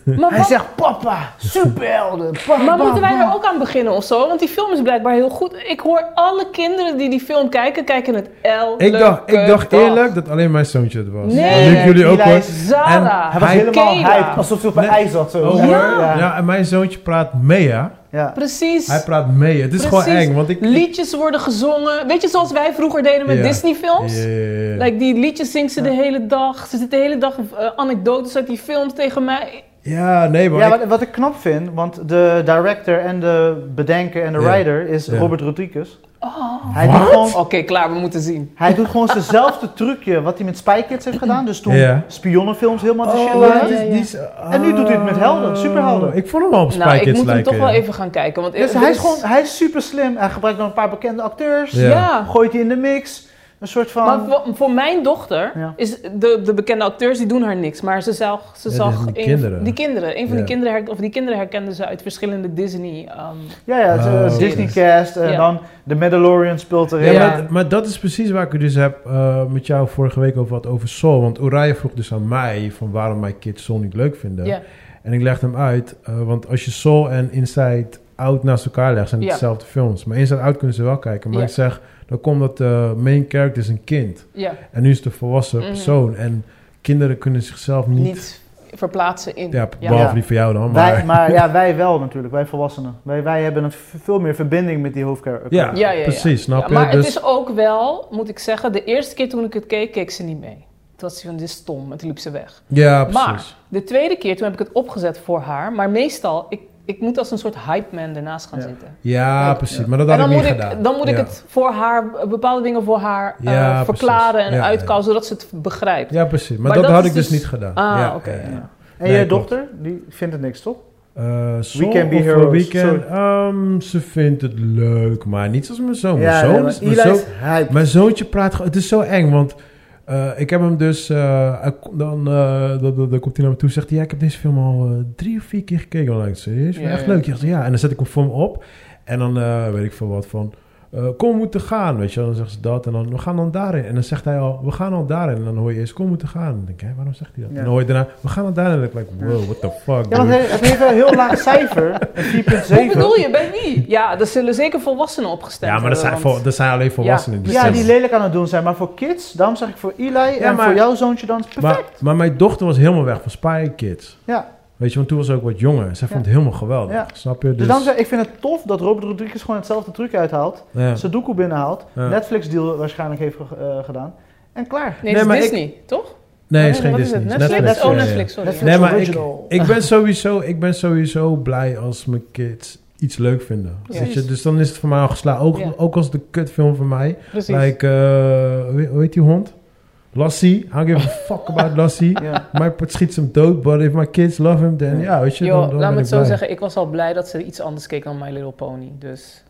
Maar, Hij wat- zegt, papa, superhelden. bam, maar bam, moeten wij bam." er ook aan beginnen of zo? Want die film is blijkbaar heel goed. Ik hoor alle kinderen die die film kijken, kijken het elke Ik dacht, ik dacht dag. eerlijk dat alleen mijn zoontje het was. Nee. Nu ik jullie ook Eli hoor. is- Zara. Hij was helemaal Keda. hyped, alsof hij op een Nee. ijs zat. Zo. Oh, Ja. hoor. Ja. Ja, en mijn zoontje praat mee, hè? Ja. Precies. Hij praat mee. Het is Precies. gewoon eng, want ik... Liedjes worden gezongen. Weet je, zoals wij vroeger deden met Ja. Disney-films? Ja, ja, ja, ja. Like, die liedjes zingt ze de hele dag. Ze zit de hele dag eh, anekdotes uit die films tegen mij. Ja, nee, maar Ja, ik- wat, wat ik knap vind, want de director en de bedenker en de Ja. writer is Ja. Robert Rodriguez. Oh. Hij doet, Wat? gewoon, Oké, klaar, we moeten zien. hij doet gewoon zijnzelfde trucje wat hij met Spy Kids heeft gedaan. Dus toen Ja. spionnenfilms helemaal de shit Oh, waren. die is- ja, ja. die is- En nu doet hij het met helden, superhelden. Ik vond hem al op Spy nou, ik Kids moet hem lijken, toch wel ja. even gaan kijken. Want Dus er hij is gewoon, hij is super slim. Hij gebruikt dan een paar bekende acteurs. Ja. Ja, Gooit die in de mix. Een soort van... maar voor, voor mijn dochter Ja. is de, de bekende acteurs die doen haar niks. Maar ze zag, ze Ja, zag die- die een- kinderen. die kinderen. Een van die Ja. kinderen, her- of die kinderen herkende ze uit verschillende Disney. ehm, ja, ja, Oh, oké. Disneycast en Ja. dan The Mandalorian speelt Ja, erin. maar, Ja. dat, maar dat is precies waar ik het dus heb eh, met jou vorige week over wat over Sol. Want Oraya vroeg dus aan mij van waarom mijn kids Sol niet leuk vinden. Ja. En ik legde hem uit, eh, want als je Sol en Inside Out naast elkaar legt, zijn het Ja. dezelfde films. Maar Inside Out kunnen ze wel kijken. Maar Ja. ik zeg, dan komt dat de main character is een kind. ja, En nu is het een volwassen Mhm. persoon. En kinderen kunnen zichzelf niet... niet verplaatsen in. ja, Ja. behalve Ja. die van jou dan, maar... Wij, maar ja, wij wel natuurlijk, wij volwassenen. Wij, wij hebben een v- veel meer verbinding met die hoofdcharacter. ja, Ja, ja, ja. precies, snap Ja, je? maar dus, het is ook wel, moet ik zeggen, de eerste keer toen ik het keek, keek ze niet mee. Toen was ze van, dit is stom, en toen liep ze weg. ja, precies. Maar de tweede keer, toen heb ik het opgezet voor haar. Maar meestal, ik, ik moet als een soort hype man ernaast gaan Ja. zitten. Ja, Ja. precies. Maar dat En dan had ik niet moet ik, gedaan. dan moet ik Ja. het voor haar, bepaalde dingen voor haar eh, Ja, precies. verklaren en Ja, ja. uitkouwen, zodat ze het begrijpt. Ja, precies. Maar, Maar dat, dat had is ik dus dus- niet gedaan. Ah, ja, oké, ja. En Nee, je klopt. dochter, die vindt het niks, toch? Eh, Soul Can Be of Heroes, Weekend, ehm, ze vindt het leuk, maar niet zoals mijn zoon. ja, mijn, ja, zoon maar is- mijn, Eli zoon- is hyped. mijn zoontje praat gewoon... Het is zo eng, want eh, ik heb hem dus... eh, hij ko- dan, eh, dan, dan, dan komt hij naar me toe en zegt... hij, Ja, ik heb deze film al eh, drie of vier keer gekeken. Dan denk ik, serieus? Vind je Ja, echt ja. leuk? Ja, ik zeg, ja. En dan zet ik hem voor me op. En dan eh, weet ik veel wat van... eh, kom, we moeten gaan, weet je wel. Dan zegt ze dat en dan, we gaan dan daarin. En dan zegt hij al, we gaan al daarin. En dan hoor je eerst, kom, we moeten gaan. En dan denk ik, hè, waarom zegt hij dat? Ja. En dan hoor je daarna, we gaan al daarin. En dan denk ik, Ja. wow, what the fuck, Ja, want dude. hij- het heeft wel een heel laag cijfer, een 4,7. Hoe bedoel je, bij wie? Ja, er zullen zeker volwassenen opgestemd Ja, maar dat zijn, hebben, want- vol- dat zijn alleen volwassenen. die Ja, stemmen. die lelijk aan het doen zijn. Maar voor kids, daarom zeg ik voor Eli en maar- voor jouw zoontje dan, perfect. maar, maar mijn dochter was helemaal weg van Spy Kids. ja. Weet je, want toen was ze ook wat jonger. Zij vond Ja. het helemaal geweldig. Ja. Snap je? Dus, Dus daarom zeg ik, ik vind het tof dat Robert Rodriguez gewoon hetzelfde truc uithaalt. ja. Sudoku binnenhaalt, Ja. Netflix deal waarschijnlijk heeft ge- eh, gedaan. En klaar. Nee, Nee, het maar is ik- Disney, toch? Oh, Nee, het is geen Wat Disney. Is het het? is Netflix? ja, Oh, ja, ja. Netflix, sorry. Netflix. Nee, maar ik, Original. ik, ben sowieso, ik ben sowieso blij als mijn kids iets leuk vinden. Precies. Weet je? Dus dan is het voor mij al geslaagd. Ook, Ja. ook als de kutfilm van mij. Precies. Like, eh, hoe- hoe heet die hond? Lassie. I don't give a fuck about Lassie. Ja. Maar het schiet hem dood. But if my kids love him, then Ja. ja, weet je. Yo, dan, dan laat ben me ik het zo blij. zeggen, ik was al blij dat ze iets anders keek dan My Little Pony. Dus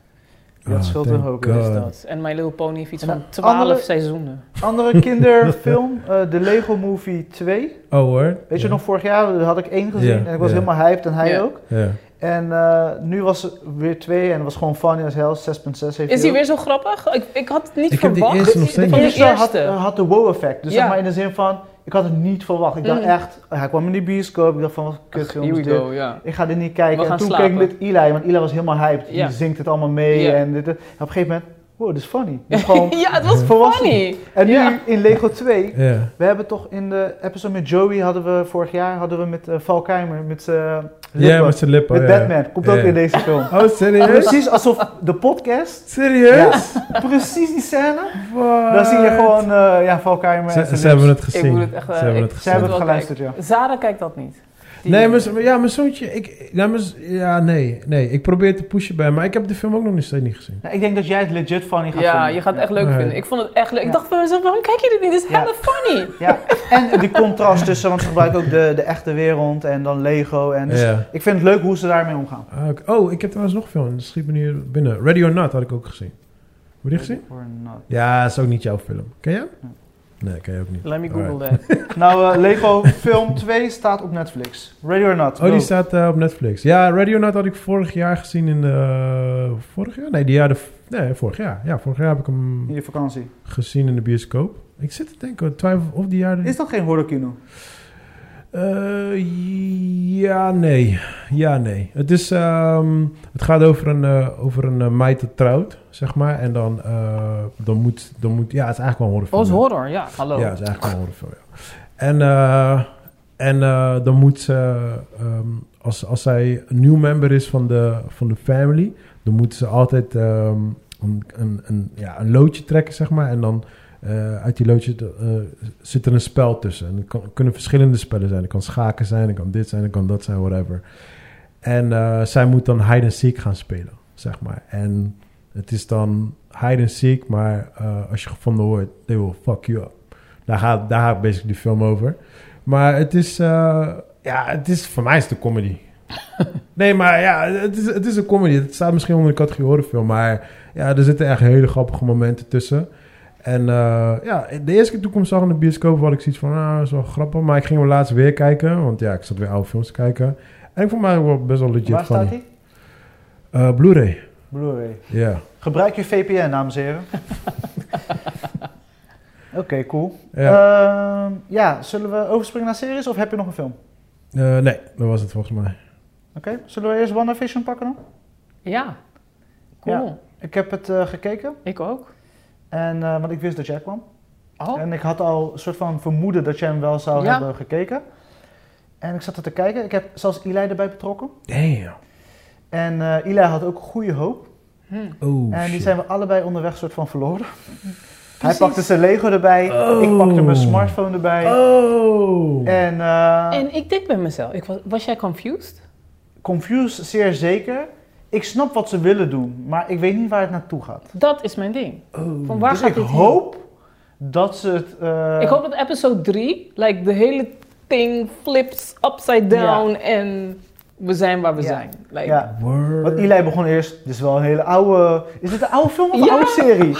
Dat Ah, scheelt thank een hoop, God. is dat. dat. En My Little Pony heeft iets En van een 12 andere- seizoenen. Andere kinderfilm, eh de Lego Movie 2. Oh hoor. Weet Ja. je nog, vorig jaar had ik één gezien Ja, en ik was ja. helemaal hyped en hij Ja. ook. Ja. En eh, nu was het weer twee en het was gewoon funny as hell. 6.6 heeft hij Is die ook. weer zo grappig? Ik, ik had het niet Ik heb die verwacht. eerste nog steeds Van De de eerste had, eerste. had de wow-effect. Dus Ja. zeg maar in de zin van, ik had het niet verwacht. Ik dacht Mm. echt, hij kwam in die bioscoop. Ik dacht van, wat Ach, kutfilm Here is we dit. go, ja. Ik ga dit niet kijken. We en gaan toen slapen. keek ik met Eli, want Eli was helemaal hyped. Ja. Die zingt het allemaal mee Ja. en dit, dit. En op een gegeven moment, wow, dit is funny. Dit is gewoon Ja, het was volwassen. funny. En nu Ja. in Lego 2, Ja. we hebben toch in de episode met Joey, hadden we vorig jaar, hadden we met eh, Val Kilmer, met zijn Ja, lippen. met zijn lippen. met ja. Batman. Komt ook Ja. in deze film. Oh, serieus? Precies alsof de podcast, Serieus? precies die scène, What? dan zie je gewoon eh ja, Val Kilmer en Ze, zijn ze hebben lips. het gezien. Ik moet het echt, ze eh, hebben ik- het Ze gezien. hebben het wel geluisterd, ja. Zara kijkt dat niet. Die die... Nee, mijn, zo- ja, mijn zoontje. Ik, nou, mijn z- ja, nee, nee. Ik probeer te pushen bij hem, maar ik heb de film ook nog niet- steeds niet gezien. Nou, ik denk dat jij het legit funny gaat Ja, vinden. je gaat het echt leuk Nee. vinden. Ik vond het echt leuk. Ja. Ik dacht bij mezelf, waarom kijk je dit niet? Dit is Ja. hella funny. Ja, en die contrast tussen, want ze gebruiken ook de, de echte wereld en dan Lego. En dus Ja. Ik vind het leuk hoe ze daarmee omgaan. Ah, oké. Oh, ik heb trouwens nog een film. Dat schiet me nu binnen. Ready or Not had ik ook gezien. Heb je die gezien? Or not. Ja, is ook niet jouw film. Ken jij? Nee. Nee, ken je ook niet. Let me Alright. google that. Nou, eh, Lego Film 2 staat op Netflix. Ready or not. Oh, go. die staat eh, op Netflix. Ja, Radio Night had ik vorig jaar gezien in de... Vorig jaar? Nee, die jaar de, nee, vorig jaar. Ja, vorig jaar heb ik hem In je vakantie. gezien. gezien in de bioscoop. Ik zit te denken, ik twijfel of die jaar... de- Is dat geen horrorkino? Eh, ja, nee. Ja, nee. Het, is, ehm, het gaat over een, eh, over een eh, meid dat trouwt, zeg maar. En dan, eh, dan, moet, dan moet... Ja, het is eigenlijk wel een horrorfilm. Oh, is horror. Ja, hallo. Ja, het is eigenlijk wel een horrorfilm, ja. En, eh, en eh, dan moet ze, ehm, als, als zij een nieuw member is van de, van de family, dan moet ze altijd ehm, een, een, een, ja, een loodje trekken, zeg maar. En dan eh, uit die loodje eh, zit er een spel tussen. En het kan- kunnen verschillende spellen zijn. Het kan schaken zijn, het kan dit zijn, het kan dat zijn, whatever. En eh, zij moet dan hide and seek gaan spelen, zeg maar. En het is dan hide and seek, maar eh, als je gevonden wordt, they will fuck you up. Daar gaat, daar gaat basically de film over. Maar het is, eh, ja, het is, voor mij is het een comedy. nee, maar ja, het is, het is een comedy. Het staat misschien onder de categorie horrorfilm, maar ja, er zitten echt hele grappige momenten tussen. En eh, ja, de eerste keer toen ik hem zag in de bioscoop had ik zoiets van, ah, dat is wel grappig. Maar ik ging hem laatst weer kijken, want ja, ik zat weer oude films te kijken. En ik vond mij wel best wel legit Waar funny. staat die? Eh, Blu-ray, Blu-ray. ja. Gebruik je VPN, dames en heren. Oké, cool. Ja. Ehm, ja, zullen we overspringen naar series of heb je nog een film? Eh, nee, dat was het volgens mij. Oké, zullen we eerst WandaVision pakken dan? Ja. Cool. Ik heb het eh, gekeken, Ik ook. en, eh, want ik wist dat jij kwam. Oh. En ik had al een soort van vermoeden dat jij hem wel zou Ja. hebben gekeken. En ik zat er te kijken. Ik heb zelfs Eli erbij betrokken. Damn. En eh Eli had ook goede hoop. Hm. Oh, en die shit. zijn we allebei onderweg soort van verloren. Hij Precies. pakte zijn Lego erbij. Oh. Ik pakte mijn smartphone erbij. Oh! En, eh, En ik denk bij mezelf, ik was, was jij confused? confused zeer zeker. Ik snap wat ze willen doen, maar ik weet niet waar het naartoe gaat. Dat is mijn ding. Oh. Van waar dus gaat ik dit heen? hoop dat ze het... eh, Ik hoop dat episode 3, like, de hele thing flips upside down en we zijn waar we Ja. zijn. Like, Ja. Word. Want Eli begon eerst, dit is wel een hele oude... Is dit een oude film of een Ja. oude serie?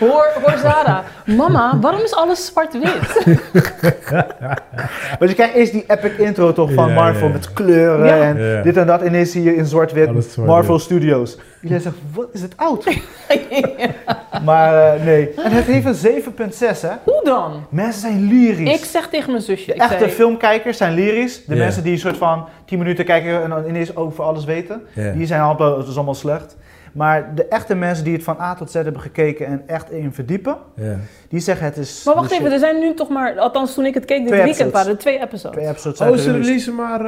Hoor, hoor Zara, mama, waarom is alles zwart-wit? Want je krijgt eerst die epic intro toch van Ja, Marvel ja. met kleuren Ja. en Ja. dit en dat. En ineens zie je in Alles zwart-wit zwart-wit. Marvel Studios. Iedereen zegt, wat is het oud? maar eh, nee. En het heeft een 7.6 hè. Hoe dan? Mensen zijn lyrisch. Ik zeg tegen mijn zusje, de ik echte zei, filmkijkers zijn lyrisch. De Ja. mensen die een soort van 10 minuten kijken en dan ineens over alles weten. Ja. Die zijn allemaal, het is allemaal slecht. Maar de echte mensen die het van A tot Z hebben gekeken en echt in verdiepen, Ja. die zeggen het is... maar wacht bullshit. even, er zijn nu toch maar, althans toen ik het keek dit Twee weekend episodes. waren er twee episodes. Twee episodes zijn Oh, ze gereleased. releasen maar...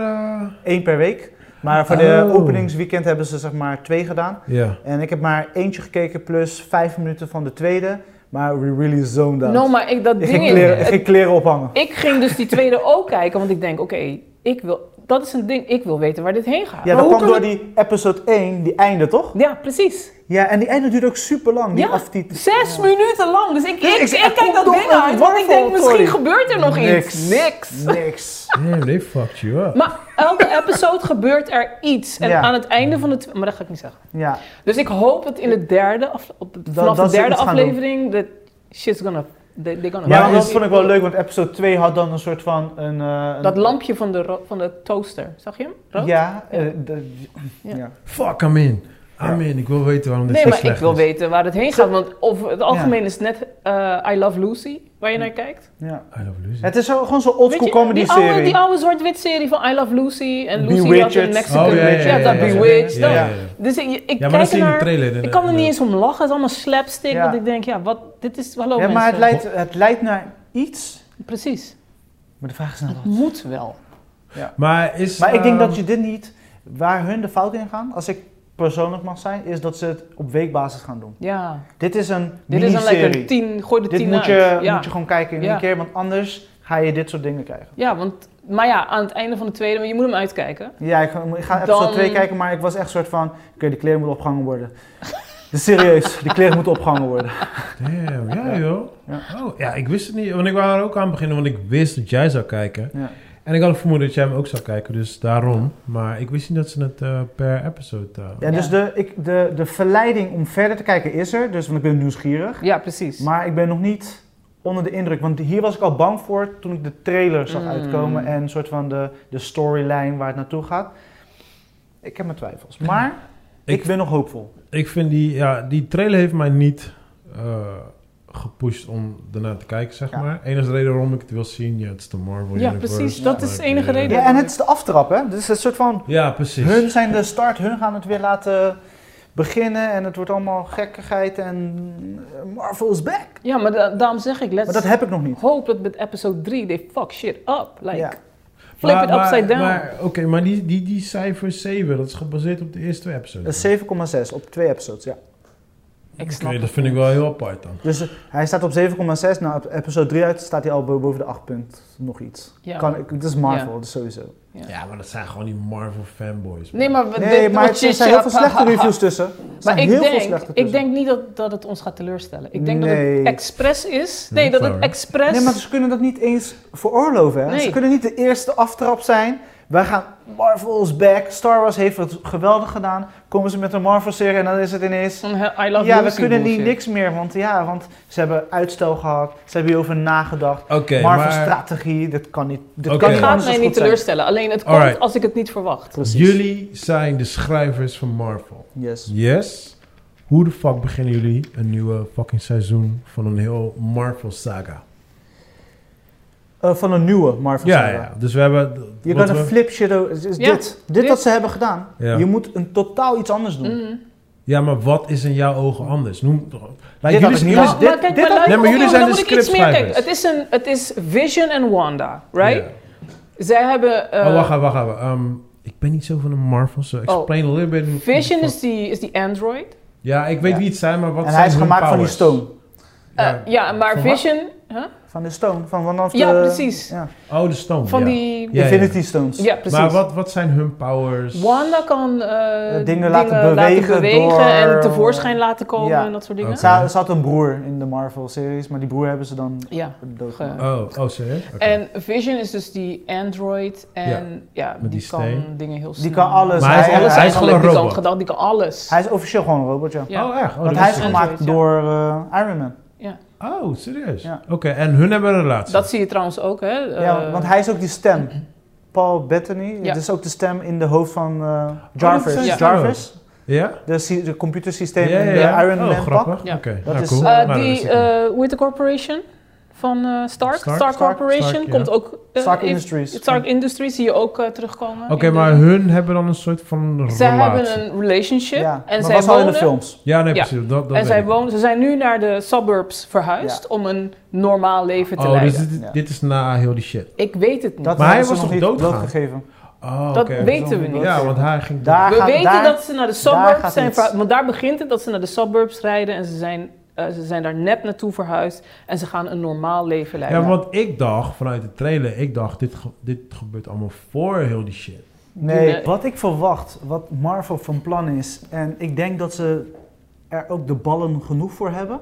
eh, Eén per week. Maar voor de Oh. openingsweekend hebben ze zeg maar twee gedaan. Ja. En ik heb maar eentje gekeken plus vijf minuten van de tweede. Maar we really zoned out. no, maar ik, dat ik, ding ging is, kleren, ik het- ging kleren ophangen. ik ging dus die tweede ook kijken, want ik denk, oké, ik wil, dat is een ding, ik wil weten waar dit heen gaat. Ja, Maar dat hoe kwam kan door het- die episode 1, die einde toch? Ja, precies. Ja, en die einde duurt ook super lang. Die Ja. aftiteling. Zes minuten lang, dus ik, Dus ik, ik- ik er kijk komt dat nog ding een uit, want ik denk, warfel, misschien sorry. gebeurt er nog iets. Niks. Niks. Damn, they fucked you up. Maar elke episode gebeurt er iets. En Ja. aan het einde van de... tw- Maar dat ga ik niet zeggen. Ja, Dus ik hoop dat in de derde... Af, op, vanaf dat de ze derde iets gaan aflevering... Dat shit's gonna... They, they gonna ja Maar want dat is- vond ik wel leuk, want episode 2 had dan een soort van een... eh, een- Dat lampje van de, ro- van de toaster. Zag je hem? Rood? Ja, eh, de- Ja. ja. Fuck, I'm in. I'm in. Ik wil weten waarom dit Nee, zo maar ik slecht wil is. weten waar het heen gaat. Want over het algemeen is het net eh, I Love Lucy, waar je naar kijkt. ja. I love Lucy. Het is zo, gewoon zo'n oldschool Weet je, comedy die oude- serie. Die oude zwart-wit serie van I Love Lucy en Lucy had Bewitched. een Mexican Oh, ja, ja, witch. Ja, ja, dat ja, ja. Bewitched. Ja, ja, dat. ja. ja. Dus ik, ik Ja, maar dat kijk zie je in de ernaar. trailer. in de- Ik kan er niet in eens om lachen. Het is allemaal slapstick. Ja. Want ik denk, ja, wat, dit is... Hallo Ja, maar het mensen. leidt, het leidt naar iets. Precies. Maar de vraag is nou, naar wat. Moet wel. de- Maar is... Maar ik denk ehm, dat je dit niet, waar hun de fout in gaan, als ik persoonlijk mag zijn, is dat ze het op weekbasis gaan doen. Ja. Dit is een Dit is een miniserie. lekker tien... Gooi de Dit tien moet uit. je, ja. moet je gewoon kijken in één Ja. keer, want anders ga je dit soort dingen krijgen. Ja, want, maar ja, aan het einde van de tweede, maar je moet hem uitkijken. Ja, ik ga, ik ga episode Dan- 2 kijken, maar ik was echt soort van, oké, de kleren moeten opgehangen worden. Dus serieus, de kleren moeten opgehangen worden. Damn, ja joh. Ja. Oh, ja, ik wist het niet. Want ik wou er ook aan beginnen, want ik wist dat jij zou kijken. Ja. En ik had het vermoeden dat jij hem ook zou kijken, dus daarom. Maar ik wist niet dat ze het eh, per episode... eh, Ja, dus Ja. de, ik, de, de verleiding om verder te kijken is er, dus, want ik ben nieuwsgierig. Ja, precies. Maar ik ben nog niet onder de indruk, want hier was ik al bang voor toen ik de trailer zag Mm. uitkomen en een soort van de, de storyline waar het naartoe gaat. Ik heb mijn twijfels, maar ik, Ik- ben nog hoopvol. Ik vind die, ja, die trailer heeft mij niet eh, gepusht om ernaar te kijken, zeg Ja. maar. Enige reden waarom ik het wil zien, ja, het is de Marvel Ja, Universe. precies, dat is de maar, enige eh, reden. Ja, en het is de aftrap, hè? Dus het soort van, Ja, precies. hun zijn de start, hun gaan het weer laten beginnen en het wordt allemaal gekkigheid en eh, Marvel is back. Ja, maar da- daarom zeg ik, Maar let's dat heb ik nog niet. hope dat met episode 3 they fuck shit up. Like, Ja. flip Maar- it upside maar- down. Maar, Oké, maar die, die, die cijfer 7, dat is gebaseerd op de eerste twee Dat episodes. is 7,6 op twee episodes, ja. ik Oké, snap dat het vind ik niet. wel heel apart dan. Dus eh, hij staat op 7,6. Nou, op episode 3 uit staat hij al bo- boven de 8 punt nog iets. Ja. Kan, ik- het is Marvel, dus sowieso. Ja. Ja, maar dat zijn gewoon die Marvel fanboys. man. Nee, maar we Nee, dit maar wordt er shit zijn heel veel shit up. slechte reviews tussen. Er zijn Maar ik heel veel denk, slechte ik tussen. denk niet dat, dat het ons gaat teleurstellen. Ik denk dat Nee. het expres is. Nee, dat het Flower. expres... Nee, maar ze kunnen dat niet eens veroorloven. Hè? Nee. Ze kunnen niet de eerste aftrap zijn. Wij gaan Marvel's back. Star Wars heeft het geweldig gedaan. Komen ze met een Marvel-serie en dan is het ineens... Van, he- I love Ja, we Lucy kunnen niet bullshit. niks meer, want ja, want ze hebben uitstel gehad. Ze hebben hierover nagedacht. Oké, maar Marvel-strategie, dit kan niet. Dit Oké. kan niet Het Ja, gaat anders dan mij niet goed zijn. teleurstellen. Alleen het komt Alright. als ik het niet verwacht. Precies. jullie zijn de schrijvers van Marvel. Yes. Yes. Hoe de fuck beginnen jullie een nieuwe fucking seizoen van een heel Marvel saga? Eh, van een nieuwe Marvel Ja, saga. ja. Dus we hebben... Je wat kan een we- flip shadow. Is, is Ja, dit. Dit dit. wat ze hebben gedaan. Ja. Je moet een totaal iets anders doen. Mhm. Ja, maar wat is in jouw ogen anders? Noem toch. had jullie ik zijn niet. jullie- Dus Nou, dit- maar kijk, dit maar had- luister, Nee, maar jullie oké, zijn dan de moet ik iets meer kijken. scriptschrijvers. Het is, een, het is Vision en Wanda, right? Zij hebben... Ja. eh, oh, wacht even, wacht even. Ehm, ik ben niet zo van de Marvel, so explain Oh. a little bit. Vision is die, is die android. Ja, ik weet Ja. wie het zijn, maar wat en zijn hij is hun gemaakt van die powers? stone. Eh, Ja. ja, maar Van Vision... Huh? Van de stone. Van vanaf Ja, de, precies. Ja. Oh, de stone. Van ja. die... Ja, Infinity Stones. Ja, precies. Maar wat, wat zijn hun powers? Wanda kan eh, dingen laten bewegen door- en tevoorschijn laten komen Ja. en dat soort dingen. Oké. Ze, had- ze had een broer in de Marvel-series, maar die broer hebben ze dan Ja. doodgemaakt. Oh, oh Eh, serieus? Oké. En Vision is dus die android en ja, die, die kan steen. dingen heel snel. Die kan alles. Maar hij is Alles alles eigenlijk, gewoon een die kan robot. gedacht, die kan alles. Hij is officieel gewoon een robot, ja. ja. Oh, echt? Oh, Want dat hij is wist ik gemaakt Android, ja. door eh, Iron Man. niet. Oh, serieus? Ja. Oké, en hun hebben een relatie. Dat zie je trouwens ook, hè? eh, ja, want hij is ook die stem. Paul Bettany, Ja. Oh, dat is ook de stem in de hoofd van eh, Jarvis. zijn Ja. stemmen. Jarvis, Ja? de, sy- de computersysteem ja, in ja, de ja. Iron oh, Man pak. grappig. Ja. Oké, Dat nou, is- cool. Eh, eh, Nou, dat wist die, ik niet. eh hoe heet de corporation? Van eh, Stark? Stark? Stark, Stark, Corporation Stark, ja. komt ook... eh, Stark in- Industries. Stark Industries zie je ook eh, terugkomen. Oké, in de- maar hun hebben dan een soort van relatie. Zij hebben een relationship Ja, en maar zij was al in de wonen... films. Ja, nee, Ja. precies. Dat, dat en weet zij ik. wonen, ze zijn nu naar de suburbs verhuisd om een normaal leven te Oh, leiden. dus dit, Ja. dit is na heel die shit. Ik weet het niet. Dat Maar hij hebben ze was nog toch niet doodgegaan? doodgegeven. Oh, dat oké. weten we niet. Ja, want hij ging... Daar we gaat- weten daar- dat ze naar de daar suburbs gaat zijn iets. verhuisd. Want daar begint het dat ze naar de suburbs rijden en ze zijn, eh, ze zijn daar net naartoe verhuisd. En ze gaan een normaal leven leiden. Ja, want ik dacht vanuit de trailer, ik dacht, dit, ge- dit gebeurt allemaal voor heel die shit. Nee, Nee. wat ik verwacht, wat Marvel van plan is, en ik denk dat ze er ook de ballen genoeg voor hebben,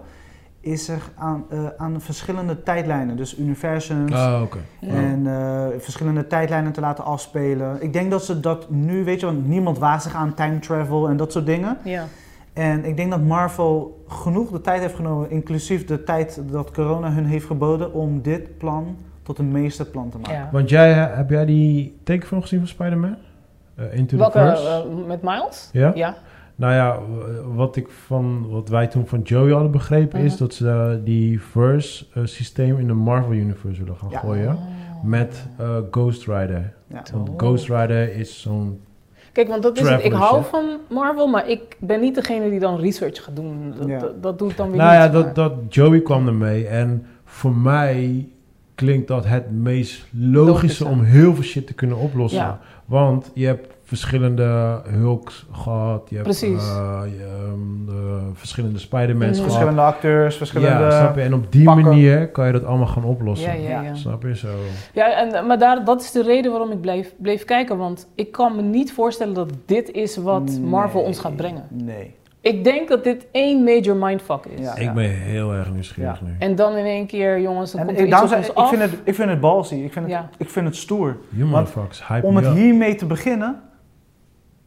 is er aan, eh, aan verschillende tijdlijnen, dus universums Oh, oké. en eh, verschillende tijdlijnen te laten afspelen. Ik denk dat ze dat nu, weet je, want niemand waagt zich aan time travel en dat soort dingen. Ja. En ik denk dat Marvel genoeg de tijd heeft genomen, inclusief de tijd dat corona hun heeft geboden, om dit plan tot een meesterplan te maken. ja. Want jij, heb jij die tekenfilm gezien van Spider-Man? Eh, Into Welke? the Verse? eh, met Miles? Ja? Ja. Nou ja, w- wat, ik van, wat wij toen van Joey hadden begrepen is Mhm. dat ze eh, die verse eh, systeem in de Marvel Universe willen gaan Ja. gooien. Oh, Met eh, Ghost Rider. Ja. Want Oh. Ghost Rider is zo'n... Kijk, want dat is het. Ik Travelers, hou hè? van Marvel, maar ik ben niet degene die dan research gaat doen. Dat, Ja. dat, dat doe ik dan weer Nou niet. ja, dat, maar- dat Joey kwam ermee en voor mij klinkt dat het meest logische Logische. om heel veel shit te kunnen oplossen. Ja. Want je hebt verschillende Hulks gehad, je hebt Precies. eh, je, ehm, de verschillende Spider-Mans Mhm. gehad. Verschillende acteurs, verschillende... Ja, snap je? En op die pakken. manier kan je dat allemaal gaan oplossen. Ja, ja, ja. Snap je? Zo. ja en, maar daar, dat is de reden waarom ik bleef, bleef kijken. Want ik kan me niet voorstellen dat dit is wat Marvel Nee. ons gaat brengen. Nee. Ik denk dat dit één major mindfuck is. Ja. Ik ben heel erg nieuwsgierig Ja. nu. En dan in één keer, jongens, dan En komt ik, er iets daarom op zei- ons ik, af. vind het, ik vind het ballsy, ik vind het, Ja. ik vind het stoer. Want You motherfuckers, hype Om me het up. hiermee te beginnen,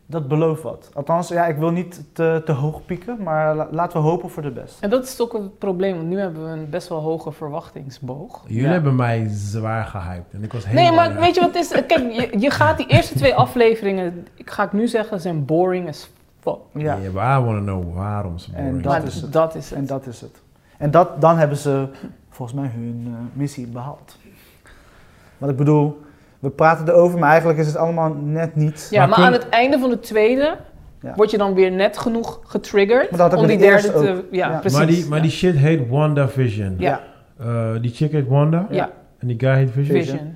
dat belooft wat. Althans, ja, ik wil niet te, te hoog pieken, maar la- laten we hopen voor de best. En dat is ook het probleem, want nu hebben we een best wel hoge verwachtingsboog. Jullie Ja. hebben mij zwaar gehyped. En ik was helemaal Nee, maar erg. weet je wat het is? Kijk, je, je gaat die eerste twee afleveringen, ik ga ik nu zeggen, zijn boring as fuck. Ja, Ja, maar I want to know waarom ze En boring dat maar zijn. is het. dat is het. en dat is het. En dat, dan hebben ze volgens mij hun eh, missie behaald. Want ik bedoel, we praten erover, maar eigenlijk is het allemaal net niet. Ja, Maar maar, kun- aan het einde van de tweede Ja. word je dan weer net genoeg getriggerd Maar dat had ik om die met de derde eerste te... Ja, Ja. precies. maar die, maar die shit heet WandaVision. Ja. Eh, die chick heet Wanda. Ja. En die guy heet Vision. Vision.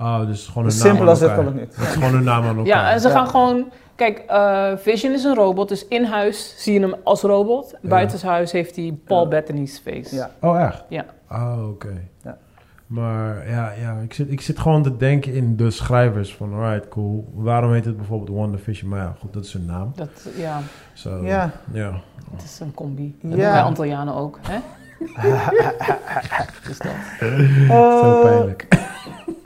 Oh, dus gewoon Zo een naam simpel aan als dit elkaar. kan het niet. Het is gewoon een naam aan elkaar. Ja, en ze Ja. gaan gewoon... Kijk, eh, Vision is een robot, dus in huis zie je hem als robot. Buitenshuis heeft hij Paul Ja. Bettany's face. Ja. Oh, echt? Ja. Oh, oké. Ja. Maar ja, ja ik, zit, ik zit gewoon te denken in de schrijvers van, alright, cool. Waarom heet het bijvoorbeeld WandaVision? Maar ja, goed, dat is hun naam. Dat, ja, Zo. Ja. ja. het is een combi. Ja. Dat doen wij Antillianen ook, hè? dus dat. Zo Eh, pijnlijk.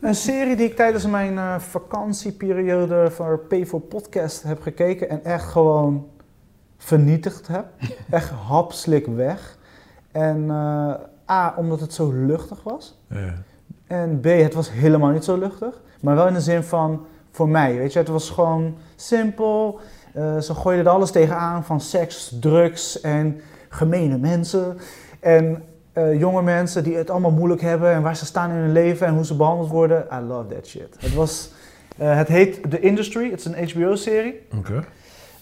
Een serie die ik tijdens mijn eh, vakantieperiode voor P4 Podcast heb gekeken en echt gewoon vernietigd heb. Echt hapslik weg. En eh, A, omdat het zo luchtig was. Ja. En B, het was helemaal niet zo luchtig. Maar wel in de zin van, voor mij, weet je, het was gewoon simpel. Eh, ze gooiden er alles tegenaan van seks, drugs en gemene mensen. En eh, jonge mensen die het allemaal moeilijk hebben en waar ze staan in hun leven en hoe ze behandeld worden. I love that shit. Het was, eh, het heet The Industry, het is een HBO-serie. Oké.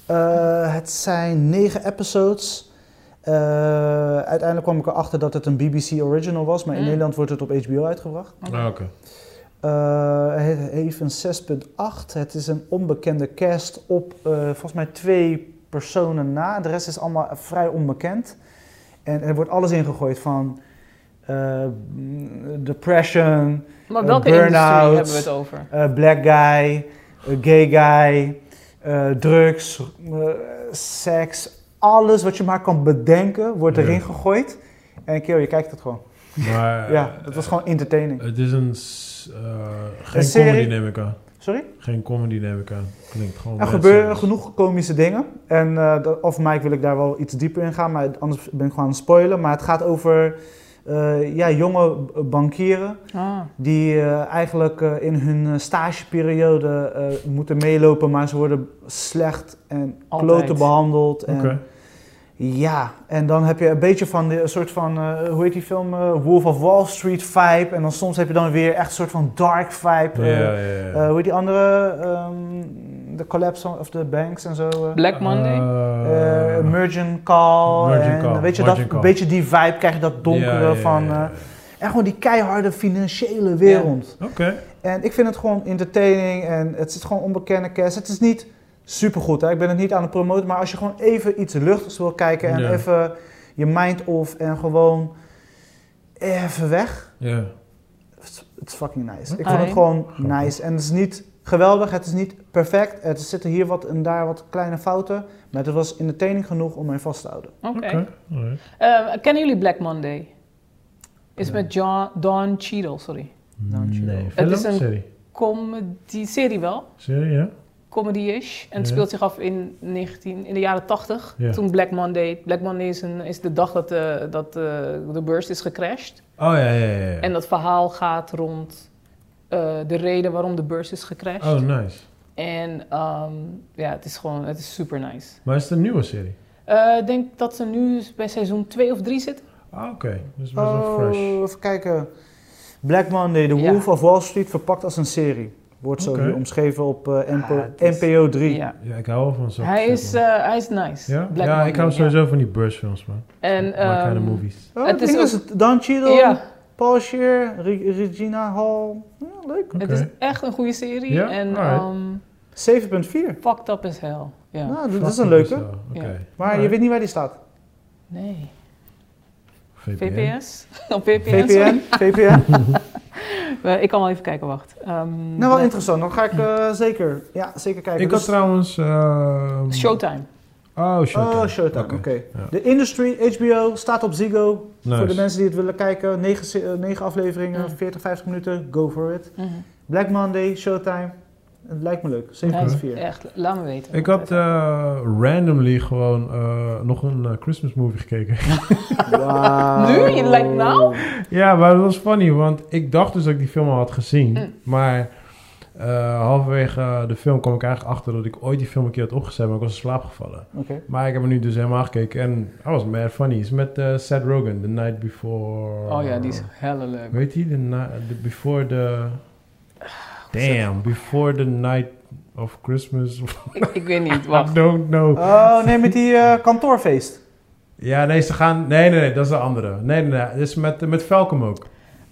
Eh, het zijn negen episodes. Eh, uiteindelijk kwam ik erachter dat het een BBC original was, maar in Mm. Nederland wordt het op HBO uitgebracht. Ah, oké. Eh, het heeft een 6.8. Het is een onbekende cast op eh, volgens mij twee personen na. De rest is allemaal vrij onbekend. En er wordt alles ingegooid van eh, mm, depression, Maar Eh, welke industrie burn-out. hebben we het over? eh, black guy, eh, gay guy, eh, drugs, eh, seks. Alles wat je maar kan bedenken wordt Ja. erin gegooid. En kerel, je kijkt het gewoon. Maar eh, ja, dat was gewoon entertaining. het is een... s- eh, geen serie. comedy neem ik aan. Sorry? Geen comedy neem ik aan. Klinkt gewoon... Er best gebeuren eh, serieus. genoeg komische dingen. En eh, dat- of Mike wil ik daar wel iets dieper in gaan, maar anders ben ik gewoon aan het spoilen. Maar het gaat over eh, ja, jonge bankieren Ah. die eh, eigenlijk eh, in hun eh, stageperiode eh, moeten meelopen, maar ze worden slecht en Altijd. kloten behandeld. En, Oké. Ja, en dan heb je een beetje van de een soort van, eh, hoe heet die film, eh, Wolf of Wall Street vibe. En dan soms heb je dan weer echt een soort van dark vibe. Ja, eh, ja, ja, ja. eh, hoe heet die andere? ehm, De collapse van- of the banks en zo. eh Black Monday? eh Eh, Mergent Call. Mergent en, Call, Weet je, Mergent dat, Call. een beetje die vibe krijg je, dat donkere ja, ja, ja, van... ja, ja. eh, en gewoon die keiharde financiële wereld. Oké. En ik vind het gewoon entertaining en het zit gewoon onbekende cast. Het is niet supergoed, hè? ik ben het niet aan het promoten. Maar als je gewoon even iets luchtigs wil kijken en Ja. even je mind off en gewoon even weg. Ja. Het is- het is fucking nice. Ik Oké. vond het gewoon Grappig. nice. En het is niet geweldig, het is niet perfect. Er zitten hier wat en daar wat kleine fouten. Maar het was entertaining genoeg om mij vast te houden. Oké. Oké. alright. Eh, kennen jullie Black Monday? Is Nee. met John, Don Cheadle, sorry. Don't you Nee. know. Film? Het is een- Serie? Comedy, serie wel. Serie, ja? Comedy-ish. En het Ja. speelt zich af in, 19, in de jaren 80. Ja. Toen Black Monday. Black Monday is, een, is de dag dat, de, dat de, de beurs is gecrashed. Oh, ja, ja, ja. ja. En dat verhaal gaat rond eh, de reden waarom de beurs is gecrashed. Oh, nice. En ehm, ja, het is gewoon het is super nice. Maar is het een nieuwe serie? Eh, Ik denk dat ze nu bij seizoen 2 of 3 zitten. Ah, oké. Dus best wel Oh, fresh. even kijken. Black Monday, The Ja. Wolf of Wall Street, verpakt als een serie. Wordt zo Oké. hier omschreven op eh, NPO, Ah, het is- NPO 3. Ja. Ja, ik hou wel van zo'n Hij shit, is, man. eh, hij is nice. ja? Black ja, Monday, ik hou ja. sowieso van die beursfilms, man. En, Black kind ehm, of movies. Oh, Het ik is denk ook- dat het Dan Cheadle. Ja, Paul Shear, Re- Regina Hall. Ja, leuk. Oké. Het is echt een goede serie. Ja? En Alright. ehm, 7.4. fucked up as hell. Ja. Nou, dat Fucking is een leuke. bizar. Oké. Ja. Maar je weet niet waar die staat. Nee. VPN. VPS? Op VPN? sorry. VPN, VPN. Eh, Ik kan wel even kijken, wacht. Ehm, Nou, wel nee. interessant. Dan ga ik eh, zeker, ja, zeker kijken. Ik had Dus- trouwens... ehm, Showtime. Oh, Showtime. Oh, Showtime, oké. Oké. Ja. De Industry, HBO, staat op Ziggo. Nice. Voor de mensen die het willen kijken. Negen, se- eh, negen afleveringen, Mm. 40, 50 minuten. Go for it. Mhm. Black Monday, Showtime. Het lijkt me leuk. 7.4. Hij is echt, laat me weten. Ik had eh, randomly gewoon eh, nog een eh, Christmas movie gekeken. Wauw. Nu? Je lijkt nou? ja, maar dat was funny, want ik dacht dus dat ik die film al had gezien. Mm. Maar eh, halverwege eh, de film kwam ik eigenlijk achter dat ik ooit die film een keer had opgezet, maar ik was in slaap gevallen. Oké. Maar ik heb hem nu dus helemaal gekeken en hij was mad funny. Het is met eh, Seth Rogen, The Night Before... Oh ja, die is helle leuk. Weet je, the, na- the Before the... Damn, Before the Night of Christmas. Ik, ik weet niet, I wacht. don't know. Oh, nee, met die eh, kantoorfeest. Ja, nee, ze gaan... Nee, nee, nee, dat is de andere. Nee, nee, nee. Dit is met, met Falcom ook.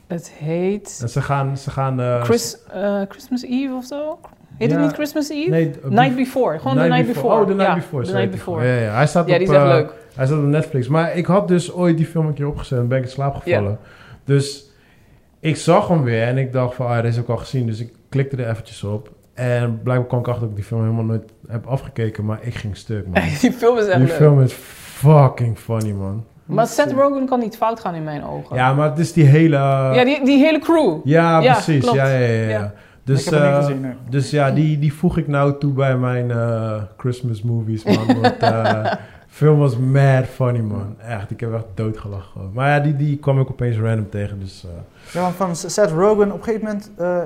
Het heet En ze gaan... Ze gaan eh, Chris, eh, Christmas Eve of zo? Heet Ja. het niet Christmas Eve? Nee, eh, Night Before, gewoon The Night Before. Oh, The Night Ja, Before. The sorry. Night Before. Ja, ja, hij staat Ja, op, die is echt eh, leuk. Hij staat op Netflix. Maar ik had dus ooit die film een keer opgezet en ben ik in slaap gevallen. Dus ik zag hem weer en ik dacht van, ah, deze heb ik al gezien. Dus ik klikte er eventjes op. En blijkbaar kwam ik achter dat ik die film helemaal nooit heb afgekeken. Maar ik ging stuk, man. Die film is echt die leuk. film is fucking funny, man. Maar Seth Rogen kan niet fout gaan in mijn ogen. Ja, maar eh, het is die hele... Ja, die, die hele crew. Ja, Ja, precies. klopt. Ja, ja, ja, ja. Ja. Dus, ik heb hem eh, niet gezien, nee. dus ja, die, die voeg ik nou toe bij mijn eh, Christmas movies, man. Want eh film was mad funny, man. Echt, ik heb echt doodgelachen. gewoon. Maar ja, die, die kwam ik opeens random tegen, dus... eh, Ja, want van Seth Rogen, op een gegeven moment... eh,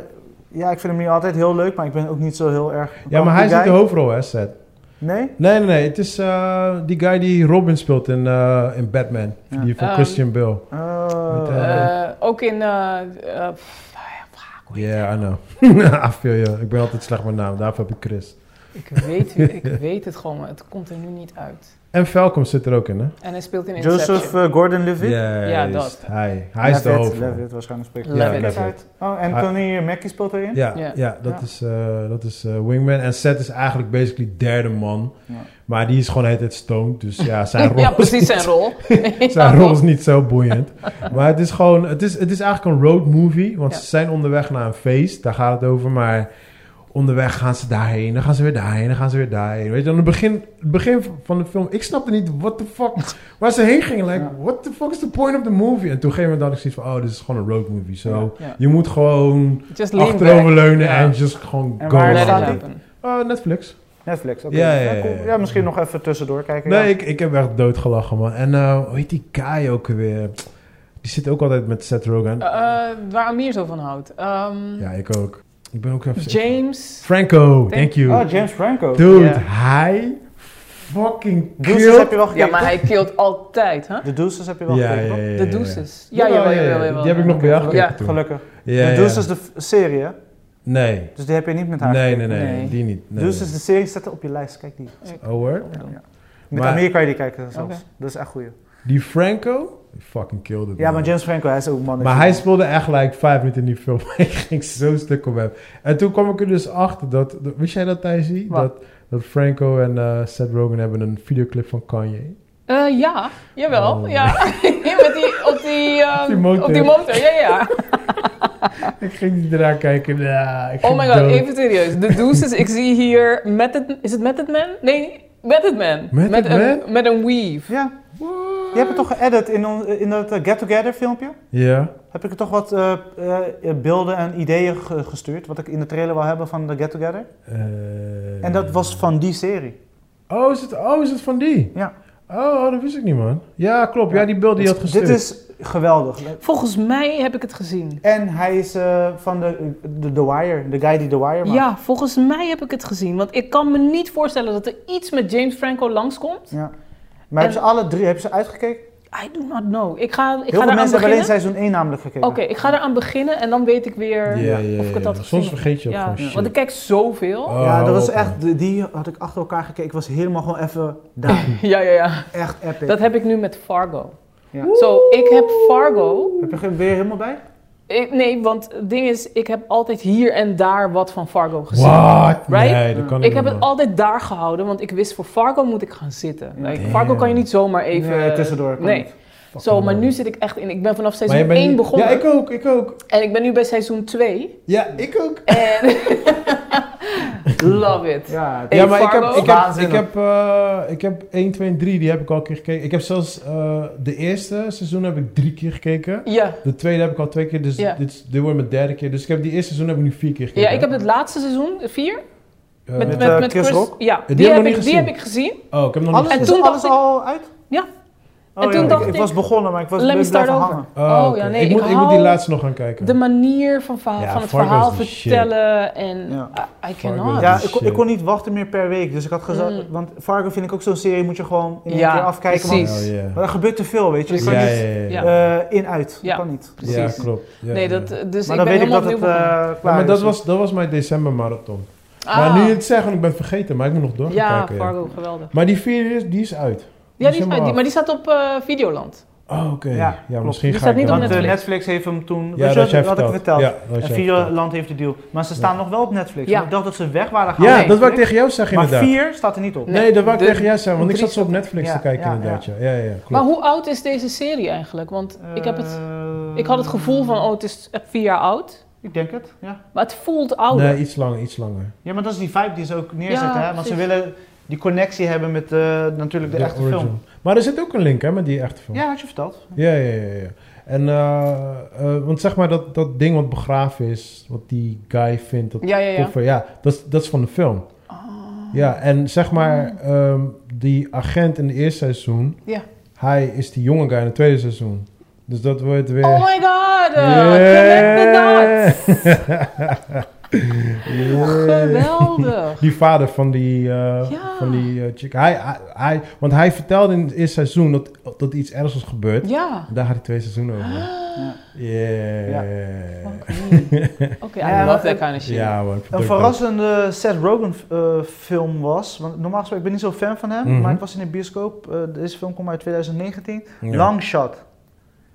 ja, ik vind hem niet altijd heel leuk, maar ik ben ook niet zo heel erg... ja, maar hij is die niet de guy. hoofdrol, hè, Seth? Nee? Nee, nee, nee. Het is eh, die guy die Robin speelt in, eh, in Batman. Ja. Die van Ehm, Christian Bale. Oh. Met, eh, Eh, ook in... eh, eh, pff, Yeah, I know. I feel you. Ik ben altijd slecht met naam. Daarvoor heb ik Chris. ik, weet, ik weet het gewoon, maar het komt er nu niet uit. En Falcom zit er ook in, hè? En hij speelt in Inception. Joseph eh, Gordon-Levitt? Ja, is- dat. Hij, hij is de Levitt, hoofdrol. Levitt, waarschijnlijk eh, spreekt Levitt. hij uit. Oh, en Ah. Tony Mackie speelt erin? Ja, Ja. ja. dat, Ja. Is, eh, dat is eh, Wingman. En Seth is eigenlijk basically derde man. Ja. Maar die is gewoon de hele tijd stoned. Dus ja, zijn rol, ja, is, precies zijn rol. zijn rol is niet zo boeiend. maar het is gewoon... Het is, het is eigenlijk een road movie. Want Ja. ze zijn onderweg naar een feest. Daar gaat het over. Maar onderweg gaan ze daarheen. Dan gaan ze weer daarheen. Dan gaan ze weer daarheen. Weet je, aan het begin, het begin van de film... Ik snapte niet what the fuck... Waar ze heen gingen. Like, Ja. what the fuck is the point of the movie? En toen gegeven moment had ik zoiets van... Oh, dit is gewoon een road movie. Zo... Ja. Je moet gewoon Just lean back. achteroverleunen Ja. en just gewoon En go. waar Let it staat man. die? happen. Eh, Netflix. Netflix, oké. Ja, ja, ja, Ja, cool. ja. Ja, misschien nog even tussendoor kijken. Nee, ja. ik, ik heb echt doodgelachen, man. En eh, hoe heet die guy ook weer? Die zit ook altijd met Seth Rogen. Eh, eh, waar Amir zo van houdt. Ehm, ja, ik ook. Ik ben ook even... James. Franco, thank you. Oh, James Franco. Dude, Ja. hij fucking De Deuces killed. heb je wel Ja, gekeken, maar hij kilt altijd, hè? toch? De Deuces heb je Ja, wel ja, gekeken, ja, toch? ja, De ja. douches. Ja, Jawel, jawel, ja, ja. jawel, jawel. Die heb ik nog bij jou Ja. gekeken toen. Gelukkig. Ja, de ja. Deuces is de f- serie, hè? Nee. Dus die heb je niet met haar Nee, nee, gekeken. nee. Nee. Die niet. Nee, Deuces nee. is de serie, zet er op je lijst, kijk die. Oh, hoor. Met Maar- Amir kan je die kijken zelfs. Oké. Dat is echt goeie. Die Franco? die Fucking killed it. Ja, man. maar James Franco, hij is ook een mannetje. Maar hij speelde echt like vijf minuten in die film. ik ging zo stuk op hem. En toen kwam ik er dus achter dat... dat- Wist jij dat, Thijsie? Wat? Dat, dat Franco en eh, Seth Rogen hebben een videoclip van Kanye. Eh, ja, jawel. Oh. Ja. Met die, op, die, ehm, Die motor. op die motor. Ja, ja. ik ging die eraan kijken. Ja, ik Oh ging my god, dood. even serieus. De douches, ik zie hier met het. Is het met het man? Nee, met het man. Method een, Man? met een weave. Ja. Je hebt het toch geëdit in, on- in dat eh, Get Together filmpje? Ja. Heb ik er toch wat eh, eh, beelden en ideeën ge- gestuurd, wat ik in de trailer wil hebben van de Get Together? Eh, En dat was van die serie. Oh is, het, oh, is het van die? Ja. Oh, dat wist ik niet, man. Ja, klopt. Ja, Ja. die beeld die je had gestuurd. Dit is geweldig. Volgens mij heb ik het gezien. En hij is eh, van de, de, de Wire, de guy die The Wire maakt. Ja, volgens mij heb ik het gezien. Want ik kan me niet voorstellen dat er iets met James Franco langskomt. Ja. Maar hebben ze alle drie hebben ze uitgekeken? I do not know. Ik ga, ik Heel ga veel daar mensen aan hebben alleen beginnen. seizoen 1 namelijk gekeken. Oké, ik ga eraan beginnen en dan weet ik weer Ja, ja, of ik het ja. had gezien. Soms vergeet je ook ja, gewoon shit. want ik kijk zoveel. Oh, Ja, dat hou was op, man. echt, die- die had ik achter elkaar gekeken. Ik was helemaal gewoon even daar. Ja, ja, ja. Echt epic. Dat heb ik nu met Fargo. Ja. Zo, ik heb Fargo. Heb je, ge- ben je er helemaal bij? Ik- nee, want het ding is, ik heb altijd hier en daar wat van Fargo gezien. What? Right? Nee, dat kan Ik heb het al. altijd daar gehouden, want ik wist voor Fargo moet ik gaan zitten. Like, Damn. Fargo kan je niet zomaar even... eh, Nee, tussendoor. kan nee. niet. Zo, maar nu zit ik echt in. Ik ben vanaf Maar je seizoen bent 1 nu- begonnen. Ja, ik ook, ik ook. En ik ben nu bij seizoen 2. Ja, ik ook. En... Love it. Ja, het- Hey, ja, maar ik heb, Fargo? ik, heb, Waanzinnig. ik, heb, eh, ik heb 1, 2 en 3, die heb ik al een keer gekeken. Ik heb zelfs eh, de eerste seizoen heb ik drie keer gekeken. Ja. De tweede heb ik al twee keer, dus Ja. dit, is- dit wordt mijn derde keer. Dus ik heb die eerste seizoen heb ik nu vier keer gekeken. ja, ik heb het laatste seizoen, 4. Eh, met- eh, Chris Rock? Ja, die, hebben we heb nog ik, niet die heb gezien. ik gezien. Oh, ik heb hem nog alles, niet en is toen alles dacht ik- al uit? Ja. Oh, En toen ik- dacht ik ik- was begonnen, maar ik was Let me ik start blijf over. hangen. Oh, Oh, ja, oké. nee, ik, ik moet, ik hou- moet die laatste nog gaan kijken. Oh, De manier van, verhaal, Ja, van het Fargo is verhaal de shit. vertellen en Ah, Ja. I, I Fargo cannot. is Ja, is ik, kon- shit. ik kon niet wachten meer per week. Dus ik had gezegd, Mm. want Fargo vind ik ook zo'n serie, moet je gewoon in één Ja, keer afkijken. precies. Want, Oh, ja. maar er gebeurt te veel, weet je. Je Dus kan ja, niet ja, ja, ja. ja. eh, in-uit. Ja. kan niet. Ja, Precies. klopt. Ja, nee, ja. dat, dus maar ik dan ben weet ik helemaal dat het opnieuw eh, begonnen. klaar Ja, maar dat is. was, dat was mijn decembermarathon. Ah. Maar nu je het zegt, want ik ben het vergeten, maar ik moet nog door gaan Ja, kijken. ja. Fargo, geweldig. Maar die vier is, die is uit. Ja, die, helemaal die- af. maar die staat op eh, Videoland. Oh, oké. Ja, Ja, klopt. misschien Die ga staat ik niet op dan- Want eh, Netflix. Netflix. heeft hem toen, Ja, weet dat je, jij dat had ik verteld. Ja, dat had jij en verteld. Videoland heeft de deal. Maar ze staan Ja. nog wel op Netflix. Ja. want Ik dacht dat ze weg waren gaan. Ja, van dat wou ik Netflix. tegen jou zeggen Maar inderdaad. 4 staat er niet op. Nee, Nee, dat wou ik de- tegen jou zeggen, want ik drie zat zo op Netflix Ja, te kijken ja, inderdaad. Ja, ja, ja, klopt. Maar hoe oud is deze serie eigenlijk? Want ik, heb het, Eh, ik had het gevoel van, oh, het is eh, vier jaar oud. Ik denk het, ja. Maar het voelt ouder. Nee, iets langer, iets langer. Ja, maar dat is die vibe die ze ook neerzetten. Ja, hè? Want ze precies. willen die connectie hebben met eh, natuurlijk de, echte original. film. Maar er zit ook een link hè, met die echte film. Ja, had je verteld. Ja, ja, ja. ja. En, eh, eh, want zeg maar dat, dat ding wat begraven is, wat die guy vindt, dat Ja, ja, ja. koffer, ja, dat, is- dat is van de film. Oh. Ja, en zeg maar, ehm, die agent in het eerste seizoen, Ja. hij is die jonge guy in het tweede seizoen. Dus dat wordt weer... Oh my god! eh, Yeah. Connect the dots! Yeah. Geweldig! Die vader van die, eh, Ja. van die eh, chick. Hij, hij, hij- want hij vertelde in het eerste seizoen dat, dat iets ergs was gebeurd. Ja. Daar gaat hij twee seizoenen over. Ah, Yeah. Ja. Ja, Oké, Ja, I love that maar- kind of shit. man. ik vind het Een ook verrassende Seth Rogen eh, film was. Want normaal gesproken, ik ben niet zo fan van hem. Mhm. Maar ik was in de bioscoop. eh, deze film kwam uit 2019. leuk. Ja. Long Shot.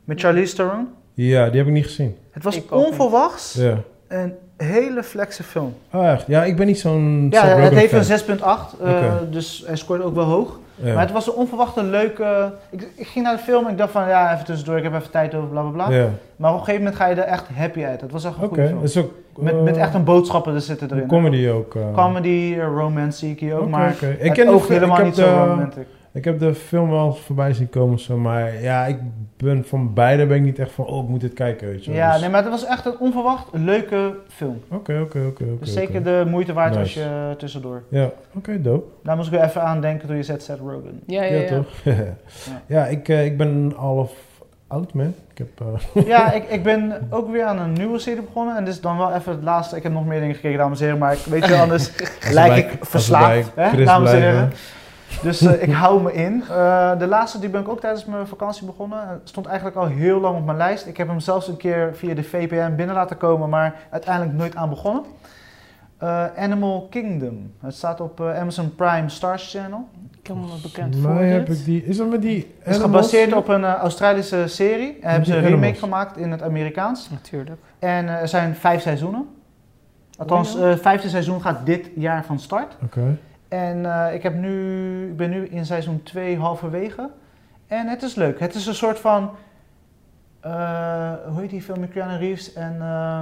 Met Charlize Theron. Ja, die heb ik niet gezien. Het was Ik ook niet. onverwachts. Ja. Een hele flexe film. Oh, echt? Ja, ik ben niet zo'n Ja, Seth het Rogen heeft fan. een 6.8. eh, Oké. Dus hij scoort ook wel hoog. Ja. Maar het was een onverwachte leuke... eh, Ik, ik ging naar de film en ik dacht van... Ja, even tussendoor. Ik heb even tijd over, bla bla bla. Ja. Maar op een gegeven moment ga je er echt happy uit. Het was echt een Oké, goede dat film. is ook... Met, eh, met echt een boodschappen er zitten erin. Comedy ook. eh. Comedy, eh, romance zie ik hier ook. Oké, maar oké. Ik het ken de oogt film- helemaal ik heb niet zo de- romantic. Ik heb de film wel eens voorbij zien komen, zo, maar ja, ik ben van beide ben ik niet echt van, oh, ik moet dit kijken, weet je wel. Ja, Dus- nee, maar het was echt een onverwacht leuke film. Oké, oké, oké, oké. Dus oké. zeker de moeite waard als Nice. je eh, tussendoor. Ja, oké, dope. Daar moest ik weer even aan denken toen je zet Seth Rogen. Ja, ja, Ja, ja. toch? ja, ik, eh, ik ben half oud, man. Ik heb... eh, Ja, ik, ik ben ook weer aan een nieuwe serie begonnen. En dit is dan wel even het laatste. Ik heb nog meer dingen gekeken, dames en heren. Maar ik weet je, anders bij- lijk ik als verslaafd, bij hè, Chris dames en blijven. heren. Dus eh, ik hou me in. Eh, de laatste die ben ik ook tijdens mijn vakantie begonnen. Het stond eigenlijk al heel lang op mijn lijst. Ik heb hem zelfs een keer via de VPN binnen laten komen, maar uiteindelijk nooit aan begonnen. Eh, Animal Kingdom. Het staat op eh, Amazon Prime Stars Channel. Ik kan me wat bekend Volgens mij voor heb dit. ik die... Is dat met die... Het is gebaseerd op een eh, Australische serie. En hebben ze een Die remake Animals. gemaakt in het Amerikaans. Natuurlijk. En eh, er zijn vijf seizoenen. Althans, Oh het vijfde seizoen gaat dit jaar van start. Oké. En eh, ik, heb nu, ik ben nu in seizoen 2 halverwege. En het is leuk. Het is een soort van. eh, hoe heet die film met Keanu Reeves en eh,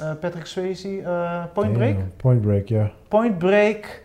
eh, Patrick Swayze? eh, Point Break? Damn, Point Break, ja. Point Break.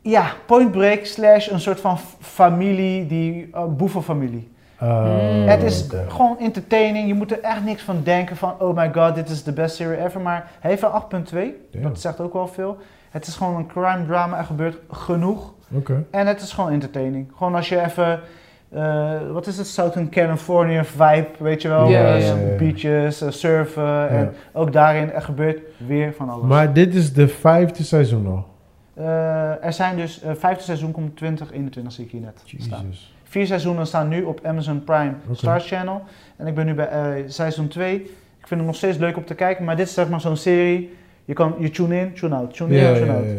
Ja, Point Break slash een soort van f- familie, die eh, boevenfamilie. Eh, Mm. het is oké. gewoon entertaining. Je moet er echt niks van denken van oh my god, dit is de best serie ever. Maar hij heeft een 8.2. Damn, Dat zegt ook wel veel. Het is gewoon een crime drama. Er gebeurt genoeg. Oké. En het is gewoon entertaining. Gewoon als je even, eh, wat is het, Southern California vibe, weet je wel. Ja, ja, Eh, ja. Beaches, eh, surfen en ook daarin er gebeurt weer van alles. Maar dit is de vijfde seizoen al. Eh, er zijn dus, eh, vijfde seizoen komt 2021 zie ik hier net staan. Jezus. Vier seizoenen staan nu op Amazon Prime Oké. Stars Channel. En ik ben nu bij eh, seizoen 2. Ik vind hem nog steeds leuk om te kijken, maar dit is zeg maar zo'n serie. Je kan je tune in, tune out, tune in, Ja, ja, tune ja, out. ja.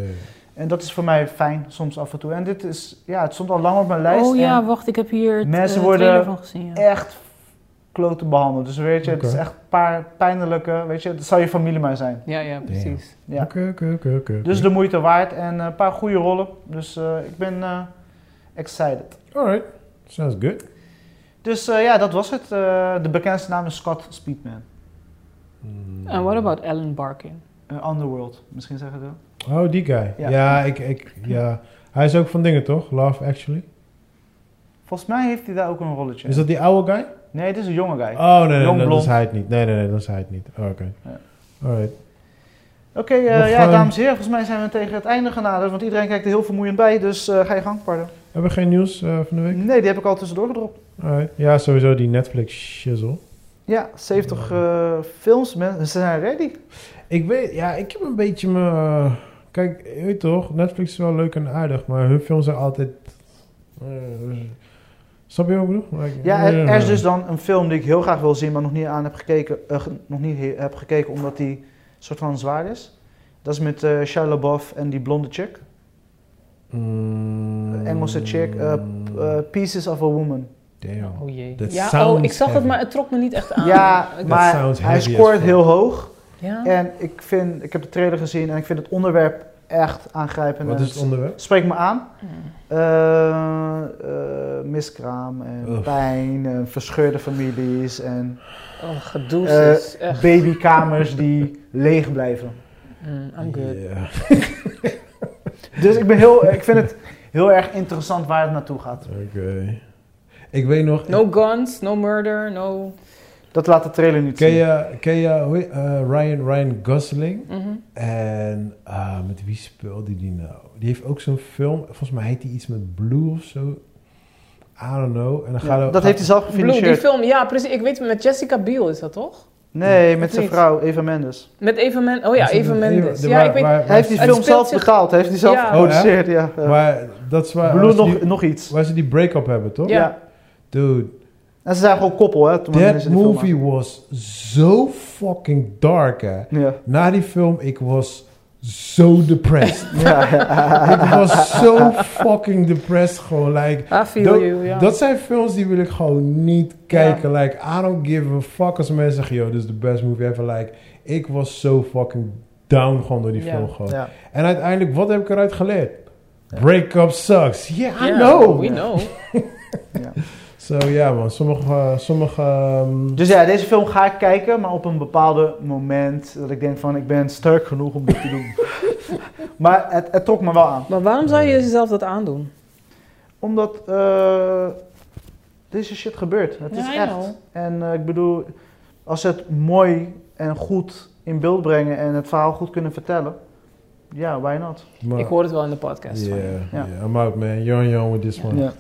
En dat is voor mij fijn soms af en toe. En dit is, ja, het stond al lang op mijn lijst. Oh en ja, wacht, ik heb hier het, Mensen eh, worden trailer van gezien. Ja. echt klote behandeld. Dus weet je, het Oké. is echt een paar pijnlijke, weet je, het zou je familie maar zijn. Ja, ja, precies. Ja. Oké, oké, oké, oké. Dus de moeite waard en eh, een paar goede rollen. Dus eh, ik ben eh, excited. Alright, sounds good. Dus eh, ja, dat was het. Eh, de bekendste naam is Scott Speedman. Mm. Oh, En what about Alan Barkin? Eh, Underworld, misschien zeggen ze dat. Oh, die guy. Ja. Ja, ik, ik, ja. Hij is ook van dingen, toch? Love Actually. Volgens mij heeft hij daar ook een rolletje. Is dat die oude guy? Nee, dit is een jonge guy. Oh, nee, nee, Jong nee dat blond. is hij het niet. Nee, nee, nee, dat is hij het niet. Oh, Oké. Ja. Alright. Oké, eh, Nog, ja, eh, dames en heren, volgens mij zijn we tegen het einde genaderd. Want iedereen kijkt er heel vermoeiend bij, dus eh, ga je gang, pardon. Hebben we geen nieuws eh, van de week? Nee, die heb ik al tussendoor gedropt. Alright. Ja, sowieso die Netflix shizzle. Ja, 70 eh, films, mensen ze zijn ready. Ik weet, ja, ik heb een beetje me. kijk, je weet toch, Netflix is wel leuk en aardig, maar hun films zijn altijd. eh, snap je wat ik bedoel? eh, Maar ik- Ja, er, er is dus dan een film die ik heel graag wil zien, maar nog niet aan heb gekeken, eh, ge- nog niet he- heb gekeken omdat die soort van zwaar is. Dat is met eh Shia LaBeouf en die blonde chick. Mm. Engelse chick, eh, p- Hmm. eh, Pieces of a Woman. Damn. Oh jee. That ja, oh, sounds ik zag het, heavy. maar het trok me niet echt aan. ja, Ik- maar sounds hij heavy as scoort fuck. heel hoog. ja. En ik, vind, ik heb de trailer gezien en ik vind het onderwerp echt aangrijpend. Wat en is het onderwerp? Spreek me aan. Hmm. Eh, eh, miskraam en Ugh. pijn en verscheurde families en Oh, gedoe Eh, is echt. babykamers die leeg blijven. Mm, I'm good. Ja. Dus ik, ben heel, ik vind het heel erg interessant waar het naartoe gaat. Oké. Ik weet nog. No guns, no murder, no... Dat laat de trailer niet Ken zien. je, ken je hoe heet- eh, Ryan, Ryan Gosling? Mhm. En ah, met wie speelde die nou? Die heeft ook zo'n film. Volgens mij heet die iets met Blue of zo. I don't know. En dan Ja, gaat er- dat heeft hij zelf Blue, die gefinancierd. film, ja precies. Ik weet met Jessica Biel is dat toch? Nee, met Of zijn niet? vrouw, Eva Mendes. Met Eva Mendes. Oh ja, Is het Eva een- Mendes. de- Ja, waar- ik weet... waar- Hij heeft die Het film speelt zelf zich- betaald, hij heeft die zelf Ja. geproduceerd. Ja. eh. Maar dat Oh, is waar, Blue waar, ze nog, die, nog iets. waar ze die break-up hebben, toch? Ja. Ja. Dude, En ze zijn gewoon koppel, hè? Toen wanneer that ze die film movie was zo fucking dark, hè. maakten. Ja. Na die film, ik was zo depressed. Ja, ja. ik was zo fucking depressed, gewoon, like... I feel Dat- you, ja. Dat zijn films die wil ik gewoon niet kijken. Like, I don't give a fuck als mensen zeggen, yo, this is the best movie ever. Like, ik was zo fucking down gewoon door die Ja. film gewoon. Ja. En uiteindelijk, wat heb ik eruit geleerd? Break-up sucks. Yeah, I Ja, know. We know. Zo ja man, sommige... eh, sommige ehm, Dus ja, deze film ga ik kijken, maar op een bepaalde moment dat ik denk van ik ben sterk genoeg om dit te doen. maar het, het trok me wel aan. Maar waarom zou je jezelf dat aandoen? Omdat eh, deze shit gebeurt. Het Ja, is I echt. know. En eh, ik bedoel, als ze het mooi en goed in beeld brengen en het verhaal goed kunnen vertellen, ja, why not? maar, Ik hoor het wel in de podcast. van je. Yeah, Ja. yeah, I'm out man. You're on your own with this one. Ja,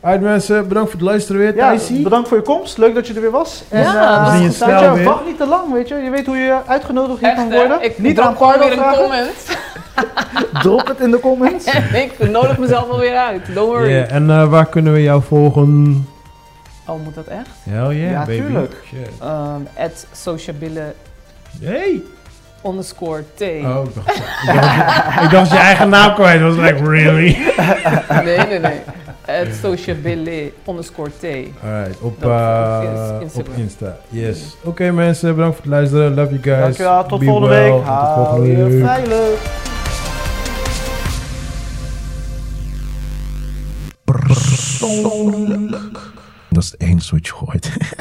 Alright mensen, bedankt voor het luisteren weer. ja Thijsie. bedankt voor je komst. Leuk dat je er weer was. En, Ja. eh, We zien je Saatja, snel Nou, weer. wacht niet te lang, weet je. Je weet hoe je uitgenodigd hier Echt, kan hè? worden. ik niet drop aan gewoon Pardo weer een vragen. comment. Drop het in de comments. ik nodig mezelf alweer uit. Don't worry. Yeah, En eh, waar kunnen we jou volgen? Oh, moet dat echt? Hell yeah, Ja, baby. tuurlijk. Ah. Shit. Ehm at sociabille Hey! underscore T. Oh, ik dacht, ik dacht- ik dacht je eigen naam kwijt. was like, really? Nee, nee, nee. At sociabille underscore T. Alright, op, Dat eh, is Instagram. op Insta. Yes. Oké mensen, bedankt voor het luisteren. Love you guys. Mm. Dankjewel, tot Be volgende well. week. Tot Hou volgende je week. veilig. persoonlijk. Dat is het enige wat je gooit.